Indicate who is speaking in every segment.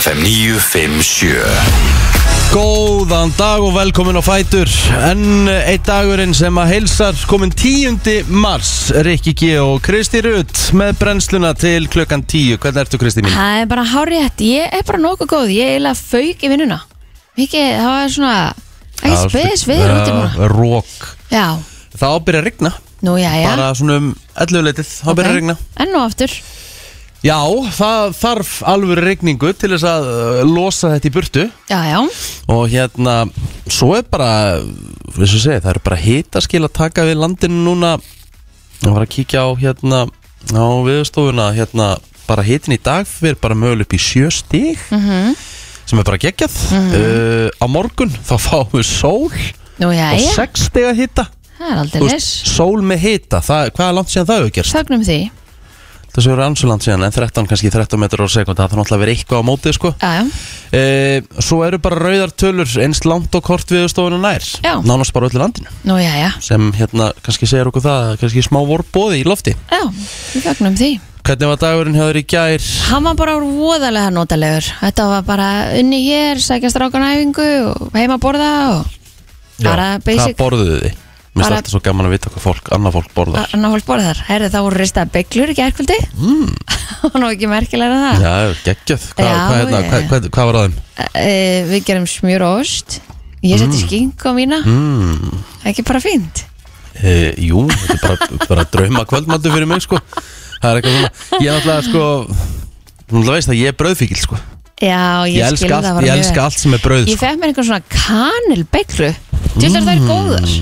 Speaker 1: FM 957
Speaker 2: Góðan dag og velkomin á Fætur Enn eitt dagurinn sem að heilsar komin 10. mars Rikki G og Kristi Rutt með brennsluna til klukkan 10 Hvernig ertu Kristi mín?
Speaker 3: Það er bara hárétt, ég er bara nokkuð góð, ég er eiginlega fauk í vinnuna Mikið, það var svona, ekki spes við erum út í núna
Speaker 2: Rók
Speaker 3: Já,
Speaker 2: Það ábyrja að rigna
Speaker 3: nú já, já
Speaker 2: Bara svona um 11 letið Það ábyrja að rigna
Speaker 3: Enn og aftur,
Speaker 2: Já, það þarf alvöru rigningu til þess að uh, losa þetta í burtu
Speaker 3: já, já
Speaker 2: Og hérna, svo er bara, eins og ég segi, það eru bara hitaskil að taka við landinu núna Ég var að kíkja á hérna, á viðstofuna, hérna, bara hitin í dag fyrir bara möguleg upp í sjö stig Sem er bara geggjað uh, Á morgun þá fáum við sól
Speaker 3: Nú já,
Speaker 2: og
Speaker 3: já,
Speaker 2: sex stig að hita
Speaker 3: það
Speaker 2: Þú
Speaker 3: er aldrei
Speaker 2: veist,
Speaker 3: les
Speaker 2: Sól með hita, það, hvað er langt síðan það hefur gerst?
Speaker 3: Þögnum því,
Speaker 2: Þessu eru ansulant síðan, en 13 kannski 13 metrar á sekund Það þarf náttúrulega að vera eitthvað á mótið sko
Speaker 3: já, já
Speaker 2: e, Svo eru bara rauðar tölur eins langt og kort viðstofuna nær
Speaker 3: Já.
Speaker 2: Nánast bara öllu landinu
Speaker 3: Nú já, já,
Speaker 2: sem hérna kannski segir okkur það kannski smá vorbóði í lofti
Speaker 3: já, við þögnum því
Speaker 2: Hvernig var dagurinn hjá þér í gær?
Speaker 3: Hann var bara voðalega notalegur Þetta var bara unni hér, sækja strákanæfingu og heima að borða og bara
Speaker 2: Hvað
Speaker 3: basic
Speaker 2: borðuðu þið? Mér finnst
Speaker 3: Bara- Ah,
Speaker 2: alltaf svo gaman að vita hvað fólk, annað fólk borðar
Speaker 3: Anna fólk borða þar, herði þá voru ristaða bygglur í gerkvöldi mm. og nú ekki merkilega en það
Speaker 2: Já, geggjöð, hvað,
Speaker 3: ah. Já,
Speaker 2: hvað, hérna,
Speaker 3: já,
Speaker 2: hvað,
Speaker 3: já.
Speaker 2: hvað, hvað var aðeim?
Speaker 3: uh, við gerum smjör og ost ég seti mm. skink á mína
Speaker 2: Mm,
Speaker 3: ekki bara fínt
Speaker 2: e, jú, þetta er bara, bara drauma kvöldmöndu fyrir mig sko Það er eitthvað svona, ég er náttúrulega sko Þú náttúrulega veist að ég er brauðfíkil sko
Speaker 3: já, ég,
Speaker 2: Ég, elska
Speaker 3: skil það
Speaker 2: allt,
Speaker 3: bara
Speaker 2: ég
Speaker 3: mjög
Speaker 2: elska
Speaker 3: vel.
Speaker 2: allt sem er brauð
Speaker 3: ég
Speaker 2: sko.
Speaker 3: fekk mér einhvern svona kanilbeiklu til þess að það er góðar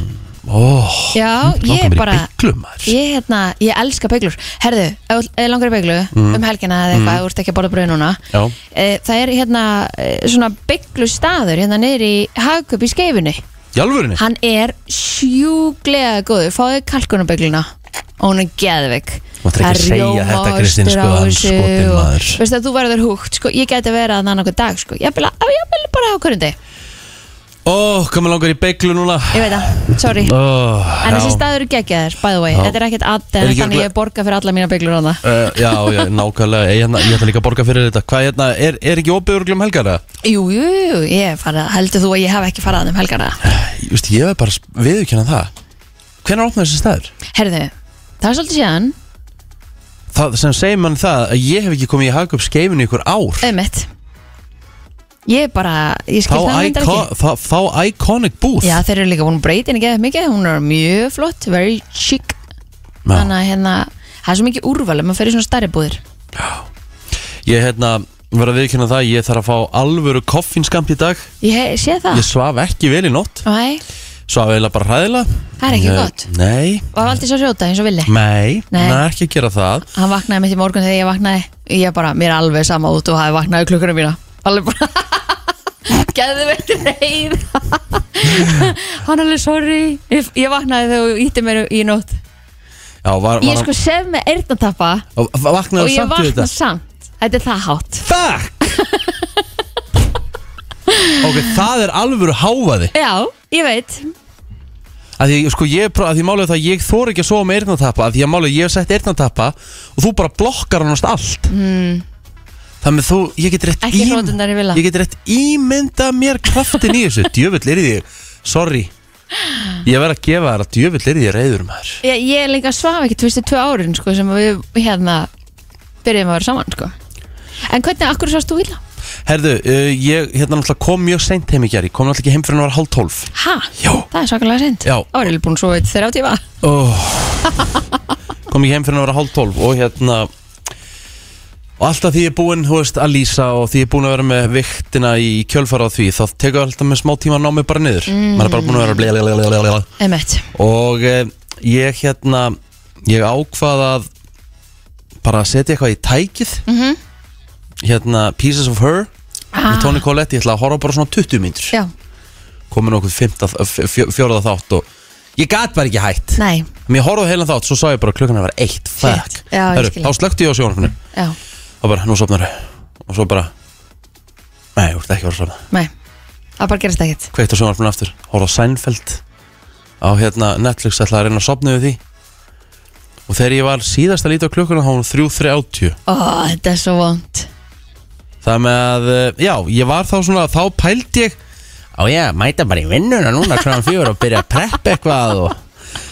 Speaker 2: Ó,
Speaker 3: já,
Speaker 2: langar
Speaker 3: ég
Speaker 2: mér í
Speaker 3: bara
Speaker 2: bygglum maður
Speaker 3: ég, hérna, ég elska beiglur herðu, ef þú- ef þig langar í beiglu um helgina eða eitthvað, mm. þú ert ekki að borða bröð núna
Speaker 2: Já,
Speaker 3: Eh, það er hérna eh, svona beiglu staður hérna niður í hagköp í skeifinni
Speaker 2: í alvörinni
Speaker 3: hann er sjúglega góður fáðu kalkunabeigluna og hún er geðveik
Speaker 2: Máttu ekki segja þetta, Kristín, sko, hann skotinn maður.
Speaker 3: veist að þú verður húgt sko, ég geti verið að hann okkur dag sko. ég vil bara hafa hverjum deg
Speaker 2: Ó, hvað mér langar í bygglu núna
Speaker 3: ég veit það, sorry
Speaker 2: Oh,
Speaker 3: en þessi staður eru geggjaðir, by the way
Speaker 2: Já.
Speaker 3: þetta er ekkert
Speaker 2: Er
Speaker 3: add, en
Speaker 2: ekki
Speaker 3: þannig ég borga fyrir alla mína beiglur á það
Speaker 2: Uh, já, já, nákvæmlega, ég, hérna, ég ætla líka að borga fyrir þetta Hvað hérna, er, er ekki opiðurglum helgar eða?
Speaker 3: jú, jú, jú, ég er farið heldur þú að ég hef ekki farið að þeim helgara
Speaker 2: Ég veist, ég hef bara viðurkennað það Hvenær opnaði þessi staður?
Speaker 3: herðu, það er svolítið síðan
Speaker 2: Það sem segir mann það að ég hef ekki komið í hagkjöp skeifinu ykkur ár
Speaker 3: ömmitt ég bara, ég skil
Speaker 2: Þá,
Speaker 3: það reyndar ekki
Speaker 2: icon, þá, þá iconic booth
Speaker 3: Já, þeir eru líka búin að breyta henni geðið mikið Hún er mjög flott, very chic Þannig
Speaker 2: Já.
Speaker 3: að hérna, það er svo mikið úrval ef maður fer í svona starri búðir
Speaker 2: Ég hérna, verð að viðurkenna það Ég þarf að fá alvöru koffinskamp í dag
Speaker 3: Ég he- sé það
Speaker 2: Ég svaf ekki vel í nótt
Speaker 3: Nei,
Speaker 2: Svaf eiginlega bara hræðilega
Speaker 3: Það er ekki
Speaker 2: Eh,
Speaker 3: gott.
Speaker 2: Nei, Mm.
Speaker 3: var aldrei svo rjóta eins og villi
Speaker 2: nei, nei,
Speaker 3: Nei.
Speaker 2: ekki að gera það
Speaker 3: Hann vaknaði mitt í morgun þegar ég vaknaði Ég bara, mér er alveg sama út og hafi vaknaði klukkuna mína Alveg bara Geðið veit reyð Hann alveg sorry Ég ég vaknaði þegar þú ítti mér í nótt
Speaker 2: Já, var, var
Speaker 3: Ég sko sef með eyrnatappa Og
Speaker 2: Vaknaði
Speaker 3: ég
Speaker 2: samt við
Speaker 3: vakna
Speaker 2: þetta
Speaker 3: samt Þetta er það hátt
Speaker 2: Fuck Ok, það er alvöru hávaði
Speaker 3: Já, ég veit
Speaker 2: að því, sko, ég, pró- að því málið er það að ég þóra ekki að sofa með eyrnatappa að því að málið er ég hef sett eyrnatappa og þú bara blokkar hann allt mm. Þannig að þú, ég get rétt
Speaker 3: Hmm. Ekki
Speaker 2: ím-
Speaker 3: hrótundar í villa.
Speaker 2: Ég get rétt ímynda mér kraftin í þessu Djöfull er í því, sorry Ég verð að gefa þér að djöfull er í því reyður maður
Speaker 3: Ég, ég er líka svaf ekkert fyrstu tvö árin sko, sem við hérna byrjum að vera saman sko. En hvernig, akkur sást þú vilja?
Speaker 2: Herðu, uh, ég hérna náttúrulega kom mjög seint heim í gær Ég kom náttúrulega ekki heim fyrir hann var hálf tólf
Speaker 3: Ha?
Speaker 2: Já.
Speaker 3: Það er svakalega sent
Speaker 2: Já.
Speaker 3: Árið er búin svo veit þeirra á tíma
Speaker 2: oh. kom ég heim fyrir að vera hálf tólf og hérna og alltaf því ég er búinn, þú veist, að lýsa og því ég er búinn að vera með viktina í kjölfara á því þá tekur alltaf með smá tíma að ná mig bara niður
Speaker 3: Mm.
Speaker 2: maður er bara búinn að vera blei, blei, blei, blei, blei.
Speaker 3: Emmett
Speaker 2: og eh, ég hérna ég ákvað að bara setja eitthvað í tækið
Speaker 3: Mhm.
Speaker 2: hérna Pieces of Her með Toni Collette, ég ætla að horfa bara svona 20 mínútur
Speaker 3: Ah. Já,
Speaker 2: komin okkur fimmta- f- f- fjórða þátt og ég gat bara ekki hætt
Speaker 3: nei,
Speaker 2: Mér horfði heilan þátt, svo sá ég bara að klukkan að vera eitt Fuck
Speaker 3: Já, ég
Speaker 2: Heru,
Speaker 3: skil.
Speaker 2: Þá slökkti ég á sjónarfinu
Speaker 3: já,
Speaker 2: Og bara, nú sopnar Og svo bara Nei, þú ert ekki að vera að sopna
Speaker 3: nei Það bara gerist ekkert
Speaker 2: Kveikt á sjónarfinu aftur Horfði á Seinfeld Á hérna Netflix ætlaði að reyna að sopna við því Og þegar ég var síðast að líta á klukkuna Þá var hún 3.30
Speaker 3: Ó, þetta er svo vond
Speaker 2: Það með að, eh, já, ég var þá svona, þá pælt ég Á já, mæta bara í vinnuna núna kláðan fjör og byrja að preppa eitthvað og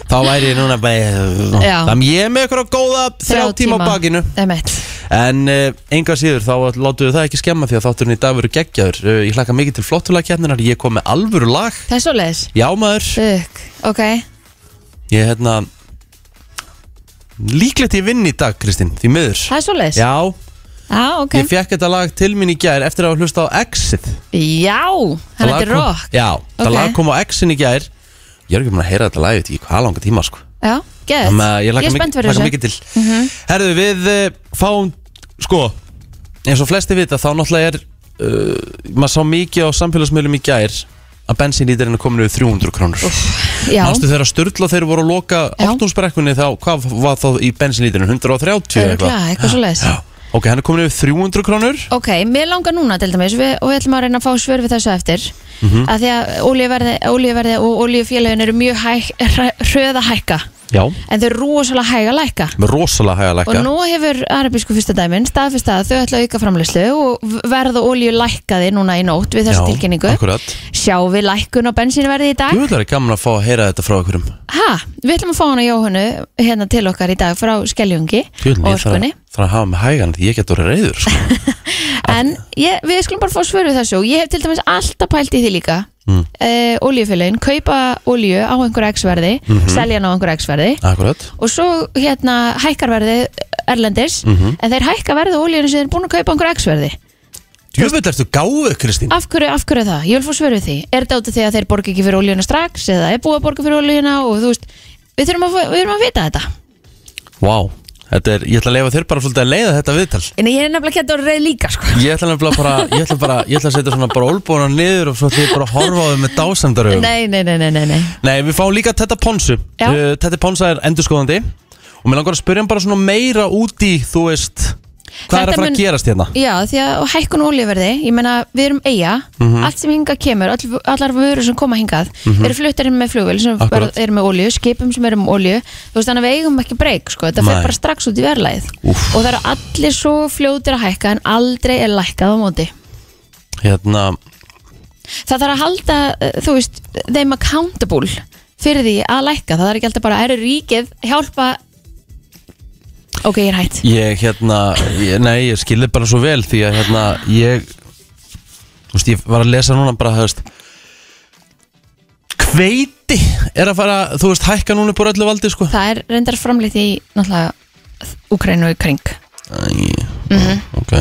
Speaker 2: þá væri ég núna bara
Speaker 3: Já.
Speaker 2: Þannig ég er með eitthvað góða þrjá tíma á bakinu
Speaker 3: Einmitt.
Speaker 2: En uh, enga síður þá látum við það ekki skemma því að þátturinn í dag verður geggjaður uh, Ég hlakka mikið til flottulagkjarninar, ég kom með alvöru lag
Speaker 3: Það er svo leiðis
Speaker 2: Já maður,
Speaker 3: Ok,
Speaker 2: ég er hérna Líklegt ég vinn í dag Kristín, því miður
Speaker 3: það er svo leiðis
Speaker 2: Já,
Speaker 3: Já, ok
Speaker 2: ég fekk þetta lag til mín í gær eftir að hafa hlusta á Exit
Speaker 3: Já,
Speaker 2: Það
Speaker 3: hann
Speaker 2: lag
Speaker 3: heitir
Speaker 2: kom-
Speaker 3: rock
Speaker 2: Já, það
Speaker 3: Ok.
Speaker 2: lag kom á Exin í gær Ég er ekki búin að heyra þetta lag, ég veit ekki hvað langa tíma sko
Speaker 3: Já, geðið
Speaker 2: Þannig að ég
Speaker 3: er
Speaker 2: laka
Speaker 3: spennt
Speaker 2: mikið, laka
Speaker 3: fyrir þessu Mhm.
Speaker 2: mikið til Herðu, við uh, fáum, sko eins og flesti vita, þá náttúrulega er uh, maður sá mikið á samfélagsmiðlum í gær að bensínlítirinn er komin yfir 300 krónur
Speaker 3: Já,
Speaker 2: Manstu þegar Sturla þeir voru að loka
Speaker 3: Já.
Speaker 2: áttúnsbrekkunni þá, hvað var þá í bensínlítirinn? 130 eða
Speaker 3: örgla, eitthvað svo leiðis
Speaker 2: Já. Ok, hann er komin yfir 300 krónur
Speaker 3: Ok, mér langar núna til dæmis við, og við ætlum að reyna að fá svör við þessu eftir mm
Speaker 2: Mhm.
Speaker 3: að því að olíuverði, olíuverði og olíufélagin eru mjög hæk, hröð að hækka
Speaker 2: Já,
Speaker 3: en þau eru rosalega hæg að lækka
Speaker 2: með rosalega hæga
Speaker 3: og
Speaker 2: lækka
Speaker 3: nú hefur arabísku fyrsta dæmin staðfist að þau ætla að auka framleyslu og verða olíu lækkaði núna í nótt við þessu tilkynningu
Speaker 2: akkurat
Speaker 3: Sjá við lækkun á bensínverði í dag?
Speaker 2: Jú, það er gaman að fá að heyra þetta frá okkurum
Speaker 3: Ha, við ætlum að fá hana Jóhannu hérna til okkar í dag frá Skeljungi og Orkunni
Speaker 2: Það er að hafa með hægan því ég get orðið reyður sko.
Speaker 3: En ég, við skulum bara fá svör við þessu og ég hef til dæmis alltaf pælt í því líka mm. uh, Oljufélagin, kaupa olju á einhverju x-verði, selja hana á einhverju x-verði
Speaker 2: Akkurat
Speaker 3: og svo hérna hækkar verði erlendis en þeir hækka verði oljunni sem þeir eru búin að kaupa á einhverju x-verði
Speaker 2: Jöfnveld ertu gáðu, Kristín
Speaker 3: Af hverju, af hverju það? Ég vil fá svör við því Er þetta út af því að þeir borga ekki fyrir oljuna strax eða er búið að borga fyrir oljuna og þú veist Við þurfum að, fá- við þurfum að vita þetta
Speaker 2: Vá, þetta er, ég ætla að leifa þér bara svolítið að leiða þetta viðtal
Speaker 3: En ég er nefnilega kætt orðið líka sko
Speaker 2: Ég ætla nefnilega bara, ég ætla bara, ég ætla að setja svona bara olbúna niður og svo ætla ég bara að horfa á þau með dásamdaröfum
Speaker 3: Nei, nei, nei, nei, nei, nei.
Speaker 2: Nei, við fáum líka Tetta Ponsu
Speaker 3: Já.
Speaker 2: uh, Tetta Ponsa er endurskoðandi og mér langar að spyrja hann bara svona meira út í, þú veist, hvað er
Speaker 3: Þetta
Speaker 2: að fara
Speaker 3: mun-
Speaker 2: að gerast hérna?
Speaker 3: Já, því að og hækkun olíuverði, ég meina við erum eiga,
Speaker 2: Mhm.
Speaker 3: allt sem hingað kemur, all, allar vörur sem koma hingað, eru fluttar inn með flugvél sem
Speaker 2: Akkurat.
Speaker 3: bara, eru með olíu, skipum sem eru með olíu, þú veist þannig að við eigum ekki breyk, sko, þetta
Speaker 2: Nei.
Speaker 3: fer bara strax út í verðlæð
Speaker 2: Úff.
Speaker 3: og það eru allir svo fljótir að hækka en aldrei er lækkað á móti.
Speaker 2: Hérna,
Speaker 3: Það þarf að halda, eh, þú veist, þeim accountable fyrir því að lækka, það þarf ekki alltaf bara, eru ríkið hjálpa, ok, ég er hætt.
Speaker 2: Ég, hérna, ég, nei, ég skilði bara svo vel því að, hérna, ég Þú veist, ég var að lesa núna bara, þú veist Hveiti er að fara, þú veist, hækka núna búið öllu valdi, sko
Speaker 3: Það er reyndar framleitt í náttúrulega Ukraínu í kring
Speaker 2: Æ,
Speaker 3: Mhm.
Speaker 2: ok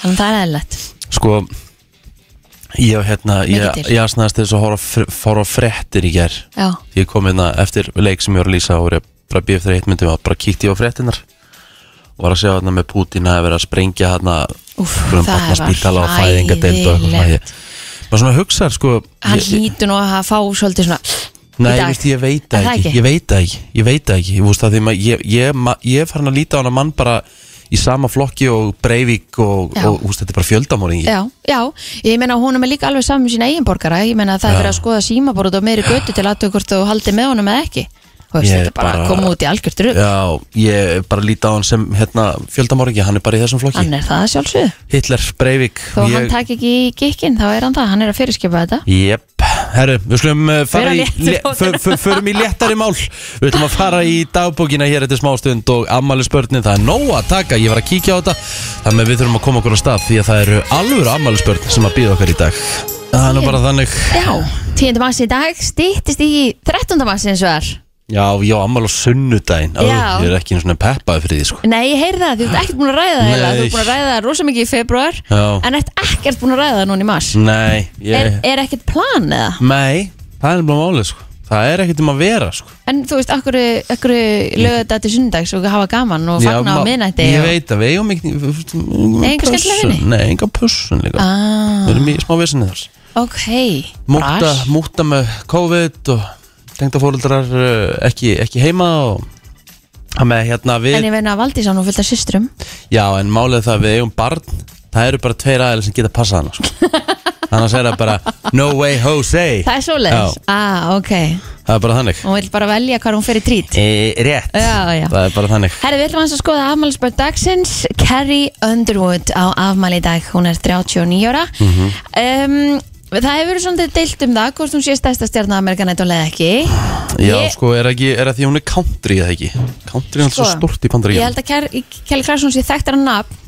Speaker 3: þannig að það er eðlilegt
Speaker 2: Sko, ég, hérna,
Speaker 3: Mikið
Speaker 2: ég,
Speaker 3: til.
Speaker 2: ég aðsnaðast þess að horfa, á fr- fara á fréttir í gær
Speaker 3: Já,
Speaker 2: Ég kom hérna eftir leik sem ég var að lýsa og var ég bara að býja eftir heitmyndum og bara kíkti ég á fréttinnar og var að segja hérna með Pútín að vera að sprengja hérna
Speaker 3: Úff,
Speaker 2: einhverjum
Speaker 3: það var
Speaker 2: barnaspítala og fæðingadeild og eitthvað svona. Ég- maður svona hugsa sko
Speaker 3: hann
Speaker 2: ég-
Speaker 3: hlýtur nú að fá svolítið svona
Speaker 2: Nei,
Speaker 3: í
Speaker 2: ég,
Speaker 3: dag.
Speaker 2: veist, ég veit
Speaker 3: Er
Speaker 2: það
Speaker 3: það
Speaker 2: ekki,
Speaker 3: ekki?
Speaker 2: ég veit það ekki, ég veit það ekki, ég veist að því maður, ég, ég, ma- ég er farin að líta á hana mann bara í sama flokki og Breivík og,
Speaker 3: Já.
Speaker 2: og úst, þetta er bara fjöldamóringi.
Speaker 3: Já, já, ég meina hún er með líka alveg saman sína eiginborgara, ég meina það er verið að skoða símaborð og meiri götu til aðtöku hvort þú haldið með honum eða ekki og veist,
Speaker 2: Ég
Speaker 3: þetta er bara
Speaker 2: bara-
Speaker 3: að koma út í algjört rugg
Speaker 2: Já, ég bara líta á hann sem hérna, fjöldamóringi, hann er bara í þessum flokki.
Speaker 3: hann er það að sjálfsögðu,
Speaker 2: Hitler, Breivík,
Speaker 3: þó hann tak ekki í gikkin þá er hann það, hann er að fyrirskipa þetta
Speaker 2: Jep, herru, við slum fara
Speaker 3: Vera
Speaker 2: í,
Speaker 3: léttur
Speaker 2: le,
Speaker 3: á
Speaker 2: för,
Speaker 3: þeirra.
Speaker 2: för, förum í léttari mál Við ætlum að fara í dagbókina hér eftir smástund og ammali spörnin Það er nóg að taka, ég var að kíkja á þetta Þannig að við þurfum að koma okkur á stað því að það eru alvöru ammali spörn sem að býða okkar í dag Það er nú bara þannig
Speaker 3: Já, 10. mars í dag stýttist í 13. mars eins og þar
Speaker 2: Já, já, ammali á sunnudaginn Ó,
Speaker 3: Já.
Speaker 2: Ég er ekki einu svona peppaði fyrir því sko
Speaker 3: Nei, ég heyrði það, þú ert ekkert búin að ræða það eiginlega.
Speaker 2: Nei.
Speaker 3: Þú ert búin að ræða það rosa mikið í februar
Speaker 2: Já.
Speaker 3: En ert ekkert búin að ræða það núna í mars
Speaker 2: Nei,
Speaker 3: er,
Speaker 2: ég,
Speaker 3: er ekkert plan eða?
Speaker 2: nei, það er bara málið sko Það er ekkert um að vera sko
Speaker 3: En þú veist, akkur, akkur lögðu þetta til sundags og hafa gaman og
Speaker 2: Já,
Speaker 3: fagna á
Speaker 2: ma-
Speaker 3: miðnætti
Speaker 2: Ég
Speaker 3: og...
Speaker 2: veit að við eigum ekki Nei,
Speaker 3: enga skemmtilega vini?
Speaker 2: Nei, enga pussun líka
Speaker 3: Ah,
Speaker 2: Við erum í smá vesinni þar
Speaker 3: ok
Speaker 2: Múta,
Speaker 3: Bras.
Speaker 2: múta með COVID og tengdafóreldrar uh, ekki, ekki heima og það með hérna við
Speaker 3: En ég veina að Valdís á nú fullt af systrum
Speaker 2: Já, en málið er það að við eigum barn það eru bara tveir aðeins sem geta passað hana sko. annars er það bara no way Jose
Speaker 3: Það er svoleiðis? Ah, ok.
Speaker 2: það er bara þannig
Speaker 3: Hún vil bara velja hvað hún fer í trít.
Speaker 2: e, rétt,
Speaker 3: Já, já.
Speaker 2: það er bara þannig
Speaker 3: Herri, við ætlum aðeins að skoða afmælisbörn dagsins Carrie Underwood á afmæli í dag Hún er 39 ára
Speaker 2: Mhm.
Speaker 3: um, Það hefur verið svolítið deilt um það Hvort hún sé stærsta stjarnar Amerikanættunlega ekki
Speaker 2: já,
Speaker 3: Ég-
Speaker 2: sko, er, ekki, er að því hún er country eða ekki country er alltaf svo stort í
Speaker 3: Sko, Ég
Speaker 2: bandaríkjum
Speaker 3: held að Ker- Kelly Clarkson sé þekktar að nafn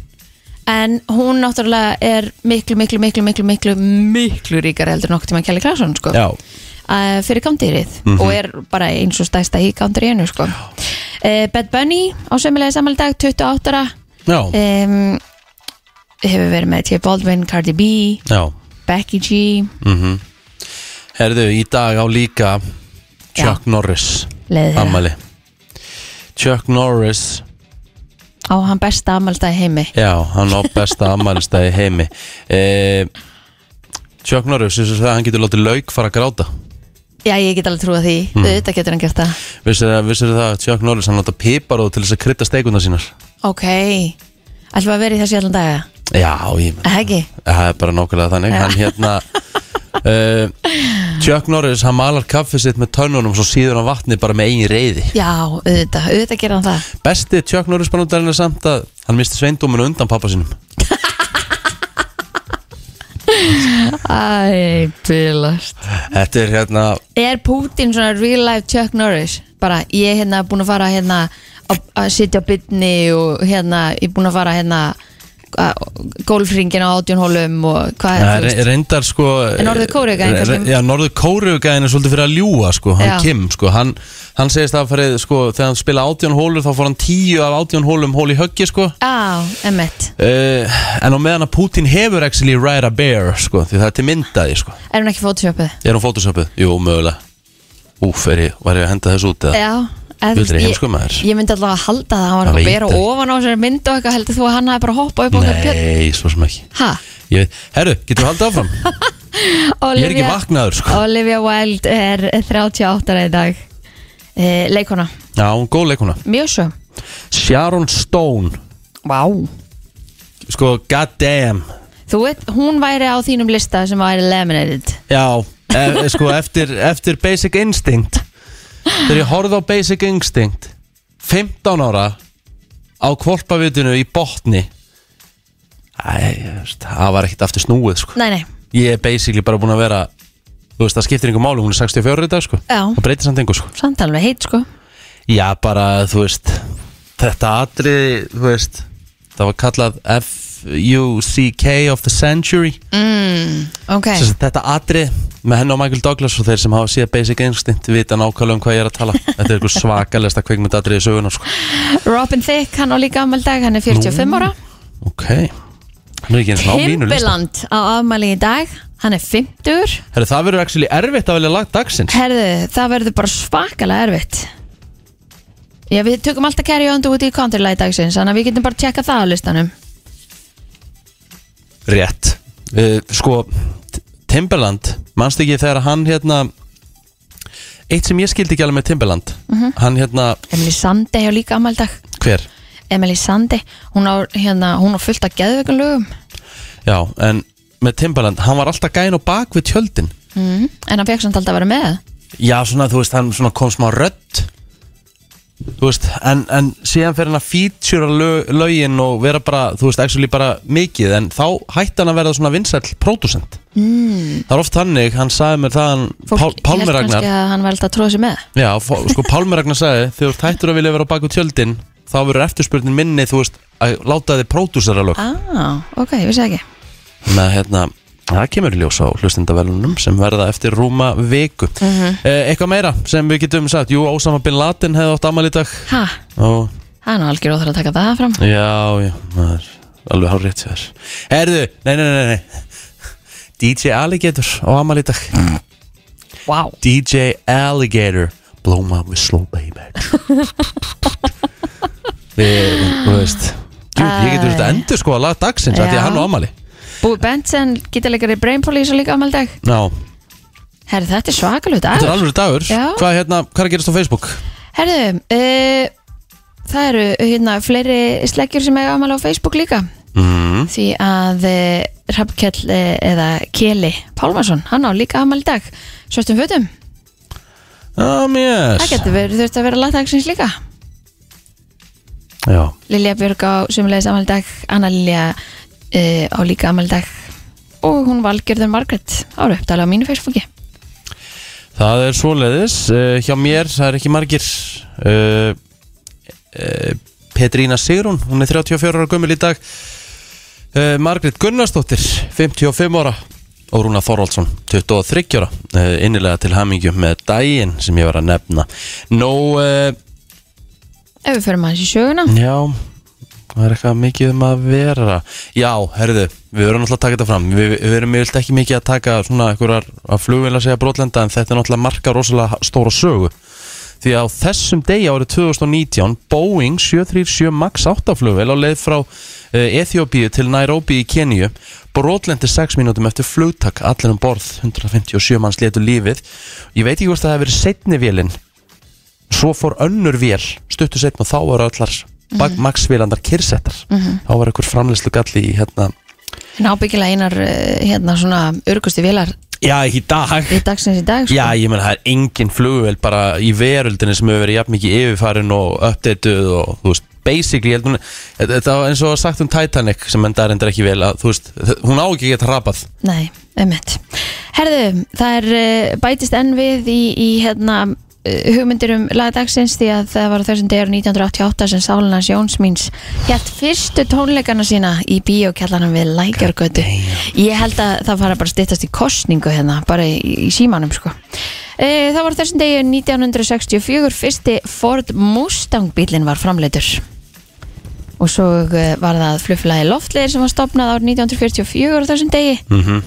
Speaker 3: En hún náttúrulega er miklu, miklu, miklu, miklu, miklu, miklu ríkar heldur nokkuð tíma Kelly Clarkson, sko
Speaker 2: já, Mhm.
Speaker 3: uh, fyrir countryið og er bara eins og stærsta í countryinu, sko uh, Bad Bunny á sömulega samanlega dag, 28 ára
Speaker 2: já,
Speaker 3: um, hefur verið með T. Baldwin, Cardi B,
Speaker 2: já
Speaker 3: Becky G
Speaker 2: Mhm. herðu, í dag á líka Chuck Norris
Speaker 3: leiði þeirra
Speaker 2: ammali Chuck Norris
Speaker 3: á hann besta ammaldagi heimi
Speaker 2: Já, hann á besta ammælistæði heimi eh, Chuck Norris, þessu það að hann getur látið lauk fara að gráta
Speaker 3: já ég get alveg trúið því, auðvitað getur hann gert það
Speaker 2: Vissir það, vissir það að Chuck Norris hann láta piparóð til þess að krytta steikuna sínar
Speaker 3: ok, ætlum við að vera í þessu allan daga
Speaker 2: Já, ég menn,
Speaker 3: Er það ekki,
Speaker 2: það er bara nákvæmlega þannig Hann hérna eh, Chuck Norris, hann malar kaffið sitt með tönnunum svo síður hann vatni bara með eigin reyði
Speaker 3: já auðvitað auðvitað gerir hann það
Speaker 2: Besti Chuck Norris banútarinn er samt að hann misti sveindóminu undan pappa sínum
Speaker 3: æ, bílast
Speaker 2: Þetta er hérna,
Speaker 3: Er Putin svona real life Chuck Norris? Bara ég er hérna búin að fara hérna að að sitja á bytni og hérna ég er búin að fara hérna golfringin á átjón hólum og hvað er
Speaker 2: ja,
Speaker 3: það?
Speaker 2: reyndar sko
Speaker 3: En Norður-Kóreugæðin
Speaker 2: re-
Speaker 3: kannski?
Speaker 2: Já, Norður Kóreugæðin er svolítið fyrir að ljúa sko, hann
Speaker 3: Já.
Speaker 2: Kim sko, hann, hann segist að farið sko, þegar hann spila átjón hólur þá fór hann tíu af átjón hólum hól í höggi sko
Speaker 3: Á, emmett.
Speaker 2: Uh, en á meðan að Putin hefur actually ride a bear sko, því það er til myndaði sko.
Speaker 3: Er hún ekki fótusjöpuð?
Speaker 2: er hún photoshopuð? Jú, mögulega Úf, er ég, var ég að henda þessu út eða?
Speaker 3: Já. eða þú
Speaker 2: Þú ert
Speaker 3: veist,
Speaker 2: heimskur maður.
Speaker 3: Ég, ég myndi alltaf að halda það að hann var
Speaker 2: Hann
Speaker 3: eitthvað að
Speaker 2: veit
Speaker 3: bera
Speaker 2: það.
Speaker 3: ofan á sér mynd og eitthvað heldur þú að hann hafi bara hoppað upp á okkur björn?
Speaker 2: Nei, svo sem ekki
Speaker 3: Ha?
Speaker 2: ég, veit- Herru, getur við haldið áfram? ég er ekki
Speaker 3: Olivia-
Speaker 2: vaknaður sko.
Speaker 3: Olivia Wilde er 38 ára í dag. Eh, leikona.
Speaker 2: Já, hún er góð leikuna
Speaker 3: Mjög svo.
Speaker 2: Sharon Stone
Speaker 3: Vá.
Speaker 2: Sko, god damn
Speaker 3: Þú veit, hún væri á þínum lista sem væri laminated
Speaker 2: Já, e sko eftir, eftir Basic Instinct Þegar ég horfði á Basic Instinct 15 ára á kvolpavitinu í botni Æ, þú veist, það var ekkert aftur snúið sko.
Speaker 3: Nei, nei,
Speaker 2: Ég er basically bara búin að vera Þú veist, það skiptir einhver máli, hún er 64 í dag sko.
Speaker 3: Já.
Speaker 2: Það breytir samt einhver sko.
Speaker 3: samt alveg heit sko
Speaker 2: Já, bara, þú veist Þetta atriði, þú veist Það var kallað F-U-C-K of the century
Speaker 3: Ok,
Speaker 2: Sess, þetta atri með henn og Michael Douglas og þeir sem hafa síða Basic Instinct vita nákvæmlega um hvað ég er að tala þetta er einhver svakalegsta kvikmyndatri í söguna sko.
Speaker 3: Robin Thicke, hann á líka afmæli í dag, hann er 45 ára
Speaker 2: ok hann er ekki eins og á mínu lista
Speaker 3: Timbaland á afmæli í dag, hann er 50
Speaker 2: Herri, það verður actually erfitt að velja lag dagsins
Speaker 3: Herðu, það verður bara svakalega erfitt Já, við tökum alltaf Carrie Underwood í countrylag dagsins Þannig að við getum bara að tjekka það á listanum
Speaker 2: rétt uh, sko T- Timberland manst ekki þegar hann hérna eitt sem ég skildi ekki alveg með Timberland hann hérna
Speaker 3: Emily Sandi á líka afmæli í dag
Speaker 2: hver
Speaker 3: Emily Sandi, hún á, hérna, hún á fullt af geðveikum lögum
Speaker 2: já en með Timberland hann var alltaf gæn og bak við tjöldin
Speaker 3: mm. En hann fekk samt alltaf að vera með
Speaker 2: Já, svona, þú veist, hann svona kom smá rödd Þú veist, en, en síðan fer hann að feature lög, lögin og vera bara, þú veist, actually bara mikið en þá hætti hann að verða svona vinsæll pródusent mm. Það er oft þannig, hann sagði mér það hann, Pál, Pálmi
Speaker 3: Ég held
Speaker 2: Ragnar
Speaker 3: kannski að hann var alltaf að tróða sér með
Speaker 2: Já, fó- sko Pálmi Ragnar sagði, þegar þú ert hættur að vilja vera á baku tjöldin þá verður eftirspurnin minni, þú veist, að láta þið pródusera lög
Speaker 3: Ah, ok, ég vissi það ekki
Speaker 2: Þannig að hérna, það kemur í ljós á hlustendavelunum sem verða eftir rúma viku
Speaker 3: Mhm.
Speaker 2: eh, Eitthvað meira sem við getum sagt Jú, Ósama Bin Laden hefði átt amal í dag
Speaker 3: Ha,
Speaker 2: og
Speaker 3: það er nú algjör óþar að taka það fram
Speaker 2: já, já, það er alveg hár rétt þér Herðu, nei, nei, nei, nei DJ Alligator á amal í dag
Speaker 3: Vá wow.
Speaker 2: DJ Alligator Blow my whistle, baby Við, þú veist Jú, ég getur þetta endur sko að laga dagsins af Því að
Speaker 3: Já.
Speaker 2: hann á amali
Speaker 3: Búi Benson, gítarleikari Brain Police og líka ámaldeg
Speaker 2: Ná,
Speaker 3: Herðu, þetta er svakalut
Speaker 2: þetta er
Speaker 3: dagur
Speaker 2: alveg dagur
Speaker 3: Já.
Speaker 2: Hvað, hérna, hvað er að gerast á Facebook?
Speaker 3: e, Herðu, uh, það eru hérna fleiri sleggjur sem eiga ámali á Facebook líka
Speaker 2: mm.
Speaker 3: því að uh, Hrafnkell uh, eða Keli Pálmarsson, hann á líka afmæli í dag svörtum fötum,
Speaker 2: um, yes.
Speaker 3: það getur verið þurft að vera lagdagsins líka
Speaker 2: Já,
Speaker 3: Lilja Björg á sömulegis afmæli í dag Anna Lilja uh, á líka afmæli í dag og hún valgjörður Margrét ára uppdala á mínu Facebooki
Speaker 2: það er svoleiðis uh, Hjá mér, það er ekki margir uh, uh, Petrína Sigrún, hún er 34 ára gömul í dag uh, Margrét Gunnarsdóttir, 55 ára og Rúna Þorvaldsson, 23 ára uh, innilega til hamingju með daginn sem ég var að nefna Nó, uh,
Speaker 3: ef við förum aðeins í söguna
Speaker 2: já það er eitthvað mikið um að vera Já, herðu, við verðum náttúrulega að taka þetta fram Við, við erum yfirleitt ekki mikið að taka svona einhverjar að flugvél að segja brotlenda en þetta er náttúrulega marka rosalega stóra sögu því að á þessum degi árið 2019 Boeing 737 MAX 8 flugvél á leið frá eh, Ethiopíu til Nairobi í Keníu brotlendi 6 mínútum eftir flugtak allir um borð, 157 manns letu lífið ég veit ekki hvort það hefur verið setni vélinn svo fór önnur vél stuttu setn og þá voru allar mm -hmm. MAX-vélandar kyrsettar þá var einhver framleyslu galli í hérna
Speaker 3: en ábyggilega einar eh, hérna svona örgusti vélar
Speaker 2: Já, ekki í dag
Speaker 3: í dagsins í dag sko.
Speaker 2: Já, ég menn það er engin flugvél bara í veröldinni sem hefur verið jafn mikið yfirfarin og uppdateuð og þú veist basically, ég held hún, þetta var eins og var sagt um Titanic sem endaði reyndar ekki vel að þú veist, hún á ekki að geta rapað
Speaker 3: Nei, einmitt. Herðu, það er eh, bætist enn við í, í hérna eh, hugmyndir um lagdagsins því að það var á þessum degur 1988 sem Sálinas Jóns míns hétt fyrstu tónleikana sína í bíókjallanum við Lækjargötu ég held að það fara bara að styttast í kostningu hérna, bara í, í símanum sko e, það var á þessum degi 1964 fyrsti Ford Mustang bílinn var framleitur og svo eh, var það flugfélagi Loftleir sem var stopnað árið 1944 á þessum degi
Speaker 2: mm -hmm.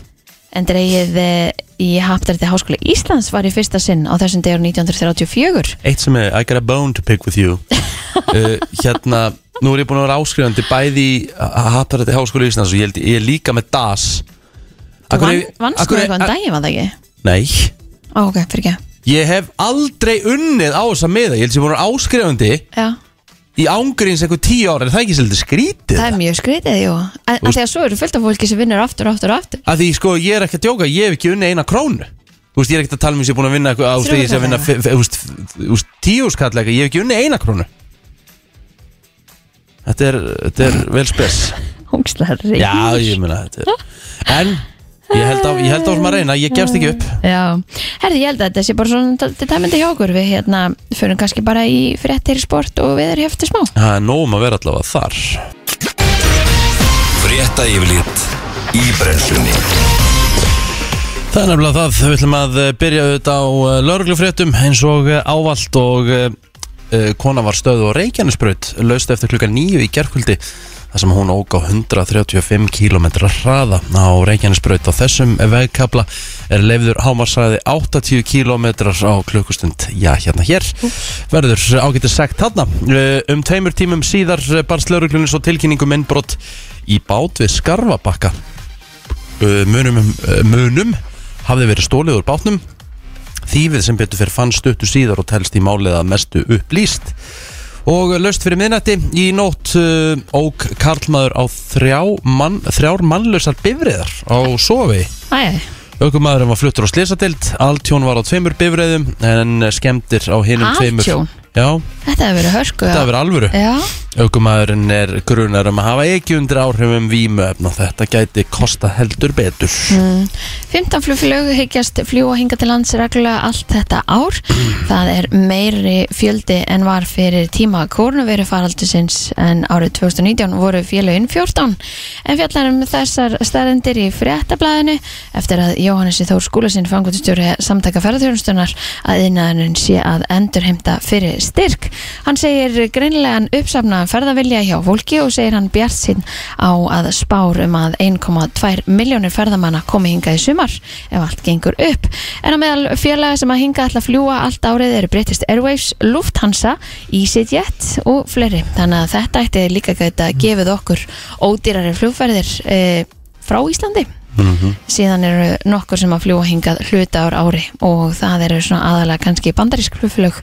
Speaker 3: en dreigið eh, í haptarði Háskóla Íslands var í fyrsta sinn á þessum degur 1934
Speaker 2: Eitt sem er, I got a bone to pick with you uh, Hérna, nú er ég búin að vera áskrifandi bæði í Hattarætti Háskóla Íslands og ég, held, ég er líka með DAS
Speaker 3: Þú
Speaker 2: Af hverju-
Speaker 3: vann- vannst
Speaker 2: af
Speaker 3: nú
Speaker 2: hverju-
Speaker 3: eitthvað en
Speaker 2: a-
Speaker 3: daginn var það ekki?
Speaker 2: Nei
Speaker 3: Ó, ok, fyrir ekki
Speaker 2: Ég hef aldrei unnið á þessa meða Ég held sem búin að vera áskrifandi
Speaker 3: Já,
Speaker 2: í ángurins einhver tíu ára Er það ekki svolítið skrítið?
Speaker 3: það er mjög skrítið, jú En af því að svo eru fullt af fólki sem vinnur aftur, aftur, aftur
Speaker 2: að því sko ég er ekki að djóka, ég hef ekki unnið eina krónu Þú veist, ég er ekkert að tala um sem ég er búin að vinna eitthvað á því sem vinna, fe- fe- þú veist, þú veist, tíu skall eitthvað, ég hef ekki unnið eina krónu Þetta er, þetta er vel spes
Speaker 3: Hóngslega reynd
Speaker 2: Já, ég meina þetta er En, ég held á, ég held á sem að reyna, ég gefst ekki upp
Speaker 3: Já, herði, ég held að þetta sé bara svona dæmyndi hjá okkur Við hérna förum kannski bara í fréttir sport og við erum hefti smá
Speaker 2: Það er nóg um að vera allavega þar
Speaker 1: Frétta yfirlit í brennslunni
Speaker 2: Það er nefnilega það, við ætlum að eh, byrja auðvitað á lauruglufréttum eins og eh, ávallt og eh, eh, kona var stöðu á Reykjanesbraut laust eftir klukka nýju í gerkvöldi þar sem hún óg á 135 km hraða á Reykjanesbraut á þessum vegkabla er leifður hámarsræði 80 km á klukkustund, já hérna hér verður ágætið sagt þarna Eh, um tveimur tímum síðar barst lauruglunni svo tilkynningum innbrott í bát við Skarfabakka Uh, munum, uh, munum hafði verið stólið úr bátnum þýfið sem betur fyrir fann stuttu síðar og telst í málið að mestu upplýst og löst fyrir miðnætti í nótt uh, óg karlmaður á þrjá mann, þrjár mannlausar bifriðar á sofi
Speaker 3: Æ,
Speaker 2: aukumæðurinn var fluttur á slisadild altjón var á tveimur bifriðum en skemmtir á hinum tveimur
Speaker 3: Altjón? Eh.
Speaker 2: Já,
Speaker 3: þetta hefur verið hörku
Speaker 2: þetta hefur verið alvöru
Speaker 3: Já,
Speaker 2: Ökumæðurinn er grunar um að hafa ekki undir áhrifum vímuefna þetta gæti kosta heldur betur
Speaker 3: 15 flugflög hyggjast fljúa hinga til lands reglulega allt þetta ár. Það er meiri fjöldi en var fyrir tíma kórnuveru faraldusins en árið 2019 voru félögin 14. En fjallarum þessar stærðendir í fréttablaðinu eftir að Jóhannessi Þór Skúlasinn fangutustjóri samtaka ferðarþjónustunar að innæðurinn sé að endurheimta fyrir styrk. Hann segir greinlegan uppsafna ferðavilja hjá fólki og segir hann bjart sinn á að spár um að 1,2 miljónir ferðamanna komi hingað í sumar ef allt gengur upp. En á meðal félaga sem að hinga ætla að fljúa allt árið eru British Airwaves, Lufthansa, EasyJet og fleiri. Þannig að þetta ætti líka gæta að gefið okkur ódýrari flugferðir e, frá Íslandi síðan eru nokkur sem að fljúa hingað hluta ár ári og það eru svona aðalega kannski bandarísk flugflug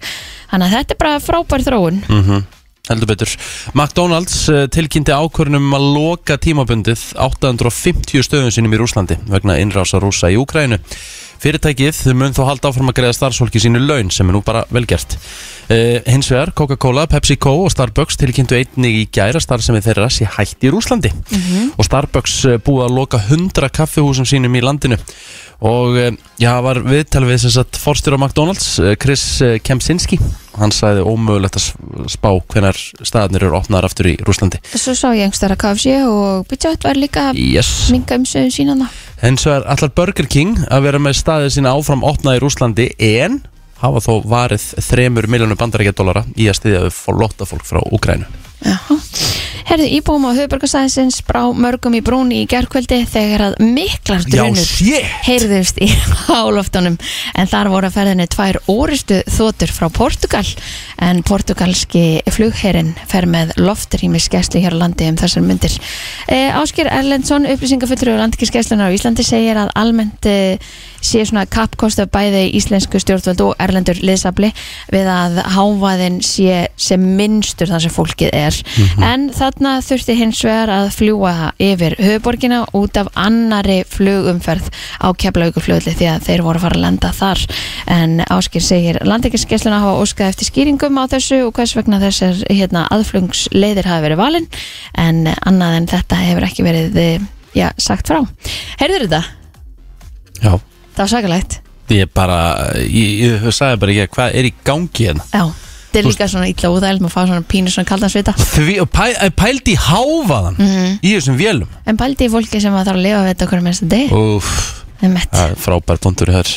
Speaker 3: þannig að þetta er bara frábær þróun
Speaker 2: -hmm. heldur betur McDonalds eh, tilkynnti ákvörnum að loka tímabundið 850 stöðum sínum í Rúslandi vegna innrása rúsa í Úkrænu Fyrirtækið mun þó halda áfram að greiða starfsfólki sínu laun sem er nú bara velgert uh, Hins vegar Coca-Cola, PepsiCo og Starbucks tilkynntu einnig í gæra starfsemi þeirra sé hætt í Rúslandi og Starbucks eh, búið að loka 100 kaffihúsum sínum í landinu og eh, já, var viðtal við sem sagt forstjóra McDonalds, eh, Chris eh, Kemsinski hann sagði ómögulegt að s- spá hvenar staðarnir eru opnaðar aftur í Rúslandi
Speaker 3: Svo sá ég einhverstara KFC og Pizza Hut var líka að
Speaker 2: Yes
Speaker 3: minga um sögum sínana
Speaker 2: En svo er allar Burger King að vera með staðið sína áfram opnað í Rúslandi en hafa þó varið 3 miljónum bandarækja dólara í að styðja við lotta fólk frá Úgrænu
Speaker 3: Herðu íbúum á höfuborgarsæðinsins brá mörgum í brún í gerkvöldi þegar að miklar
Speaker 2: Já,
Speaker 3: drunur
Speaker 2: shit.
Speaker 3: heyrðust í háloftunum en þar voru að ferðinni tvær óristu þotur frá Portugal en portugalski flugherinn fer með loftrýmisgeslu hér á landi um þessar myndir. E, Áskir Erlendsson upplýsingafullur og landkískeslunar á Íslandi segir að almennt e, sé svona kappkostu bæði íslensku stjórnvöld og erlendur liðsabli við að hávaðin sé sem minnstur þar sem fólkið er en þarna þurfti hins vegar að fljúa yfir höfuborgina út af annari flugumferð á Keflavíkurflugli því að þeir voru að fara að lenda þar en Áskir segir landekiskesluna hafa óskað eftir skýringum á þessu og hvers vegna þessar hérna, aðflungsleiðir hafa verið valin en annað en þetta hefur ekki verið eh, já, sagt frá. Heyrður þetta?
Speaker 2: Já
Speaker 3: Það var sakalegt.
Speaker 2: Ég bara, ég, ég, ég sagði bara ekki hvað er í gangi hérna
Speaker 3: Já, þetta er líka svona illa úðæld maður fá svona pínu svona kaldansvita
Speaker 2: Því, pæ, eh, pældi í hávaðan í þessum vélum
Speaker 3: en bældi í fólki sem að þarf að lifa við þetta okkur mennst að degi
Speaker 2: Úff
Speaker 3: Það er mett
Speaker 2: Það er frábær punktur hér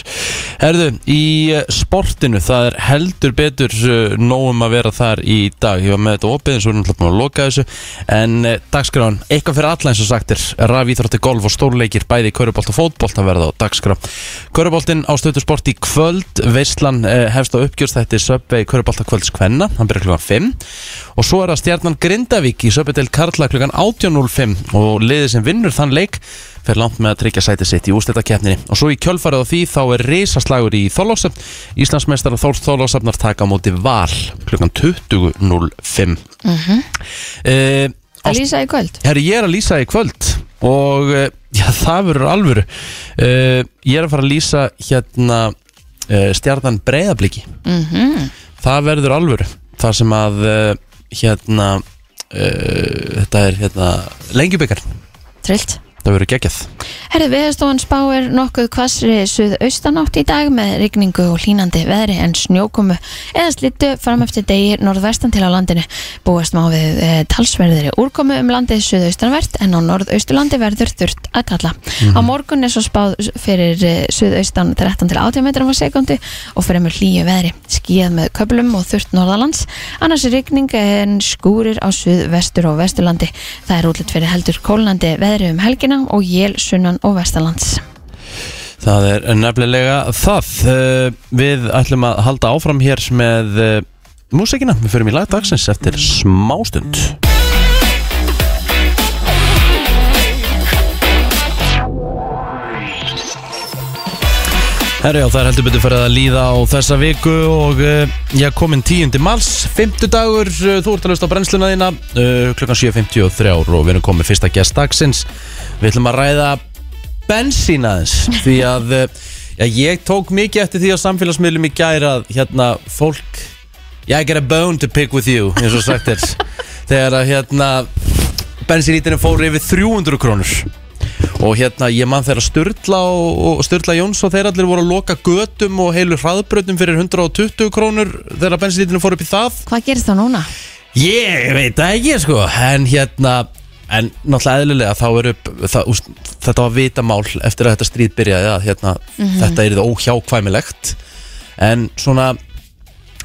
Speaker 2: Herðu, í eh, sportinu það er heldur betur eh, nóg um að vera þar í dag Ég var með þetta opið eins og við erum alltaf búin að loka þessu En eh, dagskráin, eitthvað fyrir alla eins og sagt er Raf íþrótti golf og stórleikir bæði í körubolt og fótbolt að verða á dagskrá Köruboltin á stöðu sport í kvöld Veislan eh, hefst á uppgjörstætti Söpvei körubolta kvölds kvenna Hann byrjar klukkan 5 Og svo er það stjarnan Grindavík í Söpvei del Karla klukkan 18.05 Og liðið sem vinnur þann leik fer langt með að tryggja sæti sitt í ústættakefninni og svo í kjölfarið á því þá er risaslagur í Þorlósöfn Íslandsmeistar Þór Þorlósöfnar taka á móti val klukkan 20.05 mm -hmm.
Speaker 3: Það lýsa í kvöld
Speaker 2: Herri, ég er að lýsa í kvöld og eh, já, það verður alvöru uh, Ég er að fara að lýsa hérna uh, stjarnan breyðabliki
Speaker 3: Mhm.
Speaker 2: -hmm. Það verður alvöru Það sem að uh, hérna uh, þetta er hérna lengjubikar
Speaker 3: Trillt
Speaker 2: Það verður geggjað
Speaker 3: Herri, veðastofan spáir nokkuð hvassri suðaustanátt í dag með rigningu og hlínandi veðri en snjókomu eða slittu fram eftir degi norðvestan til á landinu. Búast má við e, talsverðir úrkomu um landið suðaustanvert en á norðausturlandi verður þurft að kalla. Á morgun er svo spáð fyrir e, suðaustan 13 til 18 metrum á sekundu og fyrir með hlýju veðri. Skíð með köplum og þurft norðalands, annars er rigning en skúrir á suðvestur og vesturlandi. Það er útlitt fyrir heldur kólnandi veðri um helgina og jél sunnan og vesturlands.
Speaker 2: Það er nefnilega það Eh, Við ætlum að halda áfram hér með eh, músíkina Við förum í lagdagsins eftir smástund Herri já, það er heldur betur fyrir að líða á þessa viku og uh, ég er komin 10. mars, 5. dagur, uh, þú ert að lausta á brennsluna þína uh, klukkan 7.53 og við erum komin fyrsta gest dagsins. Við ætlum að ræða bensín aðeins því að uh, já, ég tók mikið eftir því á samfélagsmiðlum í gæra að hérna fólk, ég get a bone to pick with you, eins og sagt er, þegar að hérna bensínlítinu fór yfir 300 krónur og hérna ég man þeirra Sturla og, og Sturla Jóns og þeir allir voru að loka götum og heilu hraðbrötum fyrir 120 krónur þegar bensinlítinu fór upp í það
Speaker 3: Hvað gerist þá núna?
Speaker 2: ég veit það ekki sko en hérna en náttúrulega eðlilega þá eru það, úst, þetta var vitamál eftir að þetta stríð byrjaði að hérna,
Speaker 3: Mhm.
Speaker 2: þetta er það óhjákvæmilegt en svona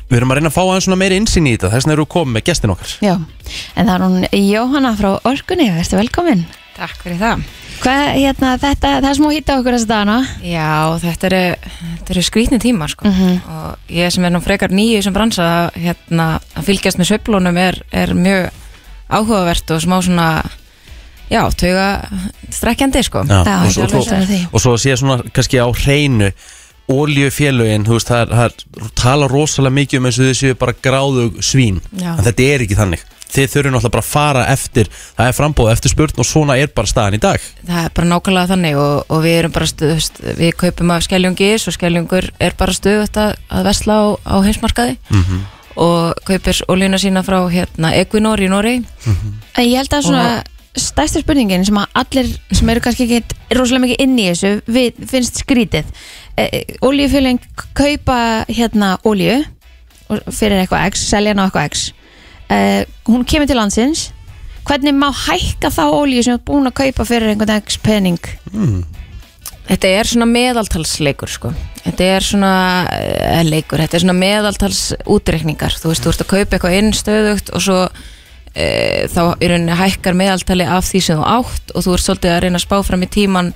Speaker 2: við erum að reyna að fá aðeins svona meiri innsýn í þetta þess vegna eru við komið með gestin okkar
Speaker 3: Já, en það er hún Jóhanna frá Orkunni, ertu velkomin?
Speaker 4: Takk fyrir það.
Speaker 3: Hvað, hérna, þetta, það er smá hitta okkur þess að dana
Speaker 4: Já, þetta eru, þetta eru skrítni tímar sko. og ég sem er nú frekar nýju sem bransa hérna, að fylgjast með sveiflunum er, er mjög áhugavert og smá svona já, tauga strekkjandi sko.
Speaker 2: Já,
Speaker 3: Já,
Speaker 2: og, svo,
Speaker 3: ég
Speaker 2: og,
Speaker 3: alveg
Speaker 2: svo,
Speaker 3: sammála því.
Speaker 2: og svo sé svona kannski á hreinu oljufélögin, þú veist, það, er, það er, tala rosalega mikið um eins og þið séu bara gráðug svín,
Speaker 4: Já.
Speaker 2: en þetta er ekki þannig þið þurfum náttúrulega bara að fara eftir það er frambóð eftir spurn og svona er bara staðan í dag
Speaker 4: það er bara nákvæmlega þannig og, og við erum bara stuðust, við kaupum af skeljungis og skeljungur er bara stuðut að, að vesla á, á heimsmarkaði -hmm. og kaupir olíuna sína frá hérna Equinor í Noregi
Speaker 3: En ég held að svona stærsta spurningin sem að allir sem eru kannski ekki rosalega mikið inn í þessu við, finnst skrítið e, Oljufjölinn kaupa hérna olju og- fyrir eitthvað x, selja hann á eitthvað x e, hún kemur til landsins hvernig má hækka þá olju sem er búin að kaupa fyrir einhvern x pening
Speaker 4: Þetta er svona meðaltalsleikur sko. Þetta er svona eh, leikur, þetta er svona meðaltalsútreikningar þú veist, þú ert að kaupa eitthvað inn stöðugt og svo e, þá í rauninni hækkar meðaltali af því sem þú átt og þú ert svolítið að reyna að spá fram í tíman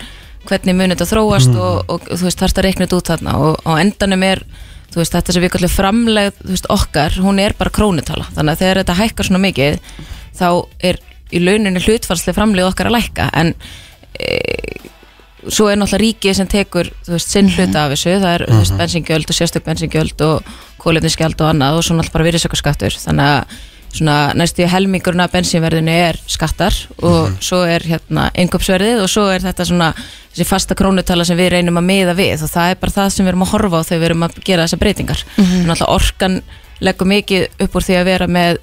Speaker 4: hvernig mun þetta þróast og, og, þú veist, þarft að reikna þetta út þarna og, og á endanum er, þú veist, þetta sem við kallum framlegð, þú veist, okkar, hún er bara krónutala, þannig að þegar þetta hækkar svona mikið þá er í launinni hlutfarslega framlegð okkar að lækka en eh, svo er náttúrulega ríkið sem tekur þú veist, sinn hluta af þessu, það er mm veist, bensingjöld og sérstök bensingjöld og kólefnisgjald og annað og svo náttúrulega bara virðisökkaskattur þannig að svona næstu helmingurna bensinverðinu er skattar og svo er hérna einköpsverðið og svo er þetta svona þessi fasta krónutala sem við reynum að miða við og það er bara það sem við erum að horfa á þegar við erum að gera þessar breytingar mm -hmm. náttúrulega orkan leggur mikið upp úr því að vera með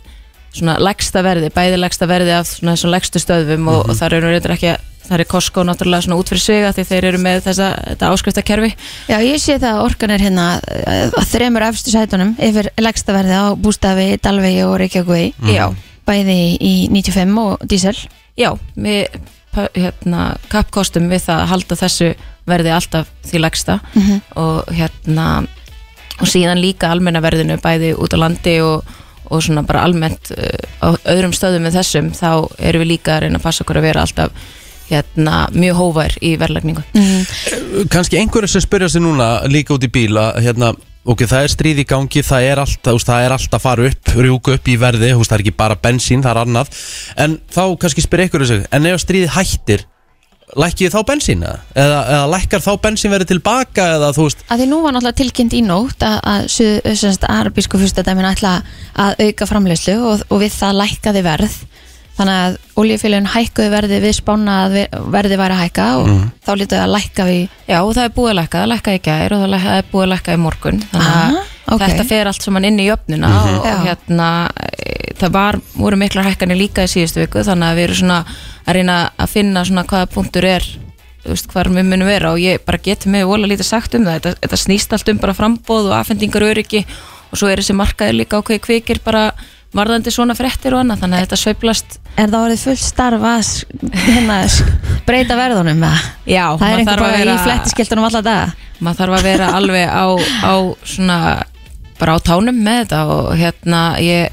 Speaker 4: svona lægsta verði, bæði lægsta verði af svona þessum lægstu stöðum og, og þar eru reyndar ekki að þar er Costco náttúrulega svona út fyrir sig af því þeir eru með þessa, þetta áskriftakerfi
Speaker 3: Já, ég sé það að orkan er hérna eh, að þremur efstu sætunum yfir legstaverði á bústafi, Dalvegi og Reykjavík
Speaker 4: Já.
Speaker 3: bæði í 95 og diesel
Speaker 4: Já, við pa- hérna, kappkostum við það að halda þessu verði alltaf því lægsta og hérna og síðan líka almenna verðinu bæði út á landi og, og svona bara almennt uh, á öðrum stöðum en þessum þá erum við líka að reyna að passa okkur að vera alltaf hérna, mjög hóvar í verðlagningu
Speaker 2: kannski einhverjum sem spyrja sig núna líka út í bíla hérna, ok, það er stríð í gangi það er alltaf, úst, það er alltaf að fara upp rjúka upp í verði, úst, það er ekki bara bensín það er annað, en þá kannski spyrja einhverjum sig, en ef stríði hættir lækkið þá bensín eða, eða, eða lækkar þá bensín verið tilbaka eða þú veist,
Speaker 3: að því nú var náttúrulega tilkynnt í nótt að, að suð- þessast arabísku fyrstadæmin ætla að auka framleyslu og, og við það lækkaði verð þannig að oljufélagin hækkuði verði við spána að ver- verði væri að hækka og
Speaker 2: Mhm.
Speaker 3: þá lítuði að lækka við
Speaker 4: Já, og það er búið að lækka, það lækka í gær og það læ- það er búið að lækka í morgun þannig að
Speaker 3: Ah, ok.
Speaker 4: þetta fer allt saman inn í jöfnuna og,
Speaker 3: Já.
Speaker 4: og hérna e, það var, voru miklar hækkanir líka í síðustu viku þannig að við erum svona að reyna að finna svona hvaða punktur er þú veist, hvar við munum vera og ég bara geti mig vola lítið sagt um það, þetta, þetta snýst allt um bara frambóð og afhendingar öryggi og svo er þessi markaði líka ákveði kvikir bara varðandi svona fréttir og annað þannig að þetta sveiflast
Speaker 3: Er það orðið fullt starf að s- hérna, s- breyta verðunum með það?
Speaker 4: Já,
Speaker 3: Það er
Speaker 4: maður
Speaker 3: einhver
Speaker 4: þarf að
Speaker 3: bara í
Speaker 4: vera-
Speaker 3: flettiskiltunum alla daga
Speaker 4: maður þarf að vera alveg á, á svona, bara á tánum með þetta og hérna ég,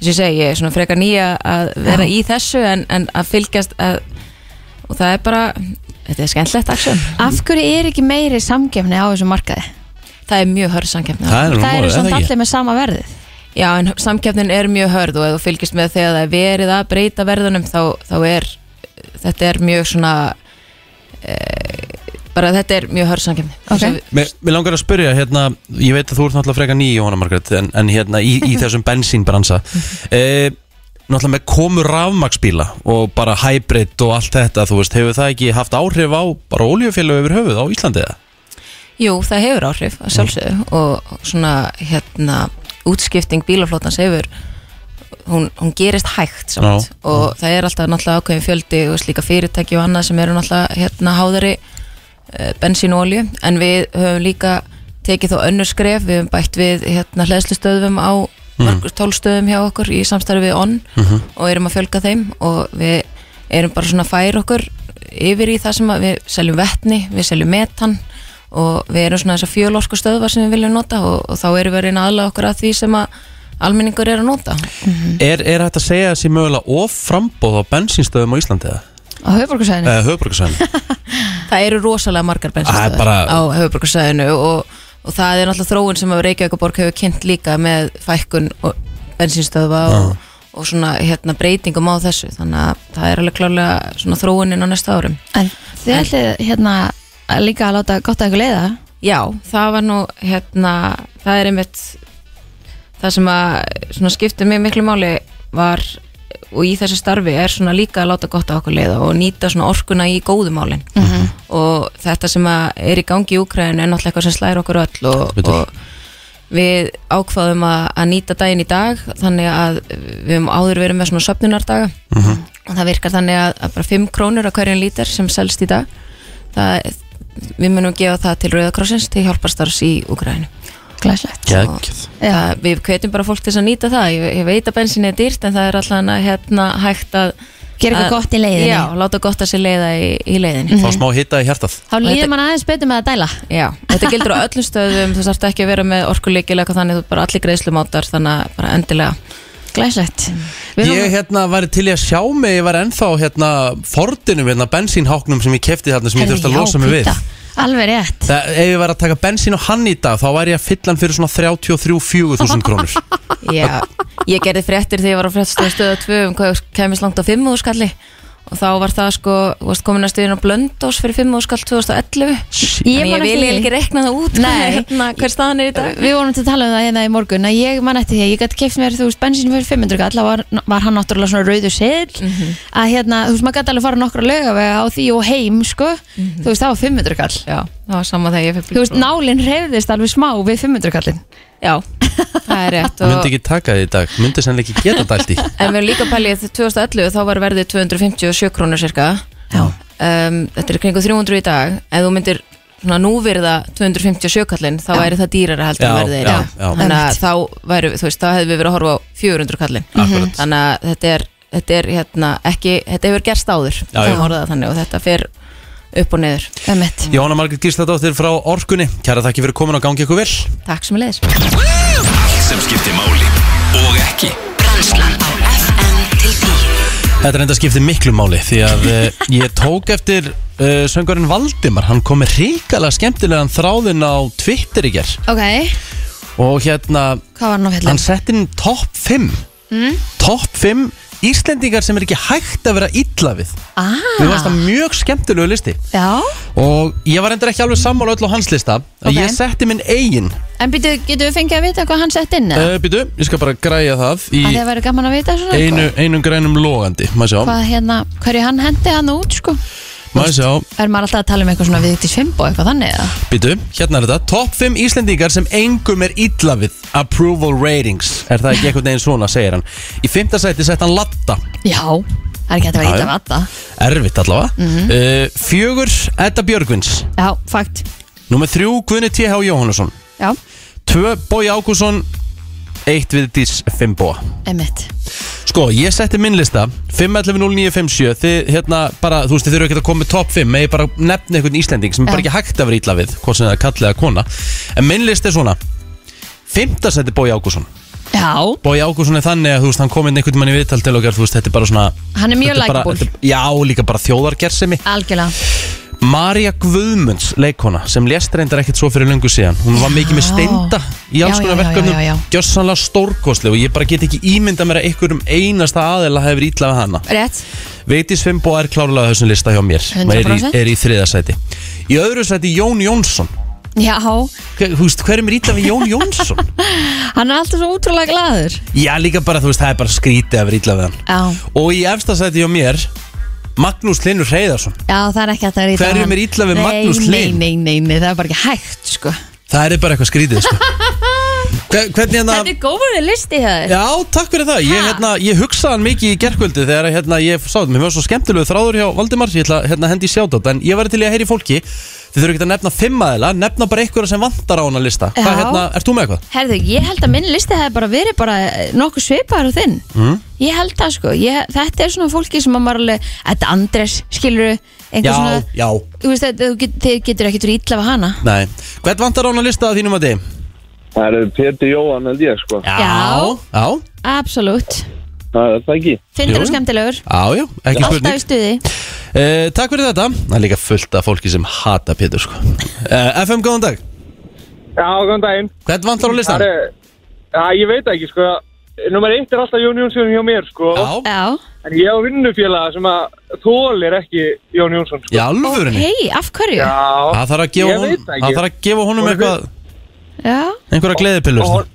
Speaker 4: þess að ég segi, ég er svona frekar nýja að vera í þessu en, en að fylgjast að, og það er bara þetta er skemmtlegt aksjón
Speaker 3: Af hverju er ekki meiri samgefni á þessum markaði?
Speaker 4: það er mjög hörð samkeppni
Speaker 2: það er
Speaker 3: Það eru
Speaker 2: málið,
Speaker 3: samt
Speaker 2: það ekki?
Speaker 3: allir með sama verðið
Speaker 4: já, en samkeppnin er mjög hörð og ef þú fylgjast með þegar það er verið að breyta verðunum þá, þá er þetta er mjög svona e, bara þetta er mjög hörð samkeppni
Speaker 3: Ok.
Speaker 4: Svo-
Speaker 2: Mér, mér langar að spyrja, hérna, ég veit að þú ert náttúrulega freka nýja Jóhanna Margrét, en, en hérna í, í þessum bensínbransa e, Náttúrulega með komur rafmaksbíla og bara hybrid og allt þetta, þú veist, hefur það ekki haft áhrif á bara oljufélög yfir höfuð á Íslandi eða?
Speaker 4: Jú, það hefur áhrif að sjálfsögðu og og svona hérna útskipting bílaflotans hefur hún, hún gerist hægt samt
Speaker 2: Já.
Speaker 4: og það er alltaf náttúrulega ákveðin fjöldi og slíka fyrirtæki og annað sem eru náttúrulega hérna háðari eh, bensín og olju en við höfum líka tekið þó önnur skref, við höfum bætt við hérna hlæðslustöðum á mörgur tólstöðum hjá okkur í samstarfi við ON og erum að fjölga þeim og við erum bara svona að færa okkur yfir í það sem að við seljum vetni, við seljum metan og við erum svona þessar fjölorku stöðvar sem við viljum nota og, og þá erum við að reyna aðla okkur að því sem að almenningur er að nota
Speaker 3: Mhm.
Speaker 2: Er, er þetta að segja þessi mögulega of frambóð á bensínstöðum á Íslandi eða? Eh,
Speaker 3: á höfbrukusæðinu
Speaker 2: Eða höfbrukarsæðinu?
Speaker 4: það eru rosalega margar
Speaker 2: Það
Speaker 4: bensinstöðar
Speaker 2: er bara-
Speaker 4: á höfuborgarsæðinu og, og það er náttúrulega þróun sem að Reykjavíkaborg hefur kynnt líka með fækkun og bensinstöðva og, og svona hérna breytingum á þessu þannig að það er alveg klárlega svona þróunin á næsta árum
Speaker 3: En þið ætlið hérna að líka að láta gott að ykkur leiða
Speaker 4: Já, það var nú hérna, það er einmitt það sem að svona, skipti mig miklu máli var og í þessu starfi er svona líka að láta gott á okkur leiða og nýta svona orkuna í góðumálin
Speaker 2: Mhm.
Speaker 4: mm
Speaker 3: Mhm.
Speaker 4: -hmm. og þetta sem að er í gangi í Úkraðinu er náttúrulega eitthvað sem slæðir okkur öll og,
Speaker 2: Betur.
Speaker 4: og við ákvaðum að, að nýta daginn í dag þannig að við höfum áður verið með svona söpnunardaga og það virkar þannig að, að bara 5 krónur á hverjum lítar sem selst í dag það, við munum gefa það til Rauðakrossins til hjálparstarfs í Úkraðinu
Speaker 5: Glæslegt
Speaker 2: Gekkið
Speaker 4: það, við hvetjum bara fólk til þess að nýta það ég, ég veit að bensin er dýrt en það er alltaf hérna hægt að
Speaker 3: Gera eitthvað
Speaker 4: að-
Speaker 3: gott í leiðinni.
Speaker 4: já, láta gott að sér leiða í, í leiðinni
Speaker 2: Fá smá hitta í hjartað
Speaker 3: Þá líður
Speaker 4: Þetta-
Speaker 3: mann aðeins betur með að dæla
Speaker 4: já, þetta gildur á öllum stöðum þú þarf ekki að vera með orkuleikil eitthvað þannig þú bara allir greiðslumátar þannig að bara endilega
Speaker 3: Glæslegt Við
Speaker 2: Ég hérna væri til í að sjá mig Ég var ennþá hérna fordinum hérna bensínháknum sem ég kefti þarna sem ég
Speaker 3: Heyrðu,
Speaker 2: þurfti að
Speaker 3: já,
Speaker 2: losa mig við
Speaker 3: píta. Alveg rétt
Speaker 2: Það, ef ég væri að taka bensín og hann í dag þá væri ég að fylla hann fyrir svona 33-4000 krónur
Speaker 4: já, ég gerði fréttir þegar ég var á fréttstöðu stöða 2 um hvað ég kemist langt á 5 skalli og þá var það sko, þú varst komin að stuðin á Blöndós fyrir 5 skall 2011
Speaker 3: Ég
Speaker 4: Þannig
Speaker 3: man
Speaker 4: ég
Speaker 3: eftir
Speaker 4: vil
Speaker 3: því.
Speaker 4: ekki rekna það út
Speaker 3: Nei.
Speaker 4: hérna, hver staðan er í dag
Speaker 3: Við vorum til að tala um það hérna í morgun að ég mann eftir því að ég gæti keift mér, þú veist, bensin fyrir 500 kall þá var, var hann náttúrulega svona rauður seðl
Speaker 2: Mhm.
Speaker 3: að hérna, þú veist, maður gæti alveg fara nokkra lögavega á því og heim, sko
Speaker 2: Mhm.
Speaker 3: þú veist, það var 500 kall
Speaker 4: Já, það var sama þegar ég fyrir
Speaker 3: þú veist, nálinn reyðist alveg smá við 500 kallin
Speaker 4: Já, það er rétt
Speaker 2: Myndi
Speaker 4: og,
Speaker 2: ekki taka þið í dag, myndi sennilega ekki geta dælt í
Speaker 4: En við erum líka pælið 2011 þá var verðið 257 krónur cirka
Speaker 3: Já.
Speaker 4: um, Þetta er kringu 300 í dag Ef þú myndir svona núvirða 257 kallinn þá væri það dýrara heldur en
Speaker 2: Já,
Speaker 4: verðið í
Speaker 2: já,
Speaker 4: dag.
Speaker 2: já.
Speaker 4: Þannig að þá væri, þú veist, þá hefðum við verið að horfa á 400 kallinn
Speaker 2: Mhm. Akkurat.
Speaker 4: Þannig að þetta er, þetta er hérna ekki, þetta hefur gerst áður
Speaker 2: Já,
Speaker 4: Það
Speaker 2: já.
Speaker 4: má orða það þannig og þetta fer upp og niður
Speaker 3: Ömmett
Speaker 2: Jóhanna Margrét Gísladóttir frá Orkunni Kæra þakki fyrir komin og gangi ykkur vel
Speaker 4: Takk sem leiðis
Speaker 1: Allt sem skiptir máli og ekki
Speaker 6: Brennslan á FM til 10
Speaker 2: Þetta er enda skiptið miklu máli því að eh, ég tók eftir uh, söngurinn Valdimar, hann kom með ríkala skemmtilegan þráðin á Twitter í ger
Speaker 3: Ok,
Speaker 2: og hérna,
Speaker 3: hvað var hann á
Speaker 2: hann
Speaker 3: fjallin?
Speaker 2: setti inn top 5 mm? top 5 Íslendingar sem er ekki hægt að vera illa við Við varst
Speaker 3: Ah,
Speaker 2: það mjög skemmtilegu listi
Speaker 3: já
Speaker 2: og ég var endur ekki alveg sammála öll á hans lista
Speaker 3: Ok.
Speaker 2: okay. ég setti minn eigin
Speaker 3: En býtu, getur við fengið að vita hvað hann sett inn? eða?
Speaker 2: uh, Býtu, ég skal bara græja það í
Speaker 3: Að það væri gaman að vita svona sko.
Speaker 2: einu, einum grænum logandi Má sjá,
Speaker 3: Hvað hérna, hverju hann hendi hann út, sko
Speaker 2: má sjá
Speaker 3: Er maður alltaf að tala um eitthvað svona viðvíkt í svimbo eitthvað þannig eða?
Speaker 2: Býtu, hérna er þetta Top 5 Íslendingar sem engum er illa við Approval ratings Er það ekki eitthvað neginn svona, segir hann Í fymta sæti sett hann Latta
Speaker 3: Já, það er ekki hægt að vera
Speaker 2: Já,
Speaker 3: ítla
Speaker 2: já.
Speaker 3: með alla
Speaker 2: Erfitt allavega
Speaker 3: Mhm.
Speaker 2: uh, Fjögur, Edda Björgvins
Speaker 3: Já, fakt,
Speaker 2: Númer þrjú, Guðni T.H. Jóhannesson
Speaker 3: já,
Speaker 2: Tvö, Bói Ágússon Eitt við Dís Fimboa
Speaker 3: emitt
Speaker 2: Sko, ég setti minn lista 5.11.09.57 Þið, hérna, bara, þú veist, þið þurfum ekki að koma með top 5 Með ég bara nefna einhvern Íslending sem er bara
Speaker 3: Já.
Speaker 2: ekki hægt að vera ítla við Hvort sem það er kallið að kona En minn lista er svona 5. seti Bói Ágússon
Speaker 3: Já,
Speaker 2: Bói Ágússon er þannig að, þú veist, hann kom inn einhvern mann í viðtal til okkar Þú veist, þetta er bara svona
Speaker 3: Hann er mjög
Speaker 2: þetta bara-
Speaker 3: likeable.
Speaker 2: þetta- Já, líka bara þjóðargersemi
Speaker 3: algjörlega
Speaker 2: Marja Guðmunds leikona sem lést reyndar ekkert svo fyrir löngu síðan hún var mikið með steinda í alls konar
Speaker 3: Já, já, já,
Speaker 2: verkefnum
Speaker 3: já, já.
Speaker 2: gjössanlega stórkostli og ég bara get ekki ímynda mér að einhverjum einasta aðeila hefur ítlað við hana
Speaker 3: Rétt
Speaker 2: Veiti Svimbo er klárlega á þessum lista hjá mér
Speaker 3: 100%.
Speaker 2: er í, er í þriðasæti í öðru sæti Jón Jónsson
Speaker 3: Já,
Speaker 2: Hver, þú veist, hverjum er ítlað við Jón Jónsson?
Speaker 3: hann er alltaf svo útrúlega glaður
Speaker 2: Já, líka bara, þú veist, það er bara skrítið að vera ítlað við hann
Speaker 3: Já,
Speaker 2: og í efsta sæti hjá mér Magnús Linur Reyðarsson
Speaker 3: já, það er ekki hægt að vera ítla
Speaker 2: Hverjum er illa við Magnús Hlyn?
Speaker 3: Nei, nei, nei, nei, það er bara ekki hægt, sko
Speaker 2: það er bara eitthvað skrítið sko. Hver- hvernig hérna
Speaker 3: Þetta er góður listi hér
Speaker 2: Já, takk fyrir það. Ég, hérna, ég hugsaði hann mikið í gerkvöldi þegar hérna, ég sá þetta. Mér var svo skemmtilegu þráður hjá Valdimar, ég ætla að hérna, hendi í sjátátt. En ég var til í að heyri fólki, þið þurfum ekki að nefna fimm aðeila, nefna bara einhverja sem vantar á hana lista. Hvað,
Speaker 3: Já.
Speaker 2: hérna, ert þú með eitthvað?
Speaker 3: Herðu, ég held að minn listi hefði bara verið bara eh, nokkuð svipaður á þinn
Speaker 2: Hm?
Speaker 3: mm. Ég held það sko, ég, þetta er svona fólki sem að maður alveg, þetta Andres, skilur einhver
Speaker 2: Já,
Speaker 3: svona,
Speaker 2: já,
Speaker 3: þú veist, þetta- þú get, þið getur ekkert verið illa við hana
Speaker 2: nei. Hvern vantar á hana lista að þínum að þið?
Speaker 7: Það eru Pétur Jóhann held ég sko
Speaker 2: Já.
Speaker 3: Já.
Speaker 2: Já,
Speaker 3: Absolutt,
Speaker 7: Það er það ekki
Speaker 3: finnir
Speaker 2: Jú.
Speaker 3: þú skemmtilegur
Speaker 2: já, já, ekki
Speaker 3: Alltaf í
Speaker 2: spurning.
Speaker 3: stuði
Speaker 2: Uh, takk fyrir þetta. Það er líka fullt af fólki sem hata Pétur, sko. Uh, FM, góðan dag.
Speaker 7: Já, góðan daginn
Speaker 2: Hvern vantar á listan?
Speaker 7: Það er, já, ég veit ekki sko Númer eitt er alltaf Jón Jónsson hjá mér sko
Speaker 2: Já,
Speaker 3: Já,
Speaker 7: En ég á vinnufélaga sem að þólir ekki Jón Jónsson sko.
Speaker 2: Í alvörunni?
Speaker 3: Hei, af hverju?
Speaker 7: Já,
Speaker 2: Það þarf að gefa,
Speaker 7: Ég
Speaker 2: hon,
Speaker 7: veit það ekki.
Speaker 2: það þarf að gefa honum
Speaker 7: Hún er
Speaker 2: eitthvað,
Speaker 3: Já.
Speaker 2: einhverja gleðipillur
Speaker 7: Og hon-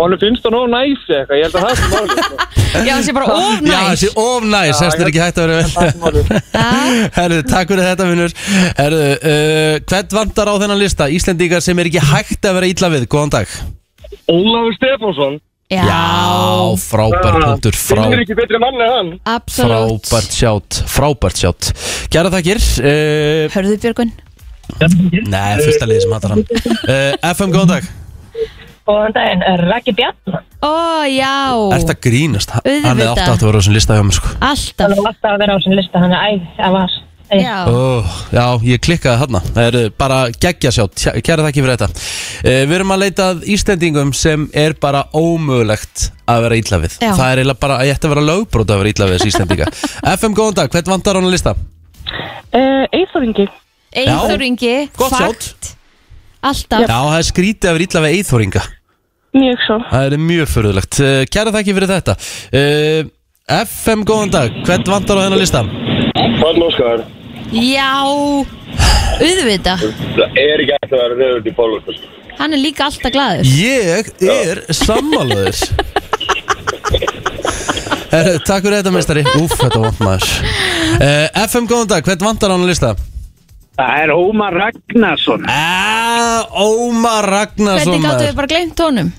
Speaker 7: honum finnst það nóg næsi eitthvað, ég held að það sem málið sko.
Speaker 3: Já, það sé bara of
Speaker 2: Já,
Speaker 3: næs.
Speaker 2: þessi of næs,
Speaker 7: Já,
Speaker 2: þess er
Speaker 7: ég-
Speaker 2: ekki hægt að vera
Speaker 7: Það sem málið.
Speaker 2: Herðu, takk fyrir þetta vinnur Herðu, uh, hvern vantar á þennan lista? Íslendingar sem er ekki hægt að vera ítla við Góðan dag
Speaker 7: Ólafur Stefánsson Ah,
Speaker 3: Já,
Speaker 2: Á, frábær punktur, frá,
Speaker 7: Finnur ekki betri mann en hann
Speaker 3: absolutt.
Speaker 2: frábært sjátt Frábært sjátt Gæra þakkir uh,
Speaker 3: Hörðu Björgun?
Speaker 2: Nei, fyrsta liði sem hattar hann uh, FM, góðan dag
Speaker 8: Góðan daginn, Raki Bjarn.
Speaker 3: Ó, já.
Speaker 2: Ert að grínast?
Speaker 3: Auðvitað.
Speaker 2: Hann er átt að vera á þessum lista hjá mér sko
Speaker 3: Alltaf.
Speaker 8: Hann var alltaf að vera á þessum lista, hann er æð, að var.
Speaker 3: Já.
Speaker 2: Ó, já, ég klikkaði þarna Það eru bara geggja sjátt Kæra þakki fyrir þetta uh, Við erum að leita að Íslendingum sem er bara ómögulegt að vera illa við
Speaker 3: Já.
Speaker 2: Það er eiginlega bara, ég ætti að vera lögbrót að vera illa við þessi Íslendinga FM, góðan dag, hvern vantar hann að lista?
Speaker 8: Eh, Eithóringi.
Speaker 3: Eithor Ingi.
Speaker 2: Gott
Speaker 3: fakt,
Speaker 2: sjátt
Speaker 3: Alltaf.
Speaker 2: Já, það er skrítið að vera illa við eithóringa
Speaker 8: Mjög svo.
Speaker 2: Það er mjög fyrirlegt uh, Kæra þakki fyrir þetta uh, FM, góðan dag, hvern vantar á þennan lista?
Speaker 7: Fann Óskar
Speaker 3: Já. Auðvitað.
Speaker 7: Það er ekki eftir að vera reyður til Pálvarsson
Speaker 3: Hann er líka alltaf glaður.
Speaker 2: Ég er sammálaður Herru, Takk fyrir þetta meistari Úf, þetta vant maður uh, FM, góðan dag, hvern vantar á hann að lista?
Speaker 9: Það er Ómar Ragnarsson
Speaker 2: Ah, Ómar Ragnarsson
Speaker 3: Hvernig gáttu við
Speaker 2: maður.
Speaker 3: bara gleymt honum?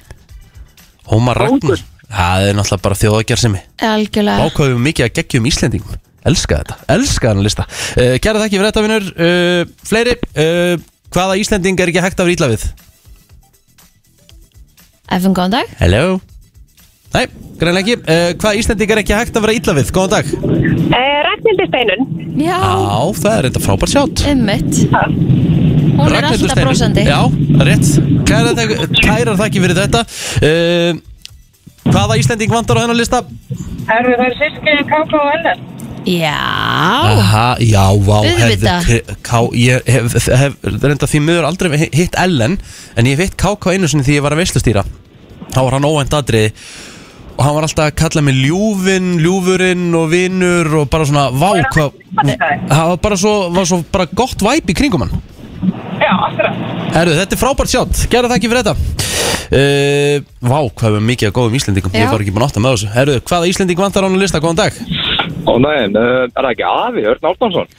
Speaker 2: Ómar Ragnarsson Það er náttúrulega bara þjóðagjörnsimi
Speaker 3: Algjörlega.
Speaker 2: Ákvæðum mikið að geggjum Íslendingum Elska þetta, elska hann að lista uh, Kæra þakki fyrir þetta vinnur uh, Fleiri, uh, hvaða Íslending er ekki hægt að vera ítla við?
Speaker 3: FM, góðan dag.
Speaker 2: Hello Nei, greinlega ekki uh, Hvaða Íslending er ekki hægt að vera ítla við? Góðan dag
Speaker 8: Ragnhildur Steinun.
Speaker 3: Já.
Speaker 2: Já, það er þetta frábært sjátt
Speaker 3: Ummitt. Hún er
Speaker 2: Ragnhildur
Speaker 3: alltaf
Speaker 2: Steinunn.
Speaker 3: brosandi.
Speaker 2: Já, rétt Kæra þak- Kærar þakki fyrir þetta uh, Hvaða Íslending vantar á hennar lista?
Speaker 8: Erfið það sísku Káka og Ellen.
Speaker 3: Já.
Speaker 2: Aha, já, vá
Speaker 3: Auðvitað.
Speaker 2: hefði- K, Ég hef, hef, hef reynda því miður aldrei hi- hitt Ellen En ég hef hitt KK einu sinni því ég var að veistlustýra Þá var hann óvænt aðriði Og hann var alltaf að kalla mig ljúfin, ljúfurinn og vinur og bara svona, vá, hvað Það var bara svo, var svo bara gott væp í kringum hann
Speaker 8: Já, aftur að.
Speaker 2: Herru, þetta er frábært sjátt, gera það ekki fyrir þetta uh, Vá, hvað er mikið að góðum Íslendingum Ég var ekki búin að átta með þessu Herru, hvaða Íslending vantar á hann að lista, góðan dag
Speaker 7: Ó nei, eh, er það ekki afi, Örn Árnarsson?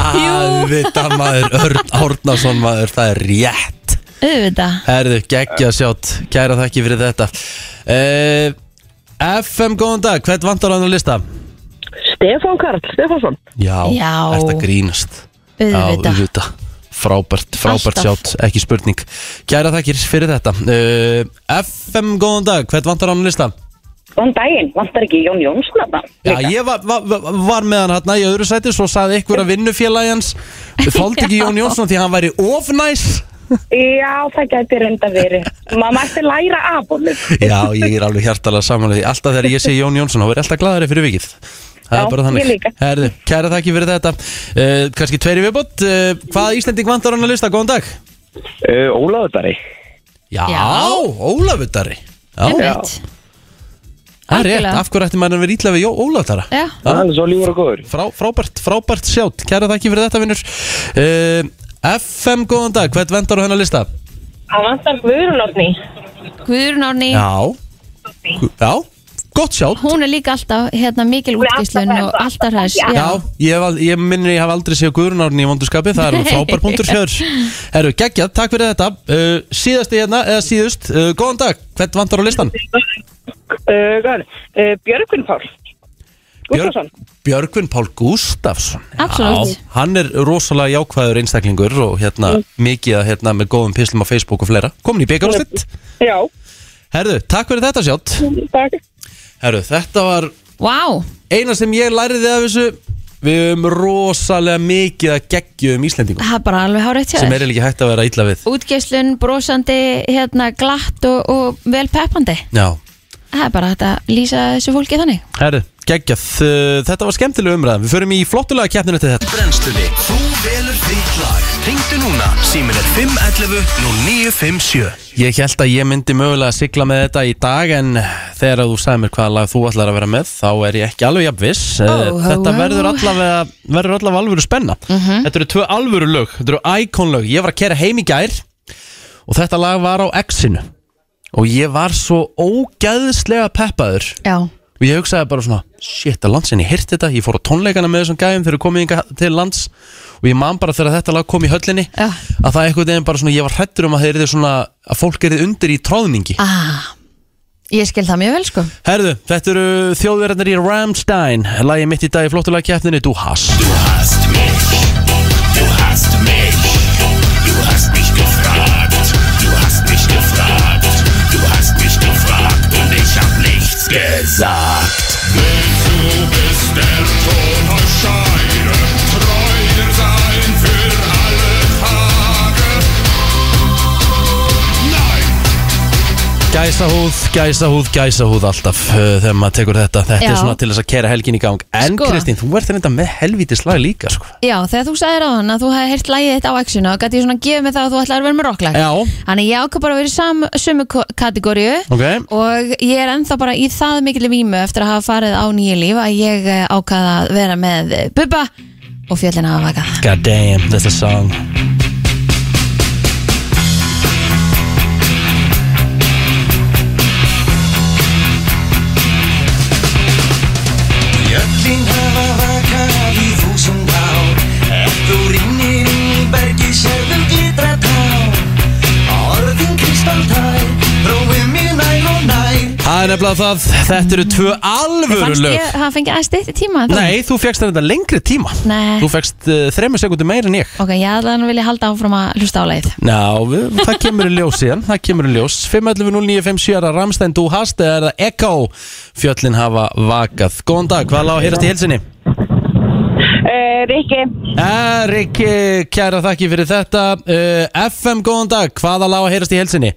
Speaker 2: Hæðvita maður, Örn Árnason maður, það er rétt
Speaker 3: Auðvitað.
Speaker 2: Herru, geggja sjátt, gera það ekki fyrir þetta uh, FM, góðan dag, hvern vantar á hann að lista?
Speaker 8: Stefán Karl Stefánsson.
Speaker 2: Já,
Speaker 3: Já.
Speaker 2: ert að grínast Já,
Speaker 3: Auðvitað.
Speaker 2: auðvitað Frábært, frábært
Speaker 3: Alltaf.
Speaker 2: sjátt, ekki spurning Kæra þakkir fyrir þetta uh, FM, góðan dag, hvern vantar á hann að lista?
Speaker 8: Góðan daginn, vantar ekki Jón Jónsson að það?
Speaker 2: Já, ég var, var, var- var með hann hérna í öðru sæti Svo saði ykkur að vinnufélagi hans Þóldi ekki Jón Jónsson því að hann væri ofnæs
Speaker 8: Já, það gæti reynda verið. Maður mætti læra af honum.
Speaker 2: Já, ég er alveg hjartalega samanlega því Alltaf þegar ég sé Jón Jónsson, þá er ég alltaf glæðari fyrir vikið Það
Speaker 8: Já,
Speaker 2: er bara
Speaker 8: ég
Speaker 2: þannig
Speaker 8: líka.
Speaker 2: Herðu, kæra þakki fyrir þetta uh, Kanski tveiri viðbót uh, Hvaða Íslending vantar á hann að lista? Góðan dag
Speaker 10: Eh,
Speaker 7: Uh, Ólafur Darri
Speaker 2: Já,
Speaker 3: Já.
Speaker 2: Ólafur Darri Já,
Speaker 3: Ummitt.
Speaker 2: það er rétt,
Speaker 3: algjörlega.
Speaker 2: af hverju ætti maður að vera ítla við Jó- Ólaf Darra?
Speaker 3: Já.
Speaker 7: Það er svo lífur og góður
Speaker 2: Frá, Frábært, frábært sjátt Kæra þakki fyrir þetta, vinnur uh, FM, góðan dag, hvert vendar á hennar lista?
Speaker 8: Það vantar Guðrunofni.
Speaker 3: Guðrún Árný.
Speaker 2: Já Já, gott sjátt
Speaker 3: Hún er líka alltaf hérna mikil
Speaker 8: er alltaf
Speaker 3: útgíslun
Speaker 8: hress,
Speaker 3: og
Speaker 8: alltaf-
Speaker 3: alltaf hræs.
Speaker 8: já.
Speaker 2: Já, ég, hef, al- ég minnir ég hef aldrei séð Guðrún Árni í vondurskapi, það er alveg frábær punktur hér Herru, geggjað, takk fyrir þetta uh, Síðasti hérna, eða síðust uh, Góðan dag, hvert vandar á listan?
Speaker 8: Uh, uh, Björgvin Pál. Gústason.
Speaker 2: Björgvin Pál Gústafsson Já,
Speaker 3: Absolutt.
Speaker 2: Hann er rosalega jákvæður einstaklingur og hérna mikið að hérna með góðum pislum á Facebook og fleira Komin í byggarúslitt
Speaker 8: Já,
Speaker 2: Herru, takk fyrir þetta sjátt
Speaker 8: takk.
Speaker 2: Herru, þetta var
Speaker 3: Vá,
Speaker 2: eina sem ég læriði af þessu Við höfum rosalega mikið að geggju um Íslendingum
Speaker 3: það er bara alveg hárétt hjá
Speaker 2: sem
Speaker 3: þér.
Speaker 2: er ekki hægt að vera illa við
Speaker 3: Útgíslun, brosandi, hérna glatt og, og vel peppandi.
Speaker 2: Já,
Speaker 3: Það er bara hægt að lýsa þessu fólki þannig.
Speaker 2: herru, geggjað Uh, Þetta var skemmtilega umræðan Við förum í flottulega keppninu til þetta
Speaker 1: Brennslunni, þú velur þitt lag Ringdu núna, símin er 511 0957
Speaker 2: Ég held að ég myndi mögulega sigla með þetta í dag En þegar þú sagði mér hvaða lag þú ætlar að vera með Þá er ég ekki alveg jafn viss oh,
Speaker 11: oh,
Speaker 2: Þetta
Speaker 11: oh.
Speaker 2: verður allavega, verður allavega alvöru spenna Þetta eru tvö alvöru lög Þetta eru icon lög Ég var að kera heim í gær Og þetta lag var á X-inu Og ég var svo ógæðslega peppaður
Speaker 11: Já,
Speaker 2: Og ég hugsaði bara svona Shit, að landsinni, ég hirti þetta Ég fór á tónleikana með þessum gæðum Þegar komið hingað til lands Og ég man bara þegar þetta lag kom í höllinni
Speaker 11: Já.
Speaker 2: Að það einhvern veginn bara svona Ég var hrættur um að þeir eru svona Að fólk eru undir í tróðningi
Speaker 11: ah, ég skil það mjög vel sko
Speaker 2: Herðu, þetta eru þjóðverðarnir í Ramstein Lagið mitt í dag í flottulega keppninni Du hast
Speaker 1: Du hast mich, du hast mich Du hast mich gefragt, du hast mich gefragt Du hast mich gefragt und ich hab nichts gesagt Willst du bis der Ton euch scheiden Treuer sein für alle Tage Nein,
Speaker 2: Gæsahúð, gæsahúð, gæsahúð alltaf uh, Þegar maður tekur þetta Þetta
Speaker 11: Já.
Speaker 2: er svona til þess að kera helgin í gang En
Speaker 11: Sko.
Speaker 2: Kristín, þú ert þetta með helvítið slag líka sko.
Speaker 11: Já, þegar þú sagðir á hann að þú hefði heyrt lægið þitt á X-inu og gæti ég svona að gefa mig það að þú ætlar að vera með rocklag
Speaker 2: Já,
Speaker 11: Þannig ég ákvað bara að vera í sam, sömu ko- kategóríu
Speaker 2: ok
Speaker 11: og ég er ennþá bara í það mikil vímu eftir að hafa farið á nýju líf að ég eh, ákvað að vera með eh, Bubba og fjöllina að vaka
Speaker 2: God damn, that's a song
Speaker 1: Jöllin hafa vakað í þúsund á Ef þú rinnir í bergi sérðum glitra tá Orðin kristaltær, prófið mér nær og nær
Speaker 2: Það er nefnilega það, þetta eru tvö alvöru
Speaker 11: Fannst
Speaker 2: lög
Speaker 11: ég að fengið aðeins stýtti tíma? en þú?
Speaker 2: Nei, þú fegst þetta lengri tíma
Speaker 11: Nei.
Speaker 2: Þú fegst uh, þremur sekundu meira en ég
Speaker 11: Ok, ég allan vilja halda áfram að hlusta á leið
Speaker 2: Ná, við, það kemur í ljós síðan Það kemur í ljós 5.11.09.57 er að Ramstein, þú hast eða er það Echo Fjöllin hafa vakað Góðan dag, hvað er lág að heyrast í helsinni?
Speaker 8: Uh, Rikki,
Speaker 2: Eh, Rikki, kæra þakki fyrir þetta uh, FM, góðan dag, hvaða lág að heyrast í helsinni?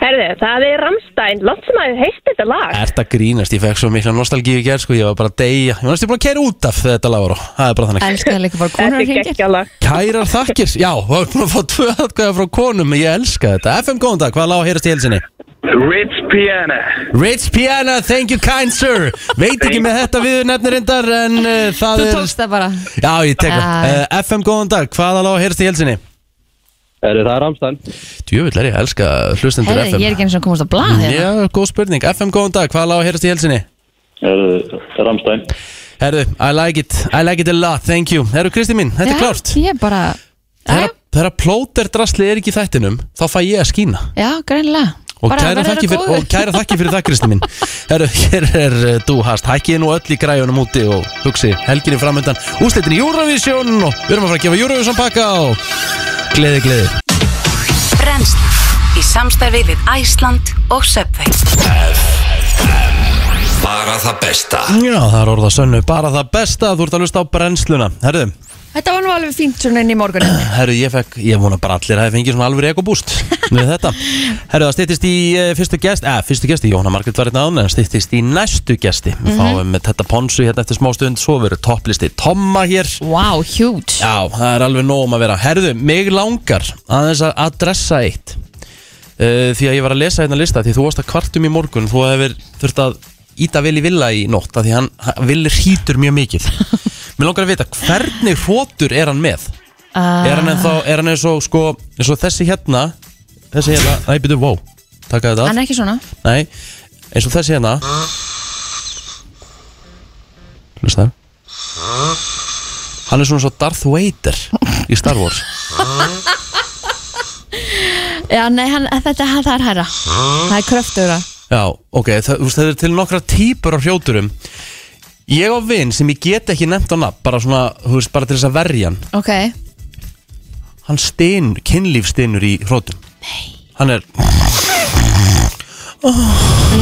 Speaker 8: herðu, það er Ramstein, langt sem að heilt þetta lag.
Speaker 2: Er þetta grínast, ég fekk svo mikla nostalgíu í gerð sko, ég var bara að deyja Ég var næstu búin að kæra út af þegar þetta lágur á Það er bara þannig
Speaker 11: Elsku það líka bara
Speaker 8: Þetta
Speaker 11: konur
Speaker 8: er
Speaker 11: hringir
Speaker 8: gekkja lag.
Speaker 2: Kærar þakkir, já, þá erum búin að fá tvö atkvæða frá konum Ég elska þetta, FM góðan dag, hvaða lág að heyrast í helsinni?
Speaker 12: Ritz Piana
Speaker 2: Rich Piana, thank you kind sir Veit ekki með þetta við nefnir reyndar En uh, það
Speaker 11: Þú
Speaker 2: er
Speaker 11: tókst það bara
Speaker 2: Já, ég tek það
Speaker 11: Já.
Speaker 2: uh, FM góðan dag, hvaða lág að heyrast í helsinni?
Speaker 12: Er það Ramstein?
Speaker 2: Djöfull er ég að elska hlustendur
Speaker 11: Herri,
Speaker 2: FM
Speaker 11: ég er ekki eins og komast á blað hérna.
Speaker 2: Já, góð spurning. FM, góðan dag. Hvað lág að heyrast í helsinni?
Speaker 12: Er það Ramstein?
Speaker 2: Herðu, I like it. I like it a lot. Thank you. Herru, Kristi mín, þetta
Speaker 11: Já,
Speaker 2: er klárt.
Speaker 11: Ég er bara,
Speaker 2: Þegar- Þegar plóter drasli er ekki í þættinum, þá fæ ég að skína.
Speaker 11: já, greinilega
Speaker 2: Og
Speaker 11: Bara
Speaker 2: kæra
Speaker 11: verður
Speaker 2: þakki
Speaker 11: að
Speaker 2: fyrir,
Speaker 11: góðu.
Speaker 2: og kæra þakki fyrir það, Kristi mín. Herru, hér er uh, Du Hast. Hækkið nú öll í græjunum úti og hugsi helginni framöndan. Úsleitin í Eurovision og við erum að fara að gefa Eurovision pakka og gleði, gleði.
Speaker 13: Brennslan í samstarfi við Æsland og Subway
Speaker 1: Bara það besta
Speaker 2: Já, það er orða sönnu. Bara það besta þú ert að lusta á brennsluna. Herru,
Speaker 11: Þetta var nú alveg fínt svona inn í morgun
Speaker 2: Herru, ég fekk, ég vona bara allir að það fengið svona alveg ekobúst með þetta Herru, það styttist í uh, fyrstu gest, eða fyrstu gesti, Jóhanna Margrét var hérna án en styttist í næstu gesti Við fáum með þetta ponsu hérna eftir smá stund, svo verður topplisti Tomma hér
Speaker 11: Wow, huge
Speaker 2: Já, það er alveg nóg um að vera Herðu, mig langar aðeins að adressa eitt uh, Því að ég var að lesa hérna lista Því þú varst að kvartum í morgun Þú hefur þurft að íta vel í villa í nótt af Því hann, hann vil hýtur mjög mikið Mér langar að vita, hvernig hrótur er hann með? Er
Speaker 11: Ah.
Speaker 2: hann ennþá, er hann eins og sko eins og þessi hérna Þessi hérna, æ, byrju, wow Takka þetta af.
Speaker 11: Hann er ekki svona
Speaker 2: Nei, eins og þessi hérna Hlusta Hann er svona svo Darth Vader í Star Wars
Speaker 11: Já, nei, hann, þetta hann, það er hæra Það er kröftur að
Speaker 2: Já, ok, það, þú veist, það er til nokkra típur af hrjóturum Ég á vin sem ég get ekki nefnt á nafn bara svona, þú veist, bara til þess að verja hann
Speaker 11: Ok,
Speaker 2: Hann styn, kynlífstinur í hrótum Nei Hann er,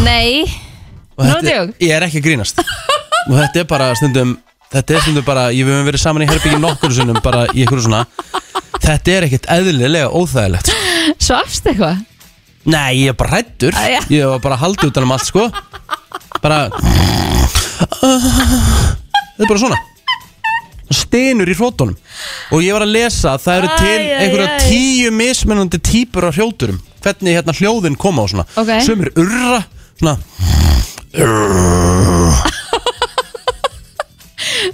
Speaker 11: nei
Speaker 2: og
Speaker 11: Nú
Speaker 2: þetta,
Speaker 11: djók.
Speaker 2: ég er ekki að grínast og þetta er bara stundum þetta er stundum bara, ég við höfum verið saman í herbyggi nokkur sinnum bara í ykkur svona þetta er ekkert eðlilega óþægilegt sko.
Speaker 11: Svafst eitthvað?
Speaker 2: nei, ég er bara hættur
Speaker 11: já.
Speaker 2: ég var bara haldið utan um allt sko bara Þetta er bara svona Stenur í hrótunum Og ég var að lesa að það eru til
Speaker 3: Æ, æ,
Speaker 2: einhverja
Speaker 3: æ.
Speaker 2: tíu mismunandi típur af hrjóturum Hvernig hérna hljóðin koma og svona
Speaker 3: Ok.
Speaker 2: Sum er urra Svona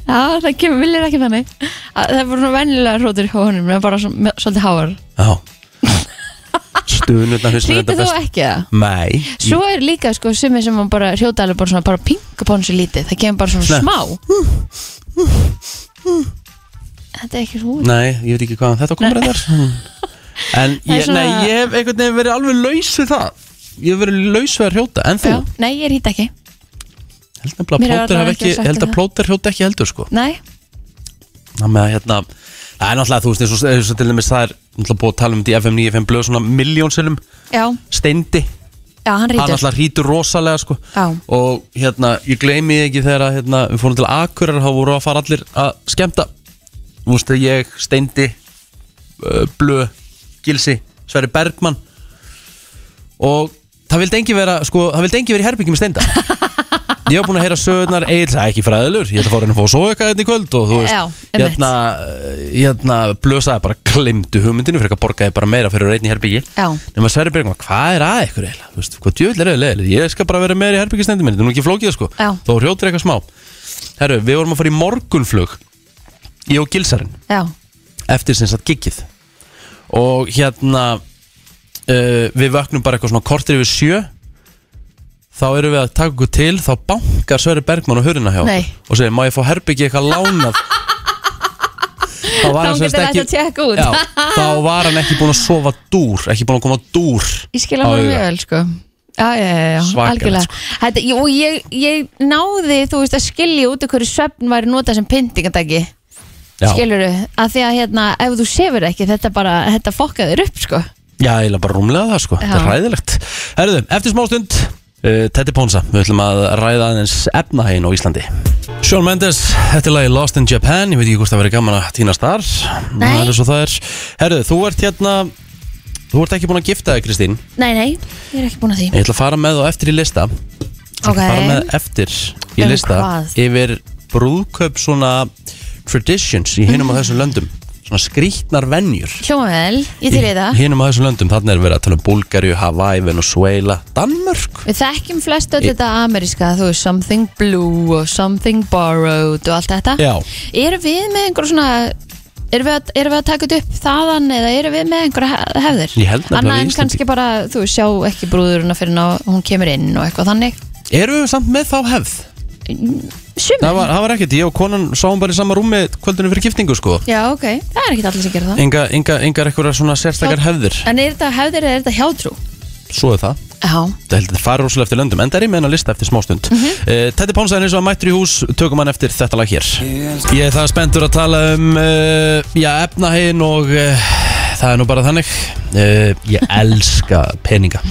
Speaker 3: Já, það kemur viljir ekki þannig Að Það voru svona venjulega hrótur hjá honum en bara svona, með- svolítið háar
Speaker 2: Já Stunurna finnst mér
Speaker 3: Lítið
Speaker 2: þetta
Speaker 3: þú
Speaker 2: best
Speaker 3: ekki það?
Speaker 2: Nei
Speaker 3: Svo er líka sko sumi sem hann bara hrjóta alveg bara svona bara pingupónsu lítið Það kemur bara svona
Speaker 2: Nei.
Speaker 3: smá Þetta er ekki svo út
Speaker 2: Nei, ég veit ekki hvaðan þetta komur þar En
Speaker 3: er
Speaker 2: ég,
Speaker 3: svona-
Speaker 2: nei, ég hef einhvern veginn verið alveg laus við það Ég hef verið laus við að hrjóta En þú,
Speaker 3: Já, nei, ég er hýtt ekki
Speaker 2: held nefnilega að
Speaker 3: Mér er
Speaker 2: plóter
Speaker 3: allavega
Speaker 2: hafi
Speaker 3: ekki
Speaker 2: ekki
Speaker 3: sagt um
Speaker 2: Held að
Speaker 3: það.
Speaker 2: plóter hrjóta ekki heldur sko
Speaker 3: Nei,
Speaker 2: Ná með að hérna Það er náttúrulega, þú veist, eins og, eins og til dæmis það er náttúrulega búið að tala um þetta í FM 95 blöð svona miljónsinnum
Speaker 3: já,
Speaker 2: steindi
Speaker 3: já, hann
Speaker 2: Hann
Speaker 3: rítur
Speaker 2: náttúrulega hrítur rosalega sko
Speaker 3: Já.
Speaker 2: Og hérna, ég gleymi því ekki þegar að hérna, við fórum til Akurar þá voru að fara allir að skemmta Þú veist, ég, steindi, uh, blöð, gilsi, Sverri Bergmann Og það vildi engi vera, sko, það vildi engi vera í herbyggjum með steinda Ég var búin að heyra sögurnar Egil, það er ekki fræðilur Ég ætla að fá að reyna að fá að sofa eitthvað hérna í kvöld Og þú veist,
Speaker 3: Já, einmitt.
Speaker 2: hérna, hérna Blösaði bara, klemdu hugmyndinu Fyrir að borgaði bara meira fyrir að reyna í herbyggi
Speaker 3: Já.
Speaker 2: Nefnum að Sverri Bergman, hvað er að ykkur eiginlega? Þú veist, Hvað djöfull er auðvitað? Ég skal bara vera meira í herbyggi stendur minni Þú er ekki flókið sko
Speaker 3: Já.
Speaker 2: Þó hrjótur eitthvað smá Herru, við vorum að fara í morgunflug Ég og Gilsarinn
Speaker 3: Já,
Speaker 2: eftir sem sagt giggið og hérna uh, við vöknum bara eitthvað svona kortir yfir sjö þá erum við að taka okkur til þá bankar Sverri Bergmann á hurðina hjá okkur
Speaker 3: Nei.
Speaker 2: og segir, má ég fá herbyggi eitthvað lánað þá var hann
Speaker 3: Þá
Speaker 2: sem sagt
Speaker 3: getur þetta
Speaker 2: ekki
Speaker 3: að tjekka út.
Speaker 2: já, þá var hann ekki búin að sofa dúr ekki búin að koma dúr
Speaker 3: ég skil
Speaker 2: á
Speaker 3: að honum
Speaker 2: auga.
Speaker 3: mjög vel sko Já, já, já, já,
Speaker 2: Svakalegt,
Speaker 3: algjörlega
Speaker 2: sko.
Speaker 3: Þetta, ég, Og ég, ég náði, þú veist, að skilja út af hverju svefn væri notað sem pyntingatæki
Speaker 2: já,
Speaker 3: Skilurðu, að því að hérna, ef þú sefur ekki, þetta bara, þetta fokkaður upp sko
Speaker 2: já, ég er bara rúmlega það sko, þetta er
Speaker 3: Já.
Speaker 2: ræðilegt Herðu, eftir smá stund uh, Teddy Ponsa, við ætlum að ræða aðeins efnahegin á Íslandi Sean Mendes, þetta er lagi Lost in Japan Ég veit ekki hvort það verið gaman að týnast þar
Speaker 3: Nei.
Speaker 2: Það er svo það er Herðu, þú ert hérna Þú ert ekki búin að gifta þig, Kristín
Speaker 3: Nei, nei, ég er ekki búin að því
Speaker 2: Ég ætla að fara með þá eftir í lista
Speaker 3: Ok,
Speaker 2: Fara með eftir í
Speaker 3: Um
Speaker 2: lista
Speaker 3: hvað?
Speaker 2: Yfir brúðkaup svona Traditions í
Speaker 3: Mhm.
Speaker 2: hinum á þessum löndum Svona skrýtnar venjur
Speaker 3: hljóma vel, ég til í það
Speaker 2: Hinum á þessum löndum, þannig er verið að tala um Búlgarju, Hawaii, Venezuela, Danmörk
Speaker 3: Við þekkjum flest öll þetta ameríska, þú veist, something blue og something borrowed og allt þetta.
Speaker 2: Já.
Speaker 3: Erum við með einhver svona, erum við að, erum við að taka þetta upp þaðan eða erum við með einhverja he- hefðir?
Speaker 2: Ég held nefnilega
Speaker 3: Annað
Speaker 2: við
Speaker 3: en
Speaker 2: Íslendingar-
Speaker 3: kannski bara, þú veist, sjá ekki brúðuruna fyrir ná, hún kemur inn og eitthvað þannig.
Speaker 2: Erum við samt með þá hefð?
Speaker 3: Sumir?
Speaker 2: Það var, það var ekkert, ég og konan sáum bara í sama rúmi kvöldunum fyrir giftingu sko
Speaker 3: Já, ok. Það er ekki allir sem gera það.
Speaker 2: Enga, enga, engar eitthvað svona sérstakar hefðir
Speaker 3: En er þetta hefðir eða er þetta hjátrú?
Speaker 2: Svo er það
Speaker 3: Já.
Speaker 2: Það heldur þetta fara rosalega eftir löndum En það er ég með hennar lista eftir smástund
Speaker 3: Mhm.
Speaker 2: mm -hmm. uh, Teddy Pónsæðin eins og að mættur í hús Tökum hann eftir þetta lag hér Ég er það spenntur að tala um uh, Já, efnahegin og uh, Það er nú bara þannig uh, Ég elska peninga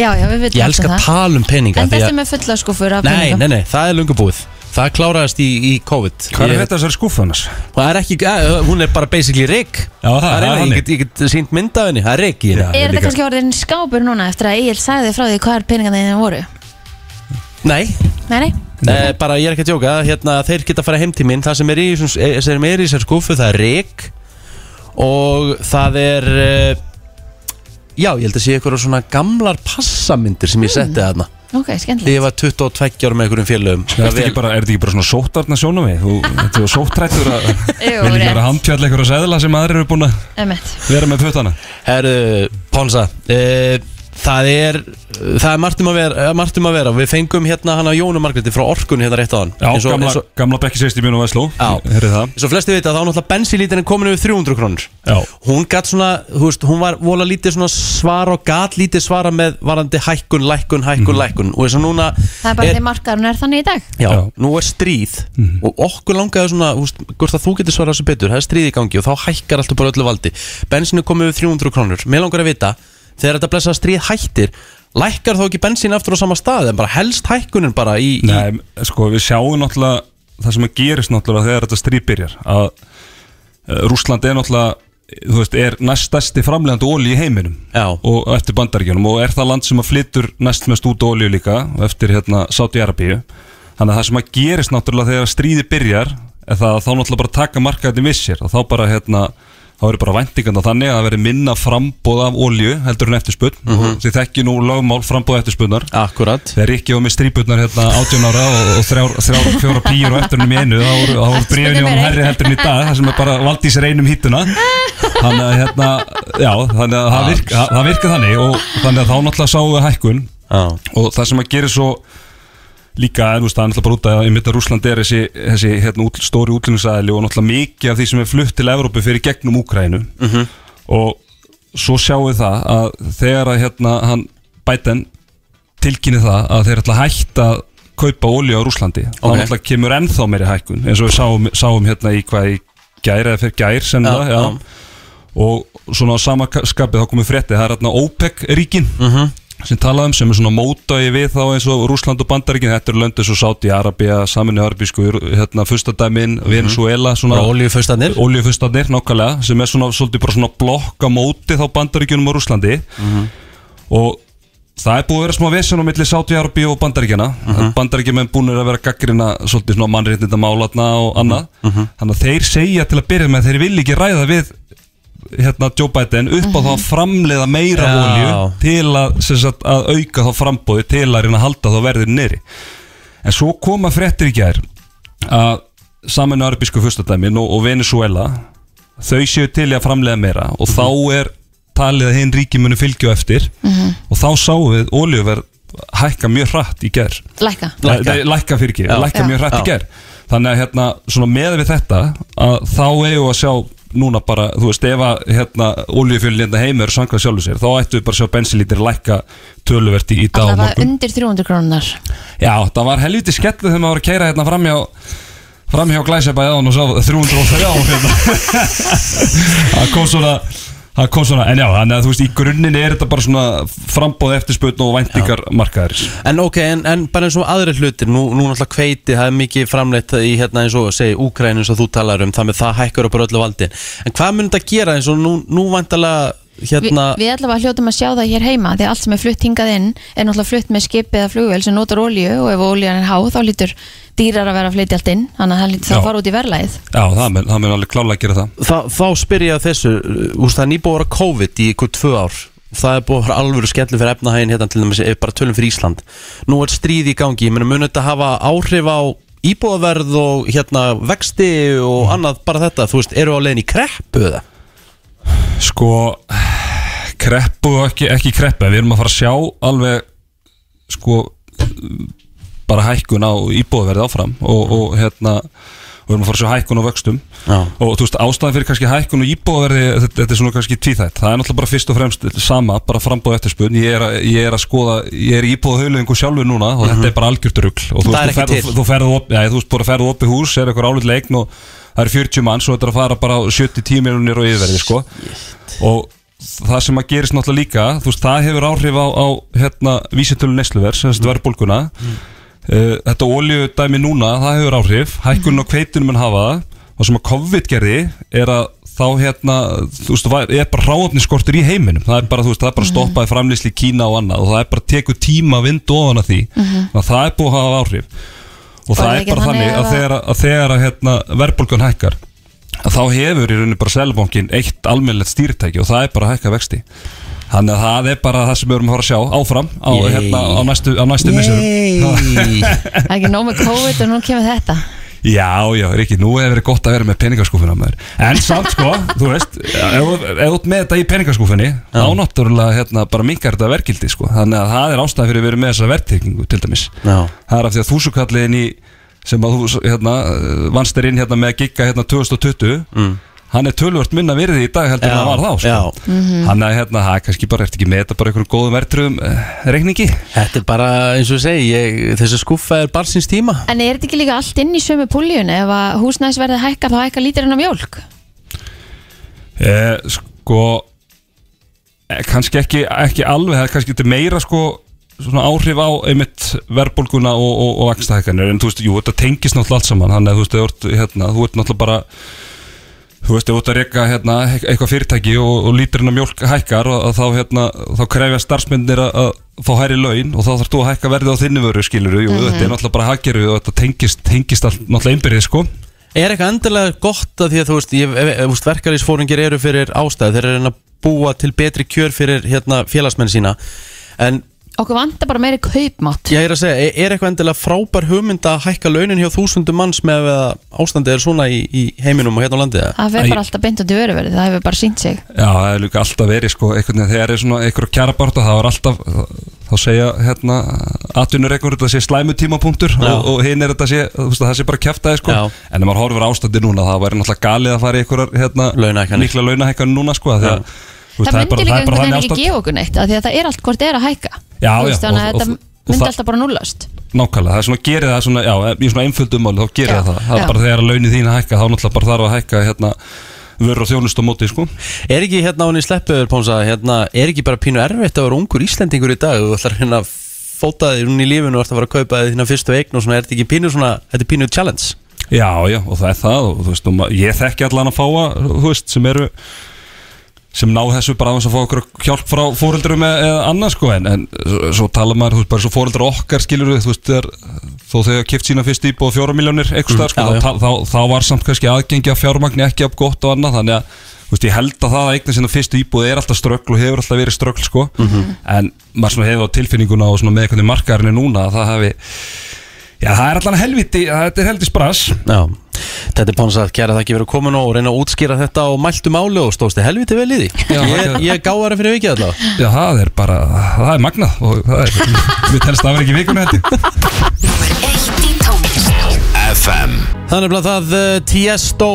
Speaker 3: Já, já, við
Speaker 2: Ég
Speaker 3: veitum
Speaker 2: elska að
Speaker 3: það.
Speaker 2: tala um peninga
Speaker 3: En
Speaker 2: því
Speaker 3: þetta
Speaker 2: að-
Speaker 3: með fulla skúfur af
Speaker 2: Nei,
Speaker 3: peningum.
Speaker 2: nei, nei, það er lungu búið Það kláraðist í, í COVID Ég-
Speaker 10: Hvað er þetta þessari skúfa annars?
Speaker 2: Það er ekki, eh, hún er bara basically rigg
Speaker 10: Já, það er
Speaker 2: eiginlega-
Speaker 10: þannig.
Speaker 2: Ég get, ég get sínt mynd af henni, það er rigg í henni
Speaker 3: Er
Speaker 10: Líka.
Speaker 3: þetta kannski orðin skápur núna eftir að Egil sagði frá því hvað er peningarnir voru?
Speaker 2: Nei,
Speaker 3: Nei, nei.
Speaker 2: eh, bara ég er ekki að djóka hérna, Þeir geta að fara heim til mín Það sem er í, þessum- eh, sem er í sér skúfu, það er rigg Og það er eh, Já, ég held að sé eitthvað svona gamlar passamyndir sem ég setti þarna
Speaker 3: Ok, skemmtilegt.
Speaker 2: Þegar ég var 22 ára með einhverjum félögum
Speaker 10: Er þetta ekki bara, er þetta ekki bara svona sóttarna sjónum við? Þú, þetta er sóttrættur að
Speaker 3: Jú,
Speaker 10: Vil ekki
Speaker 3: rétt.
Speaker 10: vera að handfjalla einhverja seðla sem aðrir eru búin að
Speaker 3: Emmett
Speaker 10: vera með fötana
Speaker 2: Herru, Ponsa uh, Það er Það er margt um að vera, eh, margt um að vera. Við fengum hérna hana Jónu Margreti frá Orkun hérna rétt á hann
Speaker 10: Já, gamla, gamla bekki sést í mjög og Vesló
Speaker 2: Já.
Speaker 10: Herri það
Speaker 2: Svo flesti vita að þá er náttúrulega bensílítin er komin yfir 300 krónur
Speaker 10: Já.
Speaker 2: Hún gatt svona, þú veist, hún var vola lítið svona svara og gat lítið svara með varandi hækkun, lækkun, hækkun,
Speaker 10: Mhm.
Speaker 2: lækkun og þess að núna
Speaker 3: Það
Speaker 10: Eh.
Speaker 3: er bara því markaðurinn er þannig í dag
Speaker 2: Já,
Speaker 10: Já. Mhm.
Speaker 2: nú er stríð og okkur langaði svona, þú veist, hvort að þú getur svarað þessu betur, það er stríð í gangi og þá hækkar alltaf bara öllu valdi. Bensinu komið við 300 krónur. Mér langar að vita, þegar þetta blessa stríð hættir, lækkar þá ekki bensin aftur á sama stað en bara helst hækkunin bara í... í
Speaker 10: Nei, sko við sjáum náttúrulega það sem að gerist náttúrulega þegar þetta stríð byrjar að Rúsland er náttúrulega þú veist, er næststæsti framlegandi ólí í heiminum
Speaker 2: Já.
Speaker 10: og eftir bandaríkjunum og er það land sem að flytur næst mest út ólíu líka og eftir hérna Saudi-Arabíu Þannig að það sem að gerist náttúrulega þegar stríði byrjar er það að þá náttúrulega bara taka markaðin vissir og þá bara hérna þá eru bara væntingarna þannig að það veri minna frambóð af olju heldur en eftirspunn mm
Speaker 2: Mhm.
Speaker 10: -hmm. þið þekki nú lögmál frambóð eftirspunnar
Speaker 2: Akkurat
Speaker 10: Þegar Rikki var með strípurnar hérna 18 ára og, og þrjár, þrjár fjóra píur og eftirnum í einu þá voru, þá voru brífin hjá
Speaker 1: Eftirspunni
Speaker 10: hún
Speaker 1: meiri.
Speaker 10: herri heldur en í dag það sem er bara valdi sér einum hýttuna þannig að hérna já, þannig að það virka, það- það virka þannig og þannig að þá náttúrulega sáum við hækkun og það sem að gera svo líka, en þú veist, það er náttúrulega bara út að í mitt að Rúsland er þessi, þessi hérna, út, stóri útlýningsæðli og náttúrulega mikið af því sem er flutt til Evrópu fyrir gegnum Úkrænu og svo sjáum við það að þegar að hérna hann Biden tilkynni það að þeir ætla að hætta að kaupa olju á Rúslandi þá
Speaker 2: Ok.
Speaker 10: náttúrulega kemur ennþá meiri hækkun eins og við sáum, sáum hérna í hvað í gær eða fyrir gær sem
Speaker 2: Já,
Speaker 10: það, já,
Speaker 2: já.
Speaker 10: og svona á sama ka- skapi þá komið frétti, það er hérna OPEC-ríkin
Speaker 2: Mhm.
Speaker 10: sem talaðum sem er svona mótaði við þá eins og Rúsland og Bandaríkin þetta eru löndið svo sátt í Arabia, saminu Arabísku hérna fustadæmin, Venezuela svona
Speaker 2: Mhm. Bara olíufurstarnir.
Speaker 10: Olíufurstarnir, nákvæmlega, sem er svona svolítið bara svona blokka móti þá Bandaríkjunum og Rúslandi og það er búið að vera smá vesen á milli Sáti-Arabíu og Bandaríkjana mm -hmm. Bandaríkjumenn búinir að vera gaggrina svolítið svona mannréttinda málatna og annað þannig að þeir segja til að byrja með að þeir vil ekki ræða við hérna Joe Biden upp á þá að framleiða meira
Speaker 2: Já.
Speaker 10: olju til að, sem sagt, að auka þá frambóði til að reyna að halda þá verðir neri en svo koma fréttir í gær að saminu arabísku fyrstadæmin og, og Venezuela þau séu til í að framleiða meira og þá er talið að hinn ríki muni fylgja á eftir
Speaker 11: Mhm.
Speaker 10: og þá sáum við oljuverð hækka mjög hratt í gær
Speaker 11: Lækka
Speaker 10: lækka, lækka fyrir ekki,
Speaker 2: Já.
Speaker 10: lækka
Speaker 11: Já.
Speaker 10: mjög hrætt í
Speaker 2: Já.
Speaker 10: ger þannig að hérna, svona með við þetta að þá eigum við að sjá núna bara, þú veist, ef að hérna oljufjölinn hérna heimur sangað sjálfur sér þá ættum við bara að sjá bensinlítir lækka töluvert í, í dag og
Speaker 11: Það var
Speaker 10: morgun
Speaker 11: undir 300 krónar
Speaker 10: Já, það var helviti skellu þegar maður var að keira hérna framhjá framhjá glæsabæði án og sá 303 hérna. það kom svona það kom svona, en já, þannig að þú veist í grunninn er þetta bara svona frambóð eftirspötn og væntingar markaðaris
Speaker 2: En ok, en, en bara eins og aðrir hlutir Nú, nú náttúrulega kveiti, það er mikið framleitt í hérna eins og segi Úkræn eins og þú talar um Þannig að það hækkar upp á öllu valdin En hvað mun þetta gera eins og nú, nú vantalega hérna
Speaker 11: Vi, Við allavega hljótum að sjá það hér heima því að allt sem er flutt hingað inn er náttúrulega flutt með skip eða flugvél sem notar olíu og ef olían er há þá lítur dýrar að vera að flytja allt inn þannig að það lítur þá
Speaker 10: Já.
Speaker 11: að fara út í verðlæð
Speaker 10: Já, það mun, það mun alveg klálega gera það
Speaker 2: Þa, Þá spyr ég að þessu uh, úst, Það er nýbúið að vera COVID í ykkur tvö ár Það er búið að vera alvöru skellu fyrir efnahægin hérna til dæmis ef bara tölum fyrir Ísland Nú er stríð í gangi, ég meina mun þetta hafa áhrif á íbúðaverð og hérna vexti og annað bara þetta, þú veist, eru á leiðin í kreppu eða?
Speaker 10: Sko, kreppu og ekki, ekki kreppu, en við erum að fara að sjá alveg, sko, bara hækkun á íbúðverði áfram og, og hérna, og við erum að fara að sjá hækkun á vöxtum
Speaker 2: Já.
Speaker 10: og þú veist, ástæðan fyrir kannski hækkun og íbúðverði, þetta, þetta er svona kannski tvíþætt, það er náttúrulega bara fyrst og fremst sama, bara frambóð eftirspun, ég er, að- ég er að skoða, ég er í íbúðahaulöðingu sjálfur núna og þetta er bara algjört rugl og þú
Speaker 2: Það er
Speaker 10: veist, þú
Speaker 2: ekki
Speaker 10: ferð-
Speaker 2: til.
Speaker 10: þú ferð op- nei, þú veist, bara ferðu opið hús, er eitthvað álið leikn og það eru 40 manns og þetta er að fara bara á 70-10 miljonir og yfirverði, sko og það sem að gerist náttúrulega líka þú veist, það hefur áhrif á, á hérna, vísitölu nesluvers, þess að verðbólguna mm. þetta olju dæmi núna það hefur áhrif, hækkunin
Speaker 1: Mhm.
Speaker 10: á kveitinu mun hafa það, það sem að COVID gerði er að þá hérna þú veist, það er bara ráöfniskortur í heiminum það er bara, þú veist, það er
Speaker 1: Mhm.
Speaker 10: bara stoppaði framlýsli í Kína og annað og það er bara tekur tíma vind ofan að því,
Speaker 1: Mhm.
Speaker 10: þannig að það er búið að hafa áhrif og
Speaker 1: Var
Speaker 10: það
Speaker 1: það
Speaker 10: er
Speaker 1: ekki
Speaker 10: bara
Speaker 1: þannig
Speaker 10: þannig að
Speaker 1: að-
Speaker 10: þegar, að þegar að, hérna, verðbólgan hækkar að þá hefur í rauninni bara selbankin eitt almennilegt stýritæki og það er bara að hækka vexti þannig að það er bara það sem við erum að fara að sjá áfram á,
Speaker 2: Yay.
Speaker 10: hérna, á næstu, á næstu
Speaker 2: Yay.
Speaker 10: misserum
Speaker 11: Það er ekki nóg með COVID og nú kemur þetta
Speaker 10: Já, já, Riki, nú hefur verið gott að vera með peningaskúfuna maður En samt sko, þú veist ef ef þú ert með þetta í peningaskúfunni þá náttúrulega hérna, bara minkar þetta verkildi sko. þannig að það er ástæð fyrir að vera með þessa verðtryggingu til dæmis
Speaker 2: Já.
Speaker 10: Það er af því að þúsukalliðin í sem að þú hérna, vannst þér inn hérna, með að gigga hérna 2020 hann er tölvört minna virði í dag heldur
Speaker 2: Mm.
Speaker 10: en
Speaker 2: Já,
Speaker 10: það var þá sko.
Speaker 2: já.
Speaker 10: Hann er hérna, það er kannski bara, ertu ekki með þetta bara einhverjum góðum verðtröðum reikningi?
Speaker 2: Þetta er bara eins og ég segi, ég, þessi skuffa er barsins tíma
Speaker 11: En er þetta ekki líka allt inn í sömu púljun ef að húsnæðisverðið hækkar þá hækkar lítirinn á mjólk
Speaker 10: Eh, sko eh, kannski ekki, ekki alveg það er kannski þetta meira sko svona áhrif á einmitt verðbólguna og, og, og axtahækkanir en þú veist, jú, þetta tengist náttúrulega allt saman þannig að þú veist, þú ert, hérna, þú ert náttúrulega bara þú veist, ef þú ert að reyka hérna, eitthvað fyrirtæki og, og líturinn af mjólk hækkar og, og þá, hérna, þá krefja starfsmyndir að, að fá hærri laun og þá þarf þú að hækka verðið á þinni vöru skilur jú,
Speaker 2: Mhm.
Speaker 10: þetta er náttúrulega bara hagkerfi og þetta tengist, tengist allt náttúrulega einbyrðið sko
Speaker 2: Er eitthvað endilega gott að því að þú veist, ég, eh, ef, ef, veist verkalýsfóringir eru fyrir ástæð þeir eru að reyna að búa til betri kjör fyrir hérna, félagsmenn sína en
Speaker 11: Okkur vantar bara meiri kaupmátt
Speaker 2: ég er að segja, er, er eitthvað endilega frábær hugmynd að hækka launin hjá þúsundum manns með að ástandið er svona í, í heiminum og hérna á landið
Speaker 11: Það fer bara alltaf beintandi vöruverði, það hefur bara sínt sig
Speaker 10: Já, það er líka alltaf verið sko, einhvern veginn þegar er svona einhverjum kjarabarta þá er alltaf, þá segja hérna, atvinnur einhverjum þetta sé slæmu tímapunktur
Speaker 2: Já.
Speaker 10: og, og hinn er þetta sé, þú veist að það sé bara kjæftæði sko,
Speaker 2: Já.
Speaker 10: en ef maður horfir ástandi núna þá væri náttúrulega galið að fara í einhverjar hérna,
Speaker 2: Launahækkanir.
Speaker 10: mikla launahækkan núna sko, af því að þú veist,
Speaker 11: Það myndi líka
Speaker 10: bara
Speaker 11: einhvern veginn ekki
Speaker 10: ástand.
Speaker 11: gefa okkur neitt af Því að það er allt hvort er að hækka
Speaker 10: Já,
Speaker 11: Þú
Speaker 10: já,
Speaker 11: veist, Þannig að
Speaker 10: og-
Speaker 11: þetta
Speaker 10: og- og
Speaker 11: myndi
Speaker 10: það-
Speaker 11: alltaf bara núllast
Speaker 10: Nákvæmlega, það er svona, gerir það svona, já, í svona einföldum máli, þá gerir
Speaker 11: Já,
Speaker 10: það það, það
Speaker 11: já.
Speaker 10: er bara þegar launið þín hækka, þá náttúrulega bara þarf að hækka hérna, vörur og þjónust á móti, sko
Speaker 2: Er ekki hérna á henni sleppuður Pónsa, hérna, er ekki bara pínu erfitt að vera ungur Íslendingur í dag og þú ætlar hérna að fóta þig hún í lífinu og ætlar að fara að kaupa þig þína fyrstu eign og svona, er þetta ekki pínu svona, þetta er pínu challenge
Speaker 10: Já, já, og það er það og þú veist, og ma- ég þekki allan að fáa þú veist, sem eru sem ná þessu bara aðeins að fá okkur hjálp frá fóreldrum eða, eða annað sko en, en svo- svo tala maður, þú veist, bara svo fóreldrar okkar skilur við, þú veist, þegar þó þau hafa kipt sína fyrst íbúð á fjóra miljónir eitthvað
Speaker 2: Mhm,
Speaker 10: mm, sko,
Speaker 2: já, já.
Speaker 10: þá, tal- þá, þá var samt kannski aðgengi af fjármagni ekki af gott og annað þannig að, þú veist, ég held að það að eigna sína fyrst íbúð er alltaf ströggl og hefur alltaf verið ströggl sko,
Speaker 2: Mhm.
Speaker 10: en maður svona hefur á tilfinninguna og svona með einhvern veginn markarinni núna að það hafi Já, það er allan helviti, þetta er helviti sprass
Speaker 2: Já, þetta er Pónsa, kæra það ekki verið komin og reyna að útskýra þetta og mæltu máli og stóðst þið helviti vel í því
Speaker 10: Já,
Speaker 2: Ég,
Speaker 10: þakka.
Speaker 2: ég gáði það fyrir vikið allavega
Speaker 10: Já, það er bara, það er magnað og það er, við telst afur ekki vikunni þetta
Speaker 1: FM
Speaker 2: Þannig að það eh, Tiesto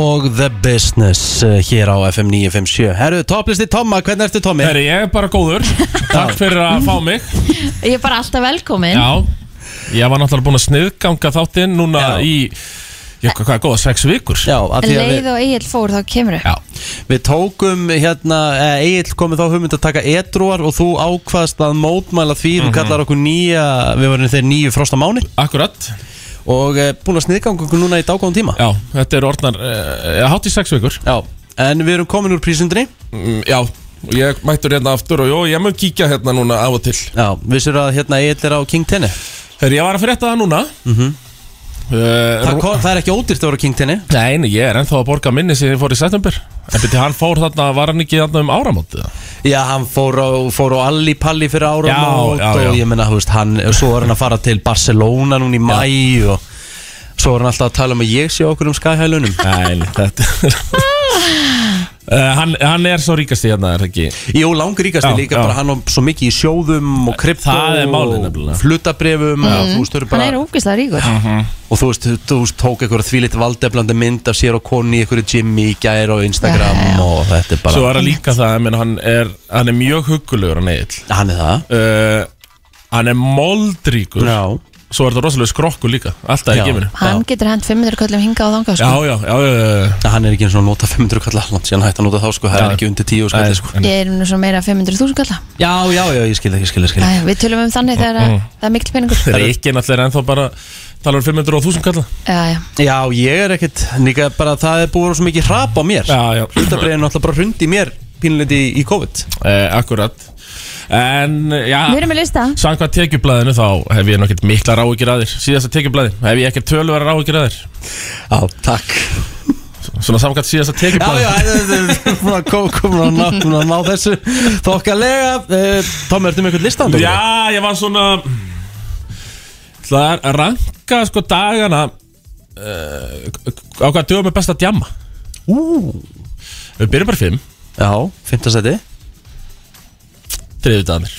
Speaker 2: og The Business eh, hér á FM 957 Herru, topplisti Tomma, hvernig ertu Tommi?
Speaker 7: Herri, ég er bara góður Takk fyrir að fá mig
Speaker 11: Ég er bara alltaf velkomin
Speaker 7: Já, ég var náttúrulega búin að sniðganga þáttinn núna í Já, hvað hvað er góða, sex vikur
Speaker 2: Já, að
Speaker 11: En
Speaker 2: því að við,
Speaker 11: leið og eigil fór þá kemur upp
Speaker 2: við tókum hérna, Egil komið þá hugmynd að taka edruar og þú ákvaðst að mótmæla því,
Speaker 7: Mhm.
Speaker 2: þú kallar okkur nýja, við varum þeir nýju frosta máni
Speaker 7: Akkurat
Speaker 2: Og uh, búin að sniðganga okkur núna í dágóðan tíma
Speaker 7: Já, þetta er orðnar, uh, hátt í sex vikur
Speaker 2: Já, en við erum komin úr prísundri
Speaker 7: Mm, Já, og ég mættur hérna aftur og jó, ég mun kíkja hérna núna af og til
Speaker 2: Já, vissir að hérna Egil er á King 10
Speaker 7: Herri, ég var að frétta það núna
Speaker 2: Mhm.
Speaker 7: Uh,
Speaker 2: það, ko- það er ekki ódýrt að vera á King 10
Speaker 7: Nei, nei, ég er ennþá að borga minni sem ég fór í september En beti, hann fór þarna, var hann ekki þarna um áramótið?
Speaker 2: Já, hann fór á, fór á Alli Palli fyrir ára
Speaker 7: Já, já, já.
Speaker 2: og ég menna, þú veist, hann, og svo var hann að fara til Barcelona núna í mæ og svo var hann alltaf að tala um að ég sé okkur um skæhælunum
Speaker 7: Nei, þetta Uh, hann, hann er svo ríkasti hérna, er það ekki?
Speaker 2: Jó, langríkasti
Speaker 7: Já,
Speaker 2: líka,
Speaker 7: já.
Speaker 2: bara hann á svo mikið í sjóðum og krypto
Speaker 7: Það er málið
Speaker 2: og
Speaker 7: nefnilega.
Speaker 2: flutabrefum og, þú veist, þau eru
Speaker 11: Mhm. Hann
Speaker 2: bara,
Speaker 11: er ógislega ríkur
Speaker 2: og þú veist, þú- þú veist, tók eitthvað því litt valdeflandi mynd af sér og koni í eitthvað Jimmy í gær og Instagram og þetta er bara,
Speaker 7: Svo er það líka það, ég meina, hann er, hann er mjög huggulegur, hann Egil
Speaker 2: hann er það
Speaker 7: uh, Hann er moldríkur
Speaker 2: Já,
Speaker 7: Svo er það rosalega skrokkur líka, alltaf
Speaker 2: Já.
Speaker 7: í geminu
Speaker 11: Hann getur hend 500 köllum hinga á þangað
Speaker 7: Já,
Speaker 11: sko.
Speaker 7: já, já, já, já.
Speaker 2: hann er ekki eins og að nota 500 kall allan síðan hætti að nota þá sko, það er
Speaker 7: Já.
Speaker 2: ekki undir 10
Speaker 7: Nei,
Speaker 2: skall sko.
Speaker 7: sko.
Speaker 11: Ég er nú svo meira 500.000 kalla
Speaker 2: Já, já, já, ég skil, ég skil, ég skil
Speaker 11: Æ, Við tölum um þannig þegar að- það er mikil peningur
Speaker 7: Ríkin alltaf er ennþá bara Talar um 500 og 1000 kalla
Speaker 11: Já, já
Speaker 2: Já, ég er ekkert, líka bara það er búið svo mikið hrap á mér
Speaker 7: Já, já.
Speaker 2: Hlutabreiðin náttúrulega bara hrundi í mér pínleiti í COVID
Speaker 7: uh, Akkurat En, já
Speaker 11: Við erum með lista
Speaker 7: Samkvæmt tekjublaðinu þá hef ég nokkert mikla ráhugir að þér Síðasta tekjublaði, hef ég ekki tölvera ráhugir að þér
Speaker 2: Já, takk
Speaker 7: Svona samkvæmt síðasta
Speaker 2: Já,
Speaker 7: tekjublaði
Speaker 2: já, þetta er komin að ná, búin að ná þessu Þokkalega, uh, Tommi, ertu með einhvern listan?
Speaker 7: Já, ég var svona Það er að ranka sko dagana uh, á hvað dögum er best að djamma
Speaker 2: Ú,
Speaker 7: Við byrjum bara fimm,
Speaker 2: já, fimmtasæti
Speaker 7: þriðju dagarnir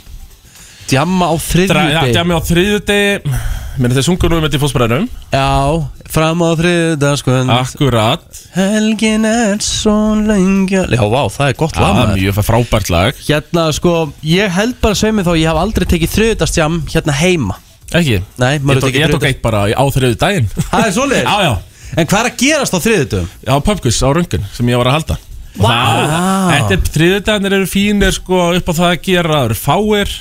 Speaker 2: Djamma á
Speaker 7: Já,
Speaker 2: þriðjudeg
Speaker 7: djammi á þriðju degi Mér þeir sungur nú um með því fósbræðinum
Speaker 2: Já, fram á þriðjudeg sko
Speaker 7: Mm. Ah. Akkurat
Speaker 2: Helgin er svo lengi Já, vá, það er gott lag,
Speaker 7: Það er
Speaker 2: maður.
Speaker 7: mjög frábært lag
Speaker 2: Hérna sko, ég held bara að segja mig þá Ég hef aldrei tekið þriðudastjam hérna heima
Speaker 7: Ekki?
Speaker 2: Nei,
Speaker 7: Ég
Speaker 2: maður
Speaker 7: tók,
Speaker 2: tekið
Speaker 7: ég tók
Speaker 2: þriðjudag-
Speaker 7: eitt bara á þriðju daginn
Speaker 2: Það er svoleiðis
Speaker 7: Já, já
Speaker 2: En hvað er að gerast á þriðutum?
Speaker 7: á pubquiz á röngun sem ég var að halda Vá! Þetta er þriðdagarnir eru fínir sko upp á það að gera það eru fáir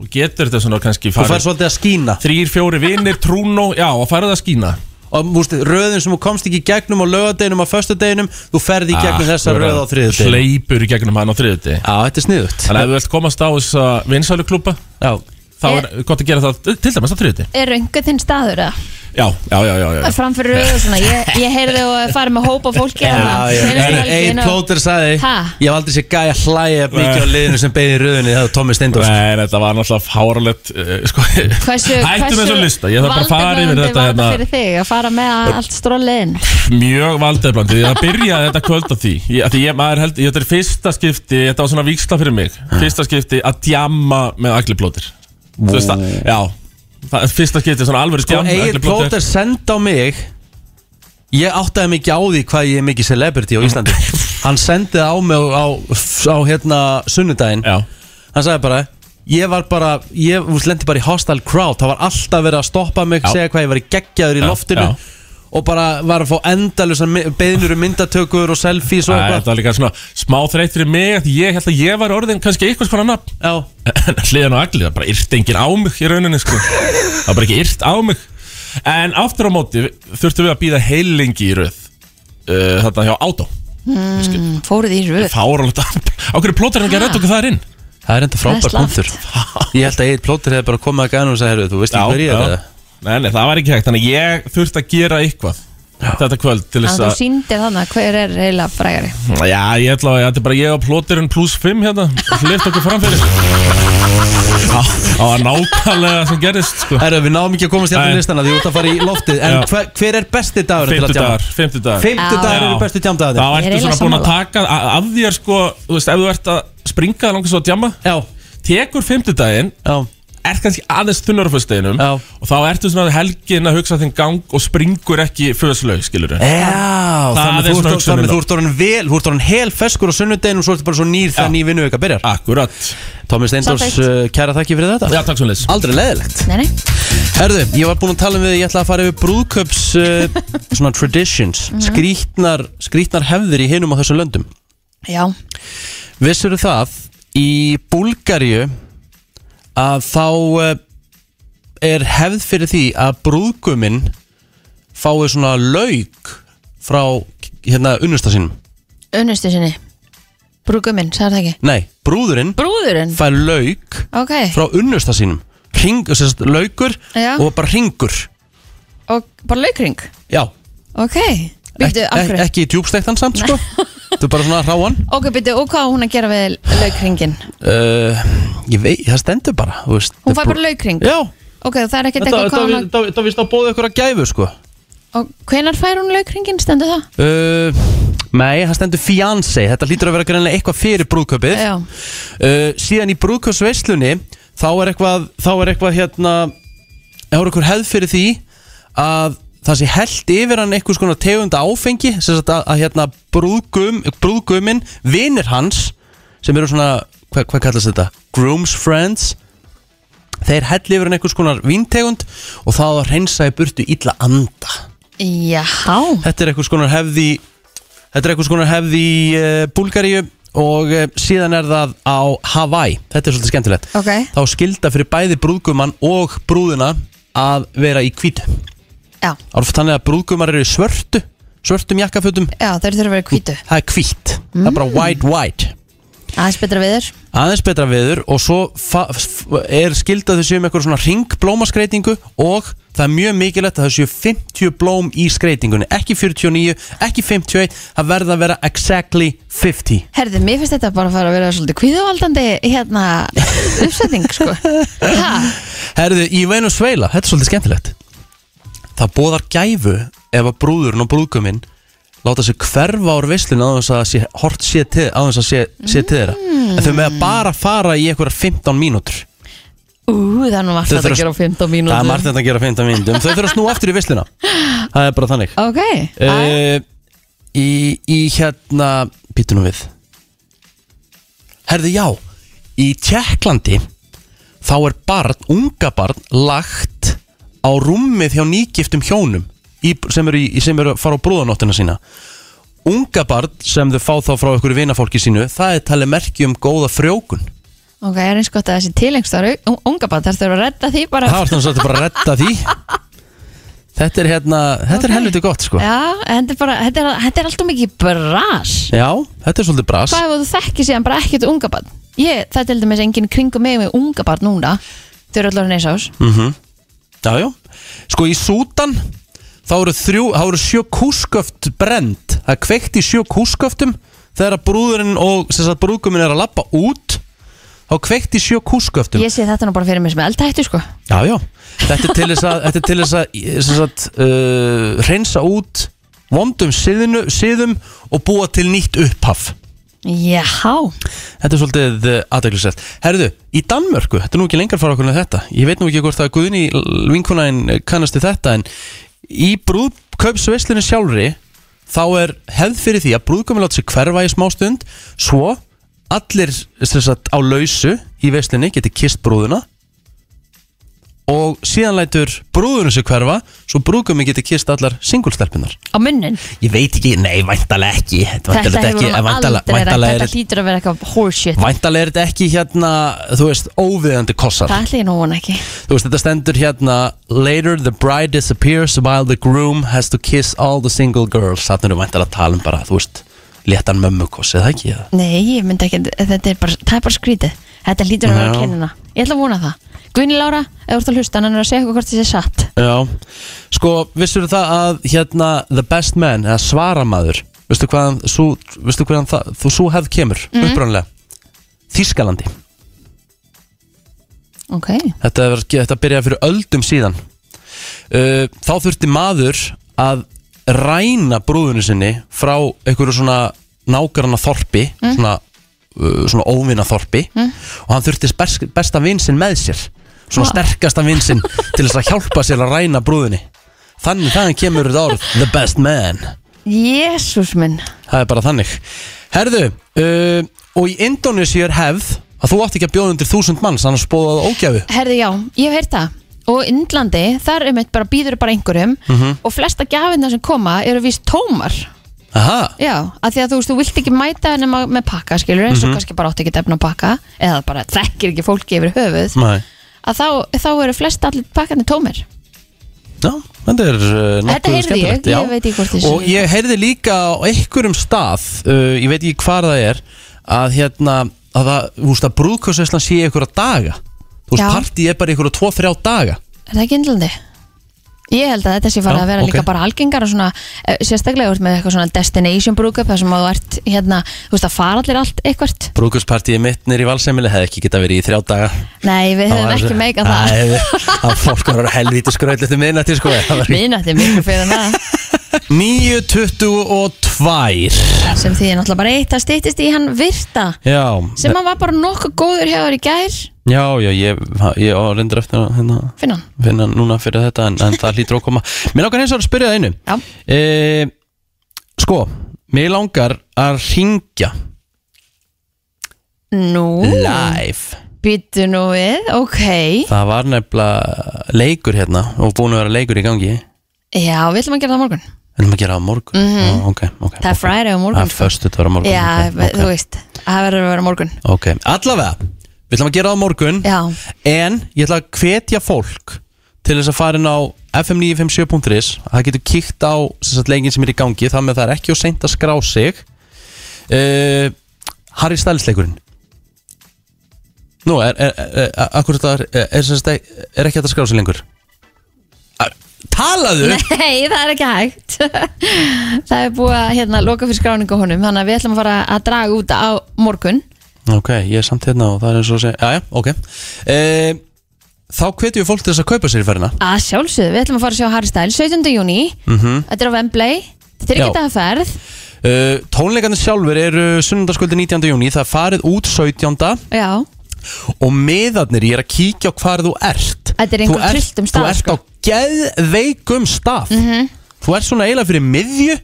Speaker 7: og getur þetta svona kannski
Speaker 2: Þú fær
Speaker 7: farið
Speaker 2: svolítið að skína
Speaker 7: þrýr, fjóri vinnir, trúnó, já og farið að skína
Speaker 2: og múst, röðin sem þú komst ekki í gegnum á lögadeginum á föstudeginum, þú ferði í
Speaker 7: Ah,
Speaker 2: gegnum þessa röð á þriðudeginum
Speaker 7: Hleypur í gegnum hann á þriðudegi
Speaker 2: Já, þetta er sniðut
Speaker 7: Þannig að ef þú vilt komast á þessa vinsælu klúpa
Speaker 2: Já
Speaker 7: Þá er gott að gera það til dæmis á þriðudegi
Speaker 11: Er einhvern þinn staður eða?
Speaker 7: Já, já, já, já, já.
Speaker 11: Framfyrir röðu og svona Ég, ég heyrði og farið með hópa fólki þarna seinustu helgi
Speaker 2: Einn
Speaker 11: inn á-
Speaker 2: plóter sagði
Speaker 11: Ha?
Speaker 2: Ég hef aldrei sér gæja hlæja jafn mikið á liðinu sem beigði röðinni Það er Tommi Steindórs
Speaker 7: Nei, þetta var náttúrulega fáralegt uh, sko,
Speaker 11: Hversu,
Speaker 7: Hættum þessu lista, ég þarf bara að fara yfir þetta
Speaker 11: hérna.
Speaker 7: hérna,
Speaker 11: fyrir þig að fara með allt strólið inn
Speaker 7: Mjög valdeblandi, það byrjaði þetta kvöld á því ég, af því ég, maður held, ég, Þetta er fyrsta skipti, þetta var svona víksla fyrir mig Fyrsta skipti að djamma með agliplótir Þú veist það, já það, er Fyrsta skipti svona alveg
Speaker 2: Sko, Egil Plóter senda á mig Ég áttaði mig ekki á því hvað ég er mikið celebrity á Íslandi Hann sendi það á mig á, á hérna sunnudaginn
Speaker 7: Já.
Speaker 2: Hann sagði bara Ég var bara, ég úst, lendi bara í hostile crowd Það var alltaf verið að stoppa mig,
Speaker 7: Já.
Speaker 2: segja hvað ég var í geggjaður í
Speaker 7: Já,
Speaker 2: loftinu
Speaker 7: já.
Speaker 2: Og bara var að fá endalösa beðnur um myndatökur og selfies og
Speaker 7: Æ,
Speaker 2: eitthvað
Speaker 7: þetta var líka svona smá þreytt fyrir mig að ég held að ég var orðin kannski eitthvað svona nafn en hliðan á allir, það bara yrti engin á mig í rauninni sko, það var bara ekki yrt á mig en aftur á móti þurftum við að býða heilingi í rauð uh, þarna hjá Átó
Speaker 11: mm, Fóruð í röð
Speaker 7: fáralegt á hverju plótar hann ekki að rödd okkur þar inn
Speaker 2: Það er enda
Speaker 11: Það er
Speaker 2: frábær
Speaker 11: slappt.
Speaker 2: punktur Ég held að Egil Plóter hefði bara komið að gæna og sagði "Heyrðu, Þú veist ekki hver ég er eða?"
Speaker 7: nei, nei, það var ekki hægt, þannig að ég þurfti að gera eitthvað þetta kvöld til
Speaker 11: Þannig
Speaker 7: þess
Speaker 11: að þú
Speaker 7: að
Speaker 11: sýndir þannig hver er heila frægari
Speaker 7: Já, ég ætla að þetta er bara ég og plóterinn pluss 5 hérna Lift okkur framfyrir Já, Það var nákvæmlega sem gerist sko.
Speaker 2: Herra, við náum ekki að komast hérna
Speaker 7: Nei.
Speaker 2: í listana því þú ert að fara í loftið En
Speaker 7: Já.
Speaker 2: hver, hver er besti dagur til að djama?
Speaker 7: Fimmtudagar, fimmtudagar
Speaker 2: Fimmtudagar eru bestu djamdagarnir.
Speaker 7: Það
Speaker 2: Ég er
Speaker 7: ertu svona
Speaker 2: eiginlega
Speaker 7: búin að
Speaker 2: sammála.
Speaker 7: taka a- að þér sko, þú veist, ef þú ert að springa langar svo að djama
Speaker 2: Já
Speaker 7: Tekur fimmtudaginn
Speaker 2: Já
Speaker 7: Ert kannski aðeins þunnur á föstudeginum Já Og þá ertu svona helgin að hugsa þinn gang og springur ekki föðslaug, skilur
Speaker 2: Eh.
Speaker 7: við
Speaker 2: Já,
Speaker 7: Það
Speaker 2: þannig
Speaker 7: er
Speaker 2: þú
Speaker 7: svona
Speaker 2: ert-
Speaker 7: hugsunin
Speaker 2: þannig þú ert orðin vel, þú ert orðin hel feskur á sunnudeginu og svo ertu bara svo nýr þegar ný vinnu ykkar byrjar
Speaker 7: Akkurat
Speaker 2: Tómi Steindors,
Speaker 11: Samþykkt.
Speaker 2: uh, kæra þakki fyrir þetta
Speaker 7: Já, takk svo leys
Speaker 2: Aldrei leðilegt
Speaker 11: Nei, nei
Speaker 2: Herðu, ég var búin að tala um við, ég ætla að fara yfir brúðköps uh, svona traditions
Speaker 11: Mhm.
Speaker 2: skrítnar, skrítnar hefðir í hinum á þessu löndum
Speaker 11: Já,
Speaker 2: Vissur það í Búlgaríu að þá eh, er hefð fyrir því að brúðguminn fái svona lauk frá hérna unnusta sínum
Speaker 11: unnustu sinni Brúkuminn, sagði það ekki
Speaker 2: Nei, brúðurinn
Speaker 11: Brúðurinn?
Speaker 2: fær lauk
Speaker 11: Ok,
Speaker 2: frá unnusta sínum Hring, sérst, laukur
Speaker 11: Já.
Speaker 2: og bara hringur
Speaker 11: og bara laukring
Speaker 2: Já,
Speaker 11: Ok, býttu, af
Speaker 2: Ek,
Speaker 11: hverju
Speaker 2: ekki í djúbstektan samt sko Þetta er bara svona hráan
Speaker 11: Ok, býttu, og hvað á hún að gera við laukringin?
Speaker 2: uh, Ég veit, það stendur bara þú veist,
Speaker 11: Hún fær bara laukring?
Speaker 2: Já
Speaker 11: Ok, það er ekkert
Speaker 2: Þetta
Speaker 11: eitthvað hvað hún að
Speaker 2: þetta vist að bóða ykkur að gæfu sko
Speaker 11: Og hvenar fær hún laukringin, stendur það?
Speaker 2: Uh, nei, það stendur fiancé Þetta hlýtur að vera greinlega eitthvað fyrir brúðköpið
Speaker 11: Já.
Speaker 2: uh, Síðan í brúðköpsveislunni Þá er eitthvað Þá er eitthvað hérna Þá er eitthvað hefð fyrir því Að það sé held yfir hann einhvers konar tegunda áfengi Sem sagt að, að hérna brúðgum, Brúðgumin, vinir hans Sem eru svona, hvað, hvað kallast þetta? Groom's friends Þeir held yfir hann einhvers konar víntegund Og það á að reynsa í burtu illa anda
Speaker 11: Jaha
Speaker 2: Þetta er eitthvað skonar hefði Þetta er eitthvað skonar hefði í uh, Búlgaríu og uh, síðan er það á Hawaii Þetta er svolítið skemmtilegt
Speaker 11: Ok
Speaker 2: Þá er skilda fyrir bæði brúðgumann og brúðina að vera í hvítu
Speaker 11: Já.
Speaker 2: Árf, Þannig að brúðgumar eru í svörtu svörtum jakkafötum
Speaker 11: Já, þeir þurfa að vera hvítu
Speaker 2: Það er hvít, það er
Speaker 11: Mm.
Speaker 2: bara white white
Speaker 11: Aðeins betra við þér
Speaker 2: aðeins betra veður og svo fa- f- er skilda þau séu með eitthvað svona ringblómaskreitingu og það er mjög mikilvægt að það séu 50 blóm í skreitingunni ekki 49, ekki 51 það verða að vera exactly 50
Speaker 11: Herði, mér finnst þetta bara að fara að vera svolítið kvíðavaldandi hérna uppsetning, sko. Ha,
Speaker 2: Herðu, í Venezuela, þetta er svolítið skemmtilegt það bóðar gæfu ef að brúðurinn og brúðguminn láta sig hverfa úr veislun á þess að sé, hort sé til, á þess að sé, sé til þeirra en þau með að bara fara í eitthvað 15 mínútur
Speaker 11: ú, það er nú margt hægt
Speaker 2: Þau
Speaker 11: að
Speaker 2: þurfa-
Speaker 11: gera á 15 mínútur.
Speaker 2: Það er margt þetta að gera 15 mínútum Þau þurfa að snúa aftur í visluna Það er bara þannig
Speaker 11: Ok,
Speaker 2: uh, í, í hérna Býtu nú við Herðu já Í Tjekklandi Þá er barn, unga barn Lagt á rúmið hjá nýgiftum hjónum í, Sem eru, í, sem eru að fara á brúðanóttina sína Unga barn sem þau fá þá frá ykkur vinafólki sínu Það er talið merki um góða frjókun
Speaker 11: ok, er eins gott að þessi tilengst var unga barn, þarf þau að redda því bara.
Speaker 2: Það var þannig að þetta bara að redda því Þetta er hérna, þetta er helviti gott sko Já,
Speaker 3: Já, þetta er bara, þetta er, þetta er alltaf mikið bras
Speaker 2: þetta er svolítið bras
Speaker 3: Hvað ef þú þekkir síðan bara ekkert ungabarn? Ég, það er til dæmis enginn kringum mig með ungabarn núna Þau eru allar neins ás
Speaker 2: mm Já, já Sko í Sútan þá eru, þrjú, þá eru sjö kúsköft brend Það er kveikt í sjö kúsköftum Þegar að brúðurinn og sem sagt brúðguminn er að lappa út Þá er kveikt í sjö kúsköftum
Speaker 3: Ég sé þetta nú bara fyrir mig sem eldhættu sko
Speaker 2: Já, já Þetta er til þess að, þetta er til þess að sem sagt, uh, reynsa út vondum siðinu, siðum og búa til nýtt upphaf
Speaker 3: Jáhá
Speaker 2: Þetta er svolítið aðdeglisett Herðu, í Danmörku, þetta er nú ekki lengar fara okkur en þetta Ég veit nú ekki hvort að Guðni vinkunæðin kannast til þetta en í brúðkaupsveislinu sjálfri þá er hefð fyrir því að brúðkaupin láta sig hverfa í smá stund svo allir sem sagt, á lausu í veislinni geti kist brúðuna og síðan lætur brúðunum sig hverfa svo brúðkaupin geti kist allar singulstelpunar
Speaker 3: Á munnin
Speaker 2: Ég veit ekki, nei, væntalega ekki
Speaker 3: Þetta hefur hún aldrei rætt
Speaker 2: væntalega,
Speaker 3: Þetta hlýtur að vera eitthvað horseshit
Speaker 2: Væntalega er þetta ekki hérna, þú veist, óviðandi kossar
Speaker 3: Það ætla ég nú hún ekki
Speaker 2: Þú veist, þetta stendur hérna Later the bride disappears while the groom has to kiss all the single girls Þannig erum væntalega að tala um bara, þú veist, léttan mömmukoss, eða ekki eða?
Speaker 3: Nei, ég myndi ekki, þetta er bara, það er bara skrítið Þetta hlýtur að vera
Speaker 2: Já.
Speaker 3: kennina Ég ætla að vona það Guðni Lára, ef þú ert að hlusta, hann er að segja eitthvað hvort þessi satt
Speaker 2: Já, sko, vissur það að hérna the best man, eða svaramaður Veistu hvaðan, svo, veistu hvaðan það, þú svo hefð kemur, mm.
Speaker 3: Mhm.
Speaker 2: upprónlega Þískalandi
Speaker 3: Ok
Speaker 2: Þetta, var, þetta byrjaði fyrir öldum síðan uh, Þá þurfti maður að ræna brúðinu sinni frá einhverju svona nágranna þorpi
Speaker 14: Mm.
Speaker 2: svona, uh, svona óvinna þorpi
Speaker 14: Mm.
Speaker 2: og hann þurfti best, besta vinsinn með sér svona
Speaker 14: Vá.
Speaker 2: sterkasta vinsinn til þess að hjálpa sér að ræna brúðinni Þannig þannig kemur þetta orð The best man
Speaker 3: Jésús minn
Speaker 2: Það er bara þannig Herðu, uh, og í Indonesia er hefð að þú átt ekki að bjóða undir þúsund manns annars bóðað ógæfu
Speaker 3: Herði já, ég hef heyrt það Og í Indlandi, þar um eitt bara býður bara einhverjum
Speaker 2: Mhm.
Speaker 3: Og flesta gjafinna sem koma eru víst tómar
Speaker 2: Aha
Speaker 3: Já, að því að þú veist, þú vilt ekki mæta nema með pakka, skilur, eins og
Speaker 2: Mhm.
Speaker 3: kannski bara átt ekki efna að pakka, eða bara þekkir ekki fólki yfir höfuð,
Speaker 2: Nei.
Speaker 3: að þá, þá eru flest allir pakkarnir tómir
Speaker 2: Já, þetta er uh,
Speaker 3: Þetta
Speaker 2: nokkuð
Speaker 3: heyrði ég,
Speaker 2: skemmtilegt já.
Speaker 3: ég veit ekki hvort þessu
Speaker 2: Og ég heyrði líka á einhverjum stað uh, Ég veit ekki hvar það er Að hérna að það, þú veist að brúðkjósveislan sé einhverja daga Þú veist,
Speaker 3: Já.
Speaker 2: partí er bara einhverja 2-3 daga
Speaker 3: Er það ekki Indlandi? Ég held að þetta sé
Speaker 2: Já,
Speaker 3: farið að vera
Speaker 2: ok.
Speaker 3: líka bara algengara svona, eh, sérstaklega úr með eitthvað svona destination brúkup þar sem að þú ert hérna, þú veist að fara allir allt eitthvert
Speaker 2: Brúðkjóspartíði mitt nýri valsemili hefði ekki getað verið í 3 daga
Speaker 3: Nei, við höfum ekki meika það
Speaker 2: Það fólk var að helvíti skröðlega til minnati sko það var-
Speaker 3: Minnætti miklu fyrir en það
Speaker 2: 9.22
Speaker 3: sem því er náttúrulega bara eitt að stýttist í hann virta
Speaker 2: Já
Speaker 3: sem hann var bara nokkuð góður hjá þér í gær
Speaker 2: Já, já, ég, ég á reyndur eftir að hérna,
Speaker 3: Finna hann
Speaker 2: finna núna fyrir þetta en, en það hlýtur að koma Mér langar eins og að spyrja það einu e, Sko, mér langar að ringja
Speaker 3: Nú,
Speaker 2: live
Speaker 3: býttu nú við, ok
Speaker 2: Það var nefnilega leikur hérna og búin að vera leikur í gangi En
Speaker 3: Já, við ætlum að gera það á morgun
Speaker 2: maður gera það á morgun
Speaker 3: Mhm.
Speaker 2: Ó, Ok, ok
Speaker 3: Það er fræri á
Speaker 2: Það er
Speaker 3: morgun
Speaker 2: föstu þetta var á morgun
Speaker 3: Já,
Speaker 2: ok,
Speaker 3: þú veist, það verður að vera á morgun
Speaker 2: ok, allavega, við ætlum að gera það á morgun
Speaker 3: Já,
Speaker 2: En ég ætla að hvetja fólk til þess að fara inn á fm957.is Það getur kíkt á sem sagt, leikin sem er í gangi Þannig að það er ekki og seint að skrá sig uh, Harry Styles leikurinn Nú, er, er, er, er, akkur þetta er, er, sem sagt ek- er ekki hægt að skrá sig lengur Ar- Talaðu?
Speaker 3: nei, það er ekki hægt Það er búið að hérna, loka fyrir skráningu á honum Þannig að við ætlum að fara að draga út á morgun
Speaker 2: Ok, ég er samt hérna og það er eins og að segja Jæja, ok uh, Þá hvetjum við fólk til þess að kaupa sér í ferðina
Speaker 3: Að sjálfsögðu, við ætlum að fara að sjá Harry Styles 17. júni,
Speaker 2: mm
Speaker 3: þetta er á Wembley Þetta er
Speaker 2: Já.
Speaker 3: ekki þetta að ferð
Speaker 2: Uh, tónleikarnir sjálfur eru sunnundaskvöldi 19. júni, það er farið út 17.
Speaker 3: Já,
Speaker 2: og miðarnir, ég er að kíkja á hvar þú ert
Speaker 3: þetta er
Speaker 2: Þú
Speaker 3: einhver
Speaker 2: ert,
Speaker 3: trilltum
Speaker 2: þú
Speaker 3: stað sko. Mhm.
Speaker 2: ert á geðveikum stað Þú ert svona eiginlega fyrir miðju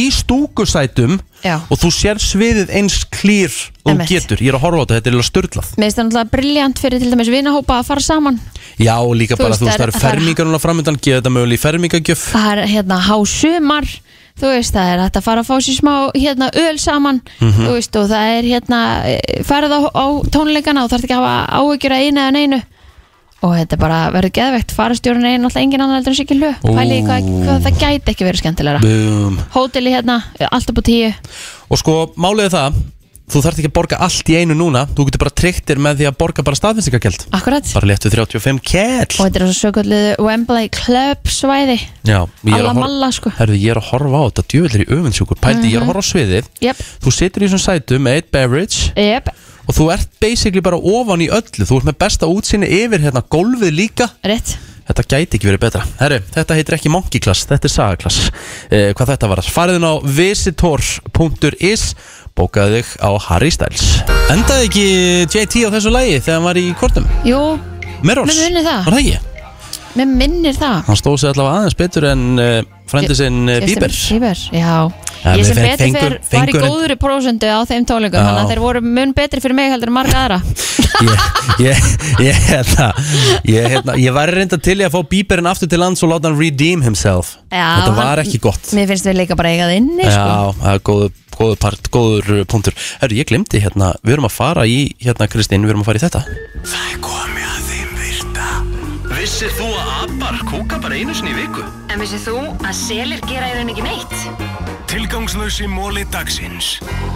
Speaker 2: í stúkusætum
Speaker 3: Já.
Speaker 2: og þú sér sviðið eins klýr og þú
Speaker 3: Einmitt.
Speaker 2: getur, ég er að horfa á þetta, þetta er eiginlega störlað
Speaker 3: Mér finnst það náttúrulega briljant fyrir til dæmis vinahópa að fara saman
Speaker 2: Já, og líka
Speaker 3: Þú
Speaker 2: bara,
Speaker 3: veist,
Speaker 2: þú veist, það
Speaker 3: það er-
Speaker 2: eru
Speaker 3: það er-
Speaker 2: fermingar núna framöndan, gefa þetta mögulega í fermingagjöf
Speaker 3: Það er hérna hásumar Þú veist, það er hægt að fara að fá sér smá hérna öl saman
Speaker 2: Mhm.
Speaker 3: Þú veist, og það er hérna eh, farið á, á tónleikana og þarf ekki að hafa áhyggjur að einu eða neinu og þetta er bara verður geðvegt farastjórun er náttúrulega engin annar heldur en Siggi Hlö
Speaker 2: Ó.
Speaker 3: pæli hvað, hvað það gæti ekki verið skemmtilegra
Speaker 2: Bum.
Speaker 3: hóteli hérna, allt upp á tíu
Speaker 2: Um, Og sko, málið er það Þú þarft ekki að borga allt í einu núna Þú getur bara tryggt þér með því að borga bara staðfinnsingagjald
Speaker 3: akkurat
Speaker 2: Bara léttu 35 kell
Speaker 3: og þetta er svo sökulluðu Wembley Club svæði
Speaker 2: Já, ég er, að
Speaker 3: alla
Speaker 2: horfa,
Speaker 3: malla sko
Speaker 2: herðu, ég er að horfa á þetta djöfellir í öfundsjúkur Pældi, ég er að
Speaker 3: Mhm.
Speaker 2: horfa á sviðið
Speaker 3: Jep.
Speaker 2: Þú situr í þessum sætum með eitt beverage
Speaker 3: yep,
Speaker 2: Og þú ert basically bara ofan í öllu Þú ert með besta útsinni yfir hérna gólfið líka
Speaker 3: rétt
Speaker 2: Þetta gæti ekki verið betra Herru, þetta heitir ekki Monkey Class, þetta er Saga Class eh, Hvað þetta var Fariðin á visitors.is Bókaðu þig á Harry Styles Endaði ekki JT á þessu lægi þegar hann var í kortum?
Speaker 3: Jú,
Speaker 2: Mirrors,
Speaker 3: Mér minnir það.
Speaker 2: var það ekki?
Speaker 3: mér minnir það
Speaker 2: Hann stóð sér allavega aðeins betur en uh, frendi sinn uh,
Speaker 3: Justin
Speaker 2: Bieber
Speaker 3: Bieber, já
Speaker 2: Ja, við
Speaker 3: Ég sem
Speaker 2: fe-
Speaker 3: betur
Speaker 2: fengum-
Speaker 3: fyrr var í
Speaker 2: fengum-
Speaker 3: góðri prósundu á þeim tólingum
Speaker 2: Já.
Speaker 3: Þannig að þeir voru mun betri fyrir mig heldur en marga aðra
Speaker 2: Ég, ég, ég, hérna, ég, hérna, ég var reynda til í að fá Bieberinn aftur til lands og láta hann redeem himself
Speaker 3: Já,
Speaker 2: Þetta var
Speaker 3: hann-
Speaker 2: ekki gott
Speaker 3: Mér finnst við líka bara eigað inni sko.
Speaker 2: Já, það er góður, góður part, góður uh, punktur Herru, ég glemdi hérna, við erum að fara í hérna Kristín, við erum að fara í þetta
Speaker 15: Það er komið að þeim virta Vissir þú að abar kúka bara einu sinni í viku?
Speaker 16: En vissið þú að selir gera í raun ekki neitt?
Speaker 15: Tilgangslösi móli dagsins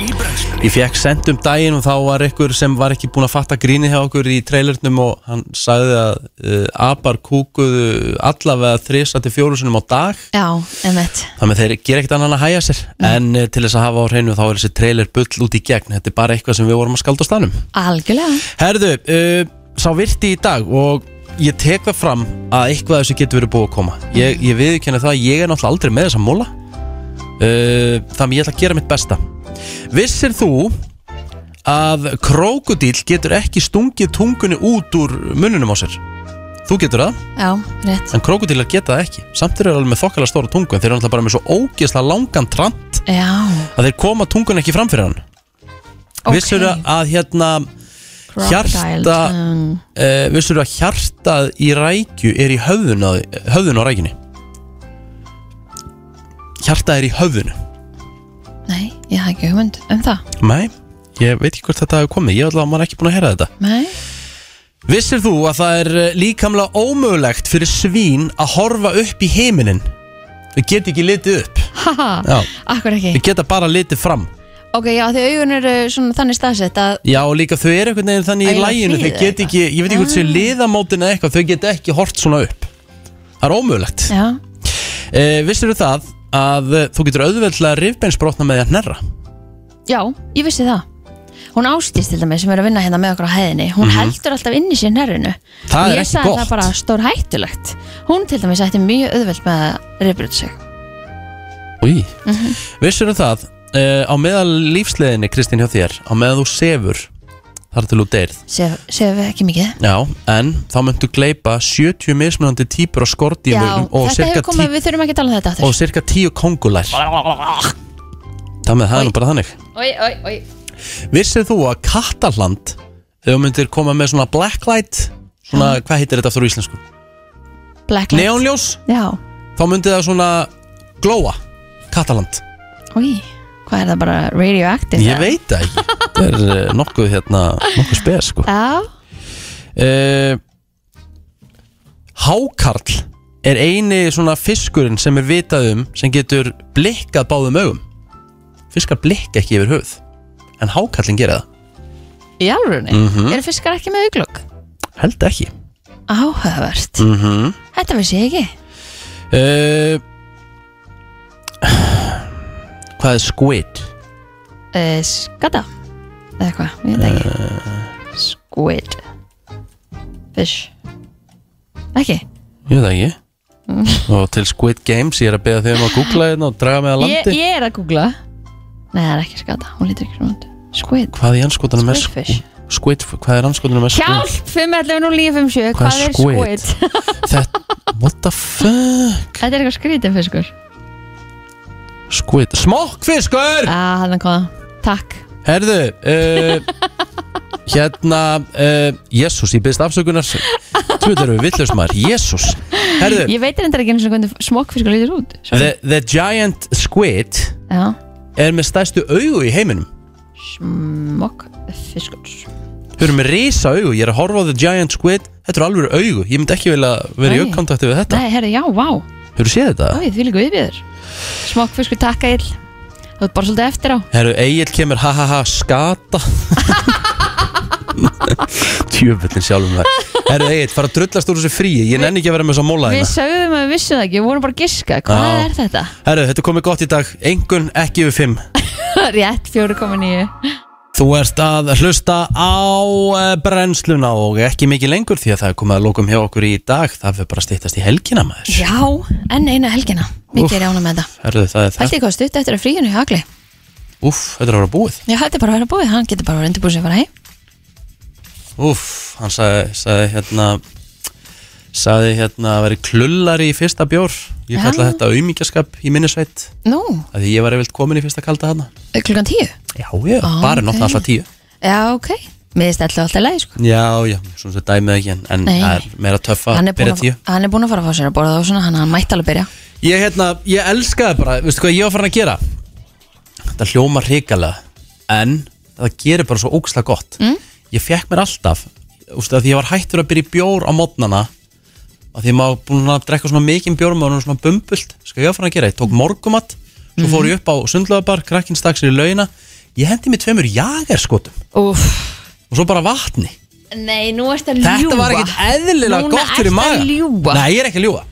Speaker 15: Í brennslu
Speaker 2: Ég fekk sent um daginn og þá var einhver sem var ekki búin að fatta gríni hjá okkur í trailernum og hann sagði að uh, abar kúkuðu allavega þrisa til fjólusunum á dag
Speaker 3: Já, emmitt
Speaker 2: Þannig að þeir gera ekkert annan að hæja sér En uh, til þess að hafa á hreinu þá er þessi trailer bull út í gegn Þetta er bara eitthvað sem við vorum að skalda á stanum
Speaker 3: Algjörlega
Speaker 2: Herðu, uh, sá virti í dag og ég tek það fram að eitthvað af þessu getur verið búið að koma Ég, ég viðurkenna það að ég er náttúrulega aldrei með þessa móla uh, Þannig ég ætla að gera mitt besta Vissir þú að krókudíl getur ekki stungið tungunni út úr munnunum á sér? Þú getur það?
Speaker 3: Já, rétt
Speaker 2: En krókudílar geta það ekki Samt eru þeir alveg með þokkala stóra tungu En þeir eru náttúrulega bara með svo ógeðslega langan trant
Speaker 3: Já,
Speaker 2: Að þeir koma tungun ekki fram fyrir hann
Speaker 3: Ok.
Speaker 2: Vissur að hérna
Speaker 3: Crocodile
Speaker 2: Hjarta
Speaker 3: tongue.
Speaker 2: uh, Vissur að hjartað í rækju Er í höfðun á, höfðun á rækjunni Hjartað er í höfðun
Speaker 3: nei, ég hafði ekki hugmynd um það
Speaker 2: Nei, ég veit ekki hvort þetta hefur komið Ég er allavega maður ekki búin að heyra þetta
Speaker 3: Nei,
Speaker 2: Vissir þú að það er eh, líkamlega ómögulegt fyrir svín að horfa upp í heiminin? Við getum ekki litið upp.
Speaker 3: haha,
Speaker 2: Já.
Speaker 3: akkur ekki
Speaker 2: Við geta bara litið fram.
Speaker 3: Ok, já, því augun eru svona þannig staðsett að
Speaker 2: Já, og líka þau eru einhvern veginn þannig
Speaker 3: Æ,
Speaker 2: í
Speaker 3: ég Ah.
Speaker 2: læginu
Speaker 3: þýði
Speaker 2: Þau get ekki, ég veit ekki hvort séu liðamótin eða eitthvað Þau get ekki hort svona upp Það er ómögulegt
Speaker 3: Já,
Speaker 2: e, Vissir það að eh, þú getur auðveldlega rifbeinsbrotna með því að hnerra
Speaker 3: já, ég vissi það Hún ástýst til dæmi sem er að vinna hérna með okkur á hæðinni Hún
Speaker 2: Mhm.
Speaker 3: heldur alltaf inn í sér nærinu
Speaker 2: Það
Speaker 3: Og
Speaker 2: er
Speaker 3: Ég
Speaker 2: ekki
Speaker 3: sagði
Speaker 2: gott.
Speaker 3: það bara stór hættulegt Hún til dæmis ætti mjög auðvelt með að reybrut sig
Speaker 2: Új
Speaker 3: Mhm.
Speaker 2: Vissir það e, á meðal lífsleðinni Kristín hjá þér á meðal þú sefur þar til þú deyrð
Speaker 3: Segðu við ekki mikið
Speaker 2: Já, en þá myndu gleypa 70 mismunandi típur á
Speaker 3: Já,
Speaker 2: skordýrum og
Speaker 3: þetta
Speaker 2: cirka
Speaker 3: hefur komið,
Speaker 2: 10
Speaker 3: við þurfum ekki að tala um þetta aftur
Speaker 2: og cirka 10 kongulær Það með það er nú bara þannig
Speaker 3: Oi, oi, oi
Speaker 2: Vissir þú að Kataland Þegar þú myndir koma með svona blacklight Svona, hvað heitir þetta aftur á íslensku?
Speaker 3: Black
Speaker 2: Neonljós
Speaker 3: Já,
Speaker 2: Þá myndi það svona glóa Kataland
Speaker 3: oi, hvað er það bara radioactive?
Speaker 2: Ég veit það ekki Það er eh, nokkuð hérna, nokkuð spes sko
Speaker 3: Já,
Speaker 2: uh, Hákarl er eini svona fiskurinn sem er vitað um sem getur blikkað báðum augum Fiskar blikka ekki yfir höfuð En hákarlinn gera það
Speaker 3: í alvörunni
Speaker 2: Mhm.
Speaker 3: Eru fiskar ekki með auglokk?
Speaker 2: Held ekki
Speaker 3: Áhugavert
Speaker 2: mm
Speaker 3: Þetta vissi ég ekki
Speaker 2: uh, Hvað er squid?
Speaker 3: uh, Skata Eða hvað, ég veit ekki
Speaker 2: Eh.
Speaker 3: Squid Fish Ekki
Speaker 2: Ég veit það ekki
Speaker 3: Mm.
Speaker 2: Og til Squid Games ég er að beða þau um að googla þetta og draga mig að
Speaker 3: ég,
Speaker 2: landi
Speaker 3: ég er að googla Nei, það er ekki skata, hún lítur ekki svona út Squid
Speaker 2: Hvað í anskotunum er
Speaker 3: Squidfish.
Speaker 2: squid? Squid, hvað er anskotunum er squid?
Speaker 3: Hjálp, 511 og
Speaker 2: Hvað
Speaker 3: 957
Speaker 2: er
Speaker 3: Hvað er
Speaker 2: squid?
Speaker 3: squid?
Speaker 2: What the fuck?
Speaker 3: Þetta er eitthvað skrítið fiskur
Speaker 2: Squid Smokkfiskur!
Speaker 3: ah, Þannig að koma, takk
Speaker 2: Herðu uh, Hérna uh, Jésús, ég byrst afsökunar Tvöld erum við villust maður, Jésús Herðu,
Speaker 3: Ég veit reyndar ekki einu sinni hvernig smokkfiskur lítur út
Speaker 2: the, the Giant Squid
Speaker 3: Já,
Speaker 2: er með stærstu augu í heiminum
Speaker 3: smokkfiskur
Speaker 2: Þau eru með risa augu, ég er að horfa á The Giant Squid Þetta eru alveg augu, ég myndi ekki vilja vera í
Speaker 3: Nei.
Speaker 2: augkontakti við þetta
Speaker 3: Nei, herri, já, vá
Speaker 2: Þau eru séð þetta?
Speaker 3: Það er því líka viðbjöður Smokkfiskur takka ill Þú ert bara svolítið eftir á
Speaker 2: Herru, Egil kemur ha ha ha skata Tjöfullin sjálfum það Herru, Egil, fara að drullast úr þessu fríi Ég nenni ekki að vera með þess að móla
Speaker 3: Við
Speaker 2: hérna
Speaker 3: sögum að við vissum það ekki, við vorum bara að giska Hvað
Speaker 2: Já.
Speaker 3: er þetta?
Speaker 2: Herru, þetta er komið gott í dag, engun ekki yfir fimm
Speaker 3: Rétt 4,9
Speaker 2: Þú ert að hlusta á eh, brennsluna og ekki mikið lengur því að það er komið að lókum hjá okkur í dag Það fyrir bara að stýttast í helgina maður
Speaker 3: Já, enn eina helgina Mikið er jána með þetta
Speaker 2: Herru, það er
Speaker 3: Þetta
Speaker 2: það
Speaker 3: er hvað stutt eftir að fríinu í Agli
Speaker 2: Úff, þetta er að vera búið
Speaker 3: Já, þetta er bara að vera búið, hann getur bara að vera undirbúið sér að fara heim
Speaker 2: Úff, hann sagði, sagði hérna sagði hérna að veri klullari í fyrsta bjór ég
Speaker 3: Já.
Speaker 2: kalla þetta auðmíkjaskap í minnisveit
Speaker 3: Nú,
Speaker 2: að því ég var eftir komin í fyrsta kalda hana
Speaker 3: klukkan 10
Speaker 2: já, já,
Speaker 3: Ó,
Speaker 2: bara
Speaker 3: ok.
Speaker 2: náttúrulega alltaf tíu
Speaker 3: Já, ok Mér er alltaf alltaf leið, sko
Speaker 2: já, já, svona sem dæmið ekki en, en
Speaker 3: Nei,
Speaker 2: það er meira töffa
Speaker 3: hann er, búinn
Speaker 2: byrja
Speaker 3: að,
Speaker 2: tíu
Speaker 3: hann er búin að fara að fá sér að borða og svona Þannig að hann mætti alveg byrja
Speaker 2: ég hérna, ég elskaði bara, veistu hvað ég var farin að gera þetta hljóma hrikalega en það gerir bara svo ógslag gott mm? ég fekk mér alltaf ústu, að því ég var hættur að byrja í bjór á mótnana að því maður búin að drekka svona mikinn bjór maður er svona bumbult, sko ég var farin að gera ég tók morgumat, svo fór ég upp á sundlöðabar krakkinn stakk sér í laugina ég hendi mér tveimur jagerskotum
Speaker 3: Úf.
Speaker 2: og svo bara vatni
Speaker 3: Nei, nú ertu að
Speaker 2: þetta var ekkit eðlilega gott fyrir maga nei, ég er ekki að ljúga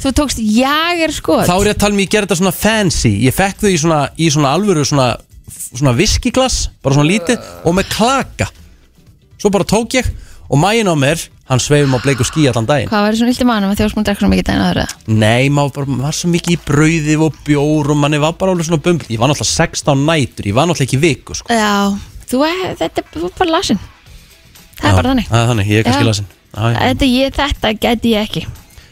Speaker 3: Þú tókst jager skot
Speaker 2: Þá er ég að tala um ég gerði þetta svona fancy Ég fekk þau í svona, í svona alvöru svona, svona viskiglas, bara svona lítið og með klaka Svo bara tók ég og maginn á mér hann sveifum á bleiku skí allan daginn
Speaker 3: Hvað var svona illt í maðanum að þjóðsmúl drekkur svo mikið dæna aðra?
Speaker 2: Nei, maður bara, maður var svo mikið í brauði og bjór og manni var bara alveg svona bumbl Ég var náttúrulega 16 nætur, ég var náttúrulega ekki í viku sko.
Speaker 3: Já, þú er, þetta er þú ert bara lasin Það er bara þannig
Speaker 2: Það er þannig, ég er
Speaker 3: Já.
Speaker 2: kannski lasin Já, já.
Speaker 3: Þetta, ég, þetta geti ég ekki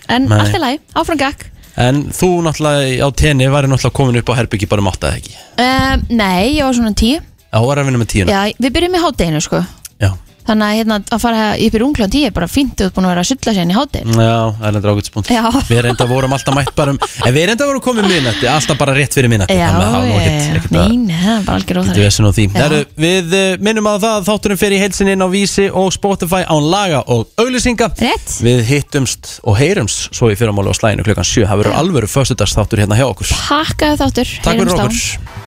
Speaker 3: En
Speaker 2: Nei.
Speaker 3: allt í lagi, áfram gakk
Speaker 2: En þú náttúrulega á tenni væri náttúrulega komin upp á herbyggi bara mátt að ekki
Speaker 3: um, Nei, ég var svona tíu
Speaker 2: Já, hún var að vinna með tíuna
Speaker 3: Já, við byrjum í hátteginu sko
Speaker 2: Já.
Speaker 3: Þannig að hérna, að fara upp í runglan tíu er bara fínt þú ert búin að vera að sulla sér inn í hátteginu
Speaker 2: Já, það er endur ágætspunkt
Speaker 3: Já.
Speaker 2: Við reynda vorum alltaf mætt bara um En við reynda vorum komið minnætti, alltaf bara rétt fyrir minnætti
Speaker 3: Já,
Speaker 2: Þannig að það var
Speaker 3: já,
Speaker 2: ekkert
Speaker 3: nei, nei, það er bara algjör
Speaker 2: Þetta
Speaker 3: óþar
Speaker 2: við þessin og því
Speaker 3: Já.
Speaker 2: Heru, Við eh, minnum að það að þátturinn fer í heilsin inn á Vísi og Spotify án laga og auglýsinga
Speaker 3: Rétt.
Speaker 2: Við hittumst og heyrumst svo í fyrramáli á slæðinu klukkan 7 Það verður alvöru föstudags þáttur hérna hjá okkur
Speaker 3: Takk að þáttur
Speaker 2: Takk fyrir
Speaker 3: heyrumst á.
Speaker 2: okkur